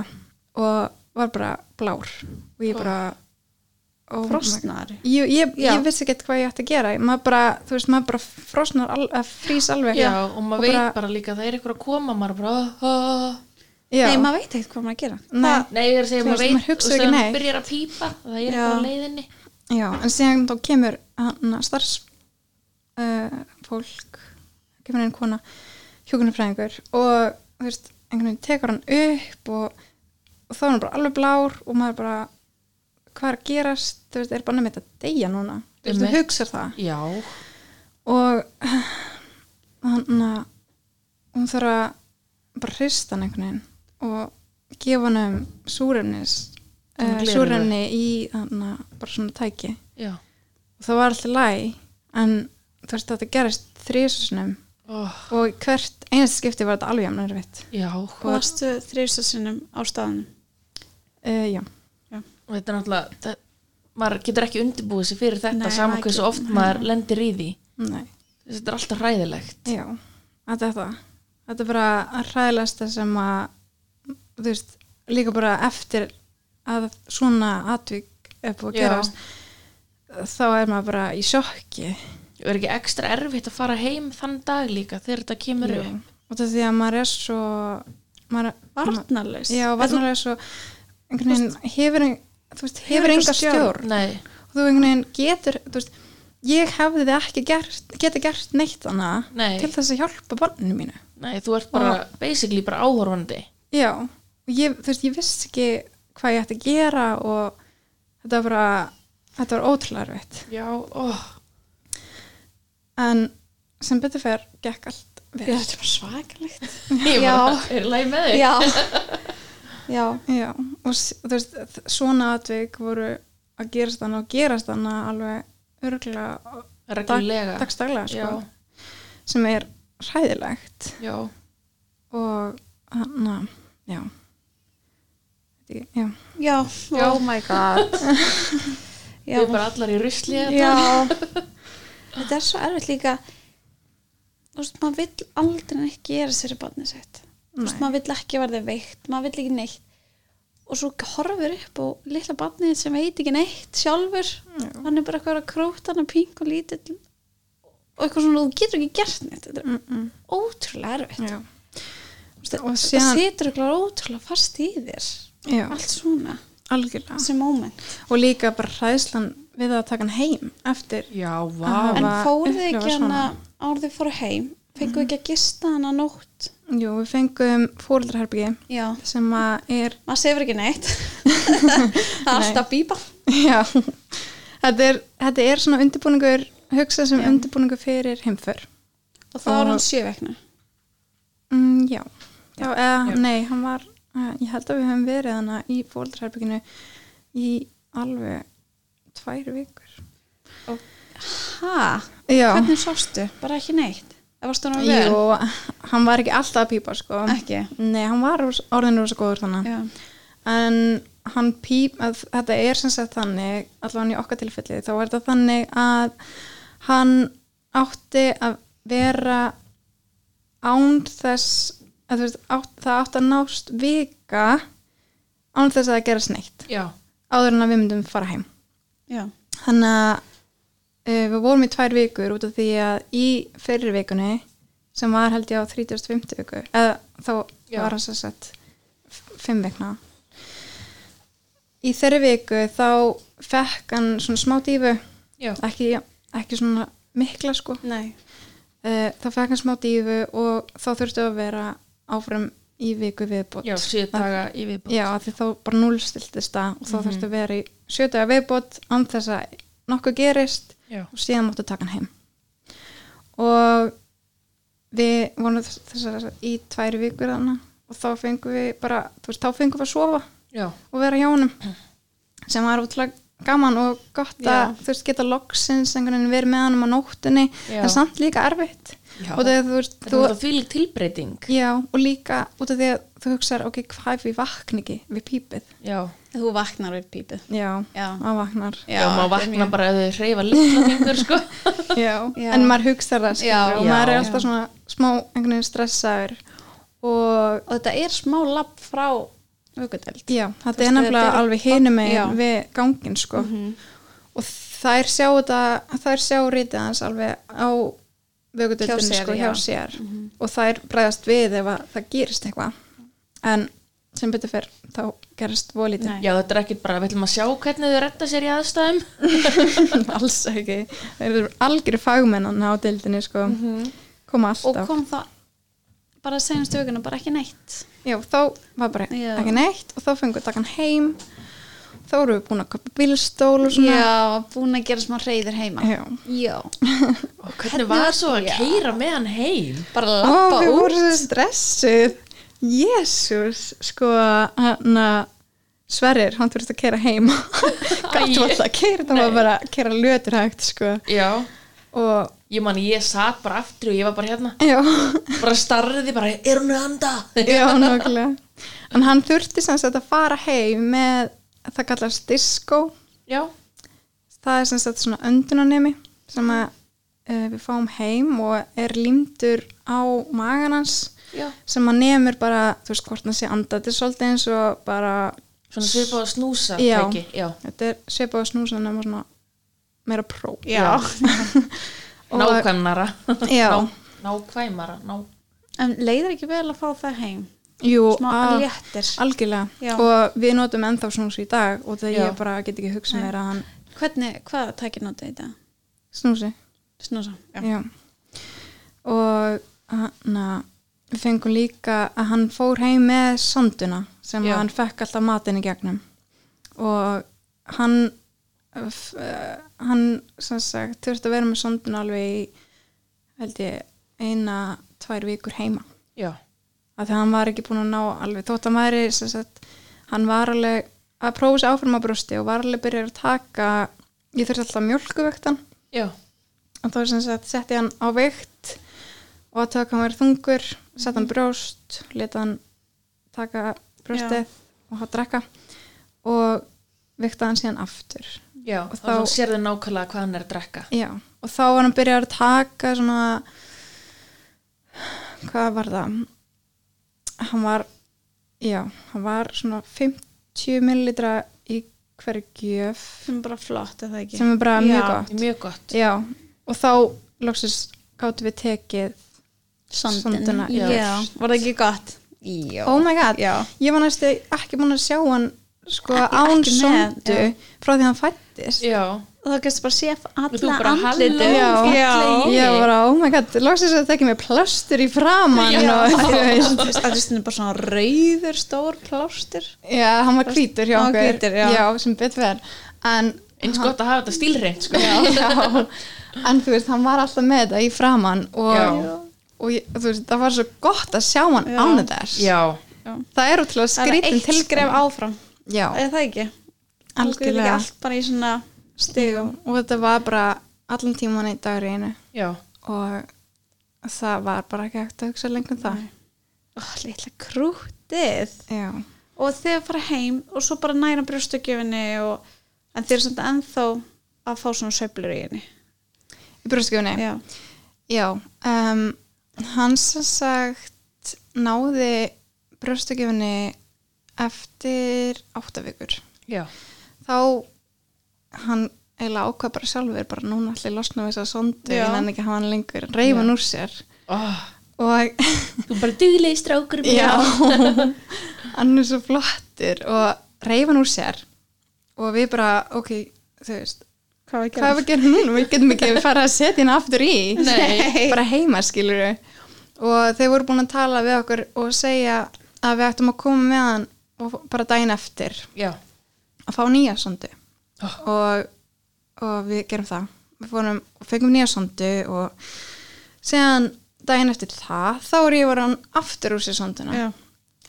og var bara blár og ég bara oh. my-
frostnar
Ég, ég,
Já.
ég vissi ekkert hvað ég ætti að gera maður bara, þú veist, maður bara frosnar al, að frýs alveg
já, og maður veit
bara-
bara líka að það er ykkur að koma maður bara "Ah, ah."
Já.
nei, maður veit ekkert hvað maður að gera
Nei.
Nei, ég er að segja,
Þú
maður
veist,
veit
maður hugsar
og
ekki
síðan
neitt.
byrjar að pípa það er
Já.
bara á leiðinni
Já, en síðan þá kemur hann að starfs uh, fólk kemur einn kona hjókunarfræðingur og þú veist, einhvern veginn tekur hann upp og, og þá er hann bara alveg blár og maður bara hvað er að gerast, þú veist, er bara nefnir þetta deyja núna, þú veist, þú
Einmitt.
hugsar það
Já,
og (sighs) hann að hún þarf að bara hrista hann einhvern veginn og gefa hann um súrefnis
Svona
uh,
gleraugu.
súrefni í hann að bara svona tæki
já
og það var alltaf læg en þú veist þetta gerist þrísunum
oh,
og í hvert einast skipti var þetta alveg jafn erfitt
Já,
Hvað varstu þrjustasunum á staðanum?
uh, já,
og þetta er náttúrulega það, maður getur ekki undirbúið sér fyrir þetta
Nei,
saman
maður
hversu
getur-
oft maður lendir í því
nei,
þetta er alltaf hræðilegt
já þetta er það, þetta er bara að hræðilegsta sem að þú veist, líka bara eftir að svona atvík er búið að
Já.
gerast þá er maður bara í sjokki
og er ekki ekstra erfitt að fara heim þann dag líka þegar þetta kemur
Jú.
upp
og það því að maður er svo maður,
Varnarlaus?
já, varnarlega svo einhvern veginn hefur ein- þú veist, hefur enga stjórn
Nei,
og þú einhvern veginn getur þú veist, ég hefði það ekki gert, geta gert neitt annað
Nei.
til þess að hjálpa barninu mínu
nei, þú ert bara basically bara áhorfandi
já, og ég, þú veist, ég vissi ekki hvað ég ætti að gera og þetta var bara þetta var ótrúlega erfitt
Já, oh.
en sem betur fer gekk allt vel
þetta var svakalegt.
ég
Já.
bara, er læg með þig
(laughs) já. Já.
já, og s- þú veist, þ- svona atvik voru að gerast þannig og gerast þannig alveg örgulega
reglulega
dagstaglega sko,
Já.
sem er hræðilegt
Já,
og hann að, já Veit ekki, já,
já.
Já.
Oh my (laughs) god.
við erum bara allar í rusli hérna. þetta.
já. Þetta er svo erfitt líka. Þú veist, maður vill aldrei neitt gera sér í barnið sitt. Þú veist,
Nei.
maður vill ekki verða veikt, maður vill ekki neitt. Og svo horfur upp og litla barnið sem veit ekki neitt sjálfur.
Já.
Hann er bara eitthvað að króta hann að pink og lítill. Og eitthvað svona, þú getur ekki gert neitt. Þetta er
mm -mm,
ótrúlega erfitt.
já.
það
Og
síðan...
síðan-
situr okkur ótrúlega fast í þér
já,
allt svona,
algjörlega
þessi moment
og líka bara hræðslan við að taka hann heim eftir
Já, vá
Aha.
en
var
fóruð þið
upplifa
ekki
svona. Mhm.
hana árið þið fóru heim fenguð ekki að gista hana nótt
Jú, við fengum fóreldraherbyggi
já,
sem að er (laughs)
maður sefur ekki neitt það er alltaf bíba
já, þetta er, þetta er svona undirbúningur hugsað sem
Já.
undirbúningur fyrir heimför
og þá er
Og-
hann sjö vekna
mm, já, já. eða, nei, hann var Eh, Ég held að við höfum verið hana í fóldraherbygginu í alveg tvær vikur.
Hæ?
Já,
Hvernig sástu? Bara ekki neitt? Það varst hann á vel?
Jú, hann var ekki alltaf að pípa sko.
Ekki?
Nei, hann var rós- orðinn rosa góður þannig.
Já.
En hann píp, að, þetta er sem sagt þannig, allavega í okkar tilfelli, þá er þetta þannig að hann átti að vera án þess, að þú veist, átt, það átti að nást vika án þess að það gerast neitt,
Já.
áður en að við myndum fara heim.
Já.
Þannig að uh, við vorum í tvær vikur út af því að í fyrir vikunni sem var held ég á 35 viku eða þá
Já.
var hann svo sett 5 vikna í þeirri viku þá fekk hann svona smá dífu
Já.
ekki, ekki svona mikla sko
Nei.
uh, þá fekk hann smá dífu og þá þurftu að vera áfram í viku viðbót
Já, sjö daga í viðbúð.
Já, af því þá bara núlstiltist það og þá
Mhm.
þurftu að vera í sjö daga viðbót án þess að nokkuð gerist
Já.
og síðan máttu taka hann heim og við vorum þessar í tvær vikur þarna og þá fengum við bara, þú veist, þá fengum við að sofa
Já.
og vera hjá honum sem var útlæg gaman og gott að
Já.
þú veist, geta loksins einhvern veginn verið með honum á nóttunni
Já.
en samt líka erfitt
Já.
og þegar þú veist,
Þetta
þú
var því lík tilbreyting.
Já, og líka út af því að þú hugsar, ok, hvað ef við vakna ekki við pípið?
Já.
Þú vaknar við pípið.
Já,
Já.
maður vaknar.
Já, maður vakna bara að þau hreyfa litla fingur, sko.
Já.
Já.
En maður hugsar það, skilur,
Já.
og maður
Já.
er alltaf svona smá einhvern veginn stressaður og
Og þetta er smá lapp frá vöggudeld.
já,
Þú
þetta
veist,
er nefnilega
þetta er-
alveg hinum
Já. Mhm.
meginn við gangin, sko. Og þær sjá þetta, þær sjá rítið hans alveg á
Hjá
vögutöldinu,
sér,
sko,
já.
hjá sér.
Mhm.
Og þær bregðast við ef að það gerist eitthvað. En sem betur fyrr, þá gerist volítið.
Nei.
Já, þetta er ekkit bara, við ætlum að sjá hvernig þau retta sér í aðstæðum.
(laughs) alls ekki þeir eru algjör fagmennan á deildinni sko. koma
Mhm. Og
alltaf
kom það bara senast vögguna bara ekki neitt.
já, þá var bara
Já.
ekki neitt og þá fengum við takan heim þá erum við búin að köpa bílstól og svona
Já, búin að gera smá reyðir heima.
Já.
Já.
Og hvernig var svo að
Já.
keira með hann heim?
Bara
og
lappa
við
út.
vorum svo stressuð jésús sko hann að Sverrir, hann þurfti að kera heim
(laughs)
Æi.
gætt var það að kera það var
Nei.
bara að kera lötur hægt sko
Já.
og
Ég man, ég satt bara aftur og ég var bara hérna.
já
Bara starriði bara, er hún að anda?
Já, nokkulega. En hann þurfti sem sagt að fara heim með, það kallast disco,
Já.
það er sem sagt svona öndunanemi sem að uh, við fáum heim og er límdur á magan hans
Já.
sem að nemur bara, þú veist hvort hann sé andað, þetta er svolítið eins og bara,
Svona svipað að snúsa,
Já.
tæki. Já.
þetta er svipað á snúsan nema svona meira pró.
Já.
Og-
Nákvæmnara. (laughs)
Já.
Ná- Nákvæmara. Ná.
En leiðir ekki vel að fá það heim.
Jú,
Smá
að-
léttir.
algjörlega.
Já.
Og við notum ennþá snús í dag og þegar
Já.
ég bara get ekki hugsað
Nei.
mér að hann
Hvernig, hvað tækir notið í dag?
snúsi.
Snúsa. Já.
Já. Og hann að við fengum líka að hann fór heim með sonduna sem
Já.
hann fekk alltaf matinn í gegnum og hann f- eh, hann sem sagt þurfti að vera með sonduna alveg í held ég eina tvær vikur heima
Já.
af því að hann var ekki búin að ná alveg þótt að væri sem sagt hann var alveg að prófa sér áfram á brjósti og var alveg byrjar að taka ég þurfti alltaf mjölkuvektan
Já.
og þá sem sagt setti hann á veikt og að taka hann verið þungur sett hann brjóst, leta hann taka brjóstið og hann drekka og veikta hann síðan aftur
Já.
Og
Þá,
þá-
þá sérðu nákvæmlega hvað hann er að drekka.
já, og þá var hann byrjað að taka svona hvað var það hann var já, hann var svona 50 millilitra í hverju gjöf
Sem er bara flott, er það ekki?
sem er bara
Já.
mjög gott
Mjög gott.
já, og þá loksins gáttum við tekið Sondina,
já.
já.
Var það ekki gott? Já.
oh my god,
Já.
ég var næstu ekki búin að sjá hann sko
Ekki-
án
ekki með,
sondu
já.
frá því hann fættist
Já.
Og það gæst bara séf
Þú
alla
bara,
andlitu.
halló, fallegi.
ég var að, oh my god, loksins að það ekki með plöstur í framann
Já.
og (laughs) þú veist
Það er stundum bara svona rauður stór plástur.
já, hann var hvítur hjá
Hann var
okkur
hvítur, já.
sem betur verð en,
Eins gott að hafa þetta stílreint, sko.
(laughs) já, en þú veist, hann var alltaf með þetta í framann og,
Já.
og ég, þú veist, það var svo gott að sjá hann
Já.
án þess
Já.
Já.
Það er útrúlega
Það er
skrítin
eitt
til
skref áfram
Já,
eða það ekki Okkur er ekki
algjörlega.
allt bara í svona stigum
Og þetta var bara allan tíman einn dagur í einu
já,
og það var bara ekki hægt að hugsa lengur um það.
Ó, litla krútið
Já,
og þegar fara heim og svo bara næra brjóstugjöfinni og, en þeir eru samt ennþá að fá svona sveiflur í henni
í brúskjöfunni.
já,
Já, um, hann sem sagt náði brjóstakjöfunni eftir áttavíkur.
já,
Þá hann eiginlega ákvað bara sjálfur, bara núna allir losna við þess að sondu,
Já.
en hann ekki hafa hann lengur, reyfan úr sér.
oh,
(laughs)
Og
þú bara duglegi strákur minn.
já, (laughs) hann er svo flottur og reyfan úr sér. Og við bara, ok, þú veist,
hvað við
hvað er við að gera núna? Við getum ekki að fara að setja hann aftur í.
(laughs) nei,
Nei.
bara heima skilur og þeir voru búin að tala við okkur og segja að við ættum að koma með hann og bara daginn eftir
já,
að fá nýja sondu
Oh.
og, og við gerum það við fórum og fengum nýja sondu og síðan daginn eftir það þá er ég var hann aftur úr sér sonduna
já,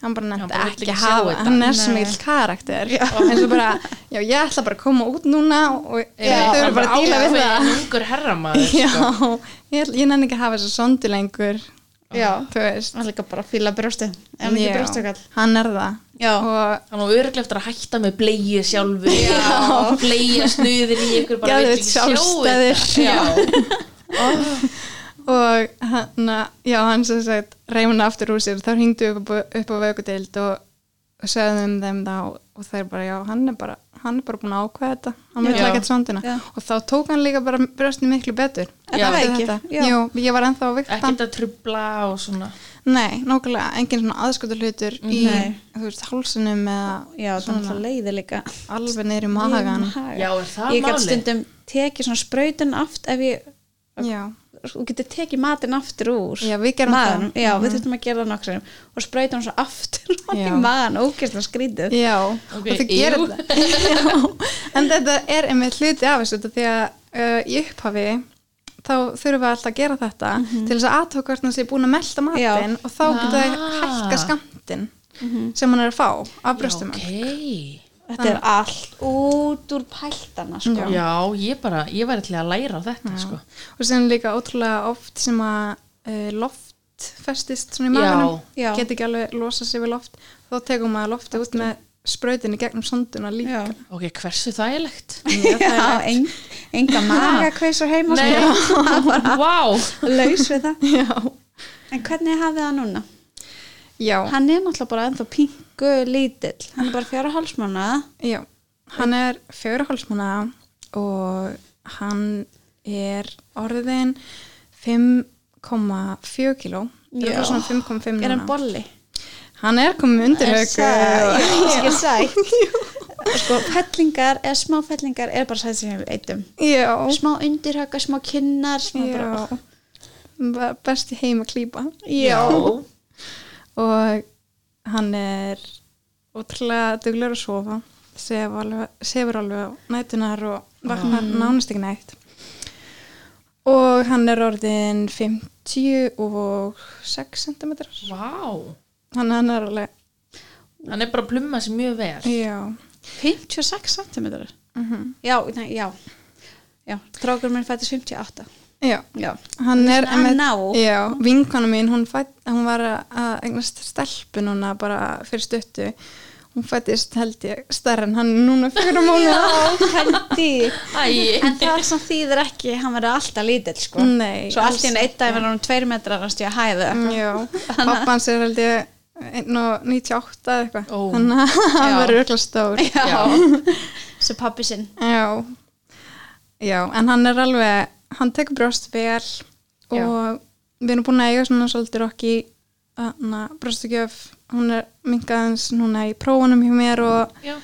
hann bara
Hann
nefndi
bara vill
ekki
ekki sjá
hafa
þetta.
hann er svo
Nei.
mikill karakter eins og bara, já ég ætla bara að koma út núna og þau eru bara að díla við það
ungur herramaður
já,
sko.
ég, ætla- ég nenni ekki að hafa þessu sondu lengur
já.
þú veist
hann líka bara að fýla brjóstið en hann
Já,
ekki brjóstukall
hann er það
Já.
og
Þannig að örglega eftir að hætta með bleið sjálfu Já Bleið snuðir í ykkur bara
Geðveikt
vill ekki sjá
sjálfstæðir.
þetta. Já,
og hann, já, hann sem sagt reyna aftur úr sér, þá hringdu upp, á- upp á vökudeild og, og sögðum um þeim það og, og þeir bara, já, hann er bara hann er bara búin að ákveða þetta, hann vil
Já.
ekki sondina
Já.
og þá tók hann líka bara brjóstinu miklu betur
Er
það
eftir
ekki?
þetta.
Já.
Jú, ég var ennþá að vikta
ekkert að trubla og svona
nei, nákvæmlega, engin svona aðskotu hlutur í,
Nei.
þú veist, hálsunum eða
já, þannig að leiði líka
alveg niður í magan
Já, er það
ég
málið?
gæti stundum tekið svona sprautin aft ef ég,
já,
þú getur tekið matinn aftur úr
Já, við gerum
maðan,
það.
já, við
Mhm.
þurfum að gera það nokkrum sinnum. og sprautin hann svo aftur (laughs) í
Já.
maðan, ógeðslega skrítið
Já,
Ok,
og
(laughs)
það gerir
jú.
þetta Já, en þetta er einmitt hluti af þessu þetta því að uh, í upphafi þá þurfum við alltaf að gera þetta
Mhm.
til þess að aðtók hvort hann sé búin að melta matinn og þá getur það
Ah. Mhm.
hækka skamtinn sem hann er að fá af brjóstum
ok
Þetta er allt út úr pæltana sko.
Já. ég bara, ég var eitthvað að læra á þetta sko.
og sem líka ótrúlega oft sem að uh, loft festist svona
Já.
í maðanum
Já.
get ekki alveg losa sig við loft þá tegum maður loftið út með sprautinni gegnum sonduna líka
Já.
Ok, hversu þægilegt?
Já, en,
(laughs)
enga magakveisur heima
Nei,
sko.
vá
laus við það
(laughs) Já,
En hvernig hafið það núna?
já,
Hann er náttúrulega bara ennþá pingu lítill Hann er bara fjára hálsmána
Já, hann er fjögur hálsmána og hann er orðin 5,4 kíló
Já.
er svona 5,5
Er hann
núna
bolli?
Hann er komið undir högu
Ég er
(laughs)
sætt Sko, fellingar eða smá fellingar er bara sætt sem við veitum
Já,
Smá undirhaka, smá kinnar smá bara,
já Ba- best í heim að klípa
Já.
og hann er ótrúlega duglur að sofa sefur alveg, sefur alveg á nætunar og vaknar
Mm.
nánast ekki nætt og hann er orðin 56 cm
Vá
hann, hann er alveg
Hann er bara að plumma sér mjög vel
já,
56 cm Já, nei, já Já, strákur minn fættist 58
já.
Já,
hann er
Svona að ná.
já, vinkona mín hún, fætt, hún var að eignast stelpu núna bara fyrir stuttu hún fættist held ég stærri en hann er núna
(laughs)
fyrir mánu
Hendi
Æ,
En það sem þýðir ekki, hann verður alltaf lítill sko.
Nei,
Svo allt
alls
í
Mm.
enn eitt dag verður hann tveir metrar að stíða hæðu
Já, pappans er held ég 98 eða eitthvað
Ó.
þannig að hann
Já.
verður öll stór
Já.
(laughs) Svo pappi sinn
Já Já, en hann er alveg hann tekur brjóst vel og við erum búin að eiga svona svolítið rokki brjóstugjöf hún er mingaðins núna í prófunum hjá mér og,
Já,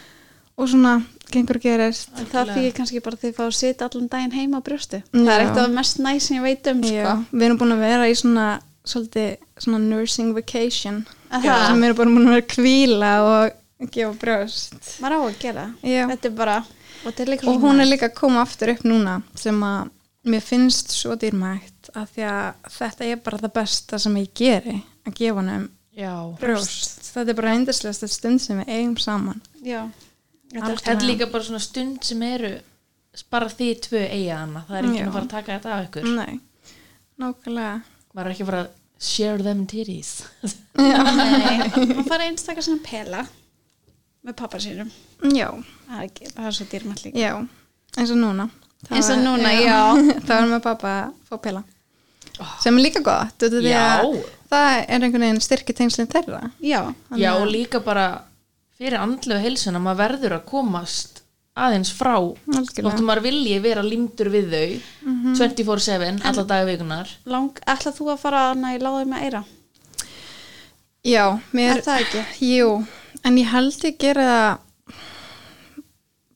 og svona gengur og gerist
En það þýðir kannski bara því að fá að sita allan daginn heima á brjósti Það
Já.
er eitt af það mest næs sem ég veit um sko.
Já, við erum búin að vera í svona svolítið svona nursing vacation
Aha.
sem við erum bara búin að vera að kvíla og gefa brjóst
Maður á að gera
Já.
Þetta er bara Og, þetta er líka
og
svo
hún er
næs.
líka að koma aftur upp núna sem að mér finnst svo dýrmægt að því að þetta er bara það besta sem ég geri að gefa hann um
já
brjóst Þetta er bara reyndislegasta stund sem við eigum saman.
Já.
Þetta er líka bara svona stund sem eru bara því tvö eiga hana það er ekki
Já. Mm.
að fara að taka þetta af ykkur
Nei, nákvæmlega.
maður er ekki að fara að share them titties
Nei, hún fara að einstaka svona pela með pappa sínum.
Já,
Það er, ekki- það er svo dýrmætt líka.
já, eins og núna. Það
Eins og
var-
núna,
(laughs) Það var með pappa að fá pela. Sem er líka gott, út af því að
Já.
það er einhvern veginn styrki tengslinn þeirra.
Já,
já og líka bara fyrir andlegu heilsuna maður verður að komast aðeins frá
Algjörlega.
þóttum maður vilji vera límdur við þau 24-7 alla dagveikunar
lang, ætlað þú að fara hana í láðu með eira?
Já, mér...
Er það ekki?
Jú, en ég held ég gera það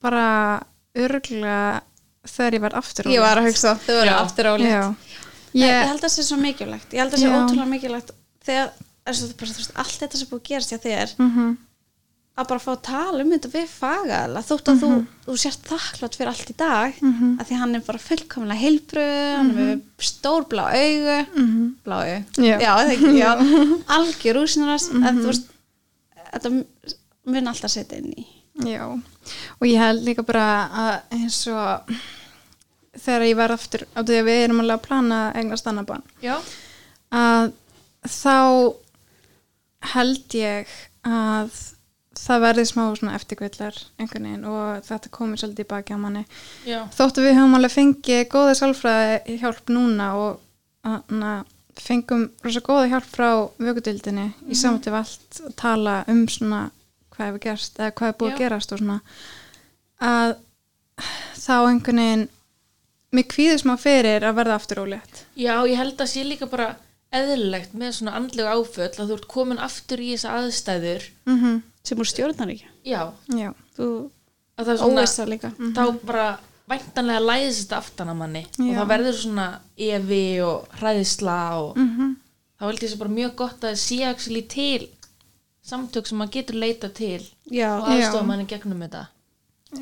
bara örgulega þegar ég var aftur.
Ég var að hugsa, þau
Já.
verður aftur á líkt. Ég, ég
Ég,
held að það sé svo mikilvægt. Ég held að það sé
Já.
ótrúlega mikilvægt þegar, eins og þú bara, þú veist, allt þetta sem búið að gerast hjá þér,
mm
að bara fá að tala um þetta við fagaðala þótt að þú, þú sért þakklátt fyrir allt í dag
Mhm.
að því hann er bara fullkomlega heilbröð hann er með stór blá augu
Mhm.
blá augu
Já. Mhm.
Já, það ekki, já.
(laughs)
algjör úsinarast en þú veist þetta mun alltaf setja inn í
já. Og ég held líka bara að eins og þegar ég var aftur, af því að við erum alveg að plana eignast annað bann,
já,
að þá held ég að það verði smá svona eftirkvillar einhvern veginn og þetta komið svolítið í baki á manni.
já,
Þóttu við höfum alveg fengið góða sálfræði hjálp núna og hana, fengum rosa góða hjálp frá vökudildinni í samt við allt að tala um svona hvað hefur gerst eða hvað hefur búið
Já.
að gerast og svona að þá einhvern veginn mér kvíður smá fyrir að verða aftur ólétt.
já, ég held að sé líka bara eðlilegt með svona andlegu áföll að þú ert komin aftur í þessa aðstæður
Mm -hmm.
sem úr stjórnar ekki
já,
Já,
þú
að það er svona
óveist það líka
Mhm.
þá bara væntanlega læðist þetta aftan að manni og
Já.
það verður svona evi og hræðisla og
mm -hmm.
þá held ég þessi bara mjög gott að sé axli til samtök sem maður getur leita til
já,
og
Já.
aðstofa manni gegnum þetta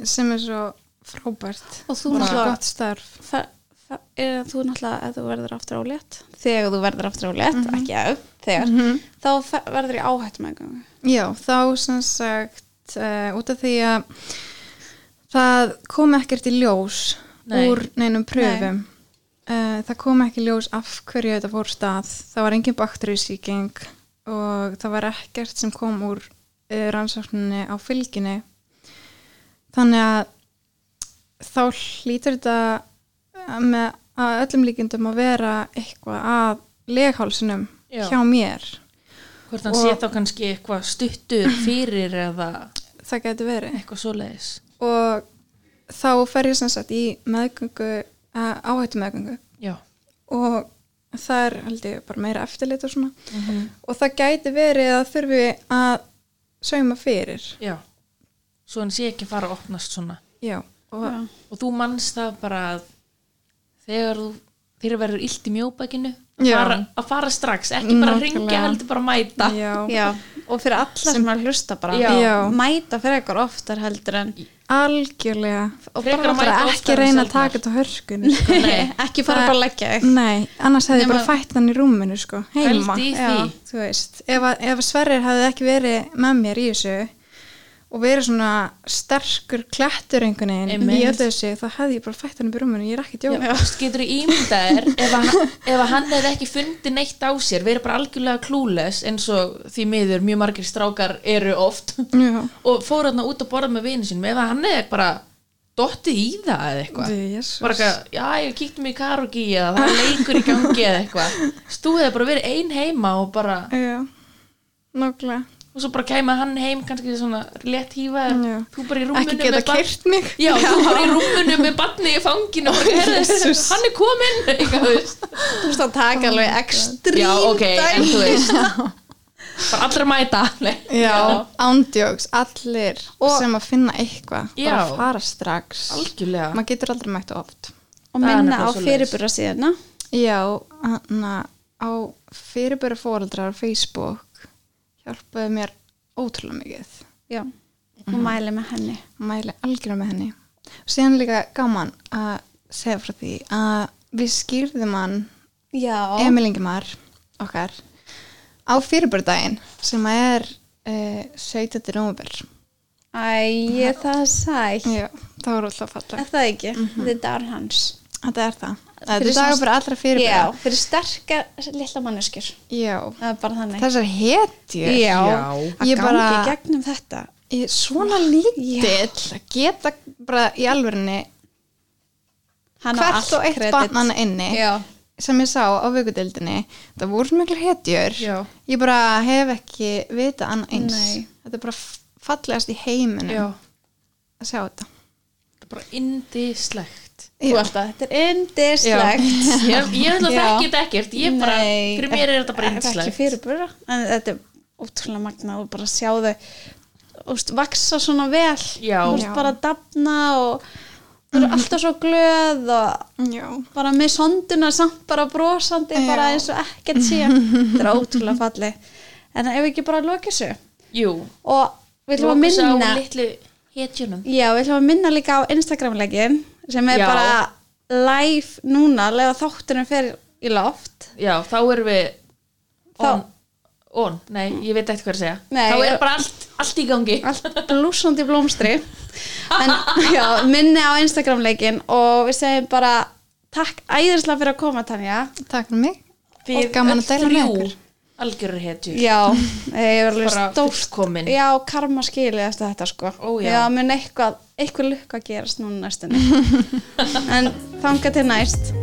sem er svo frábært.
og þú
Bara
náttúrulega
gott starf.
það, það er að eh, þú náttúrulega ef þú verður aftur á létt þegar þú verður aftur á létt, ekki ef þegar, þá fe- verður ég áhætt með gangu
Já, þá sem sagt uh, út af því að það kom ekkert í ljós
Nei.
úr neinum pröfum. Nei. það kom ekki í ljós af hverju þetta fór stað. Það var engin bakterísíking og það var ekkert sem kom úr uh, rannsókninni á fylginni. Þannig að þá hlýtur þetta eh, með að öllum líkindum að vera eitthvað að leghálsunum
Já.
hjá mér.
hvort hann
Og-
sé þá kannski eitthvað stuttur fyrir eða
Það getur verið.
eitthvað svoleiðis
og þá fer ég sem sagt í meðgöngu, áhættu meðgöngu
já,
og það er held ég bara meira eftirlit og svona
mm
og það gæti verið að þurfi að sauma fyrir
já svo hann sé ekki að fara að opnast svona
já, og
Já.
og þú manns það bara að þegar þú þegar verður illt í mjóbækinu
Já.
fara, að fara strax, ekki bara að ringja
Nákvæmlega.
heldur bara að mæta
já,
Já, og fyrir alla sem, að hlusta bara
Já.
Já.
mæta fyrir eitthvað oftar heldur en
algjörlega
og
Frekar
bara
að
bara
mæta
ekki,
oftar
ekki
en
reyna að
sjaldnar.
taka þetta á hörkun sko.
(laughs)
(laughs)
Nei.
ekki fara
Það-
bara að leggja (laughs) þig
nei, annars hefði ég bara
Nema-
fætt hann í rúminu sko, heima
Pældu í
já,
því.
þú veist, ef, að- ef að Sverrir hefði ekki verið með mér í þessu og verið svona sterkur klættur einhvern veginn
Einmitt.
í öllu þessu, þá hefði ég bara fætt hann upp í rúminu, ég er ekki að djóka
Þú veist, getur ímyndar ef, að, ef að hann hefði ekki fundið neitt á sér verið bara algjörlega klúles eins og því miður mjög margir strákar eru oft
Já,
og fór hann út að borða með vinu sínum ef að hann hefði bara dottið í það eða eitthvað
Jesus.
bara eitthvað, já ég kíkti mig í karogi eða það er leikur í gangi eða eitthvað stúðið bara verið ein heima og bara
Já, nákvæmlega.
og svo bara kæma hann heim kannski svona létt hífaður,
Já.
þú bara í rúmunu
Ekki geta
með barn
kert mig.
Já, þú bara í rúmunu með barni í fanginu og bara, herðu,
Jesus.
hann er kominn (laughs) eitthvað, þú veist
þú veist að taka alveg ekstrím
Já, ok, en þú veist bara allra mæta (laughs) Nei.
Já, ándjóks, allir
Og-
sem að finna eitthvað, bara
Já.
að fara strax.
algjörlega
Maður getur aldrei mætt oft.
og
Það er
minna á
nefnilega svoleiðis.
fyrirbyrra síðana
Já, hann á fyrirböru fóreldrar á Facebook hjálpaði mér ótrúlega mikið.
já, og
Mhm.
mæli með henni
Mæli algjörlega með henni. Og síðan er líka gaman að segja frá því að við skýrðum hann
já,
Emil Ingemar okkar á fyrirbördaginn sem að er uh, 17. nómur.
Æ, það er sætt.
Já, það var alltaf falla.
Er það ekki? Þetta er hans.
Þetta er það.
Fyrir
Þetta er dagur
sem-
fyrir allra fyrirbæða.
Já, fyrir sterka litla manneskjur.
Já.
Það er bara þannig.
Þessar hetjur.
Já.
Já.
Að
Ég
gangi
bara-
gegnum þetta.
Ég er svona lítill að geta bara í alvörinni
Hann á
hvert
allt
og eitt
kredit.
bannan inni
Já.
sem ég sá á vökudeldinni. Það voru svo miklu hetjur.
Já.
Ég bara hef ekki vitað annað eins.
Nei.
Þetta er bara f- fallegast í heiminum
Já.
að sjá þetta.
Það er bara indislegt.
Þú alltaf, þetta er indislegt.
Ég, ég ætla að
Já.
þekki þetta ekkert, ég bara,
Nei,
fyrir mér er þetta bara
Þetta er ekki
indislegt.
fyrirbura. En þetta er ótrúlega magnað og bara sjá þau úst, vaksa svona vel.
Já.
Þú
Já. Mhm.
veist bara að dafna og þau eru alltaf svo glöð og
Já.
bara með sonduna samt bara brosandi
Já.
bara eins og ekkert sé þetta er ótrúlega falli en ef við ekki bara lokið þessu
Jú,
og við ætlum að
Loka sig
minna
á litlu hetjunum.
já, við ætlum að minna líka á Instagram-legin sem er
Já.
bara live núna, lega þáttunum fer í loft
Já, þá erum við
Þá-
on, on, nei, ég veit ekkert hvað að segja.
Nei,
þá er
ég-
bara allt, allt í gangi.
allt blúsandi blómstri
(laughs)
en já, minni á Instagram-legin og við segjum bara takk æðislega fyrir að koma Tanja
Takk fyrir mig.
Þið
og gaman að
öll
deila með
þrjú
ykkur.
Algjörur hetjur.
Já, ég var alveg
Bara
stórt
fullkomin.
Já, karma skilið eftir þetta sko
Ó, já. (laughs)
mun eitthvað, eitthvað lukka gerast núna næstunni En þanga til næst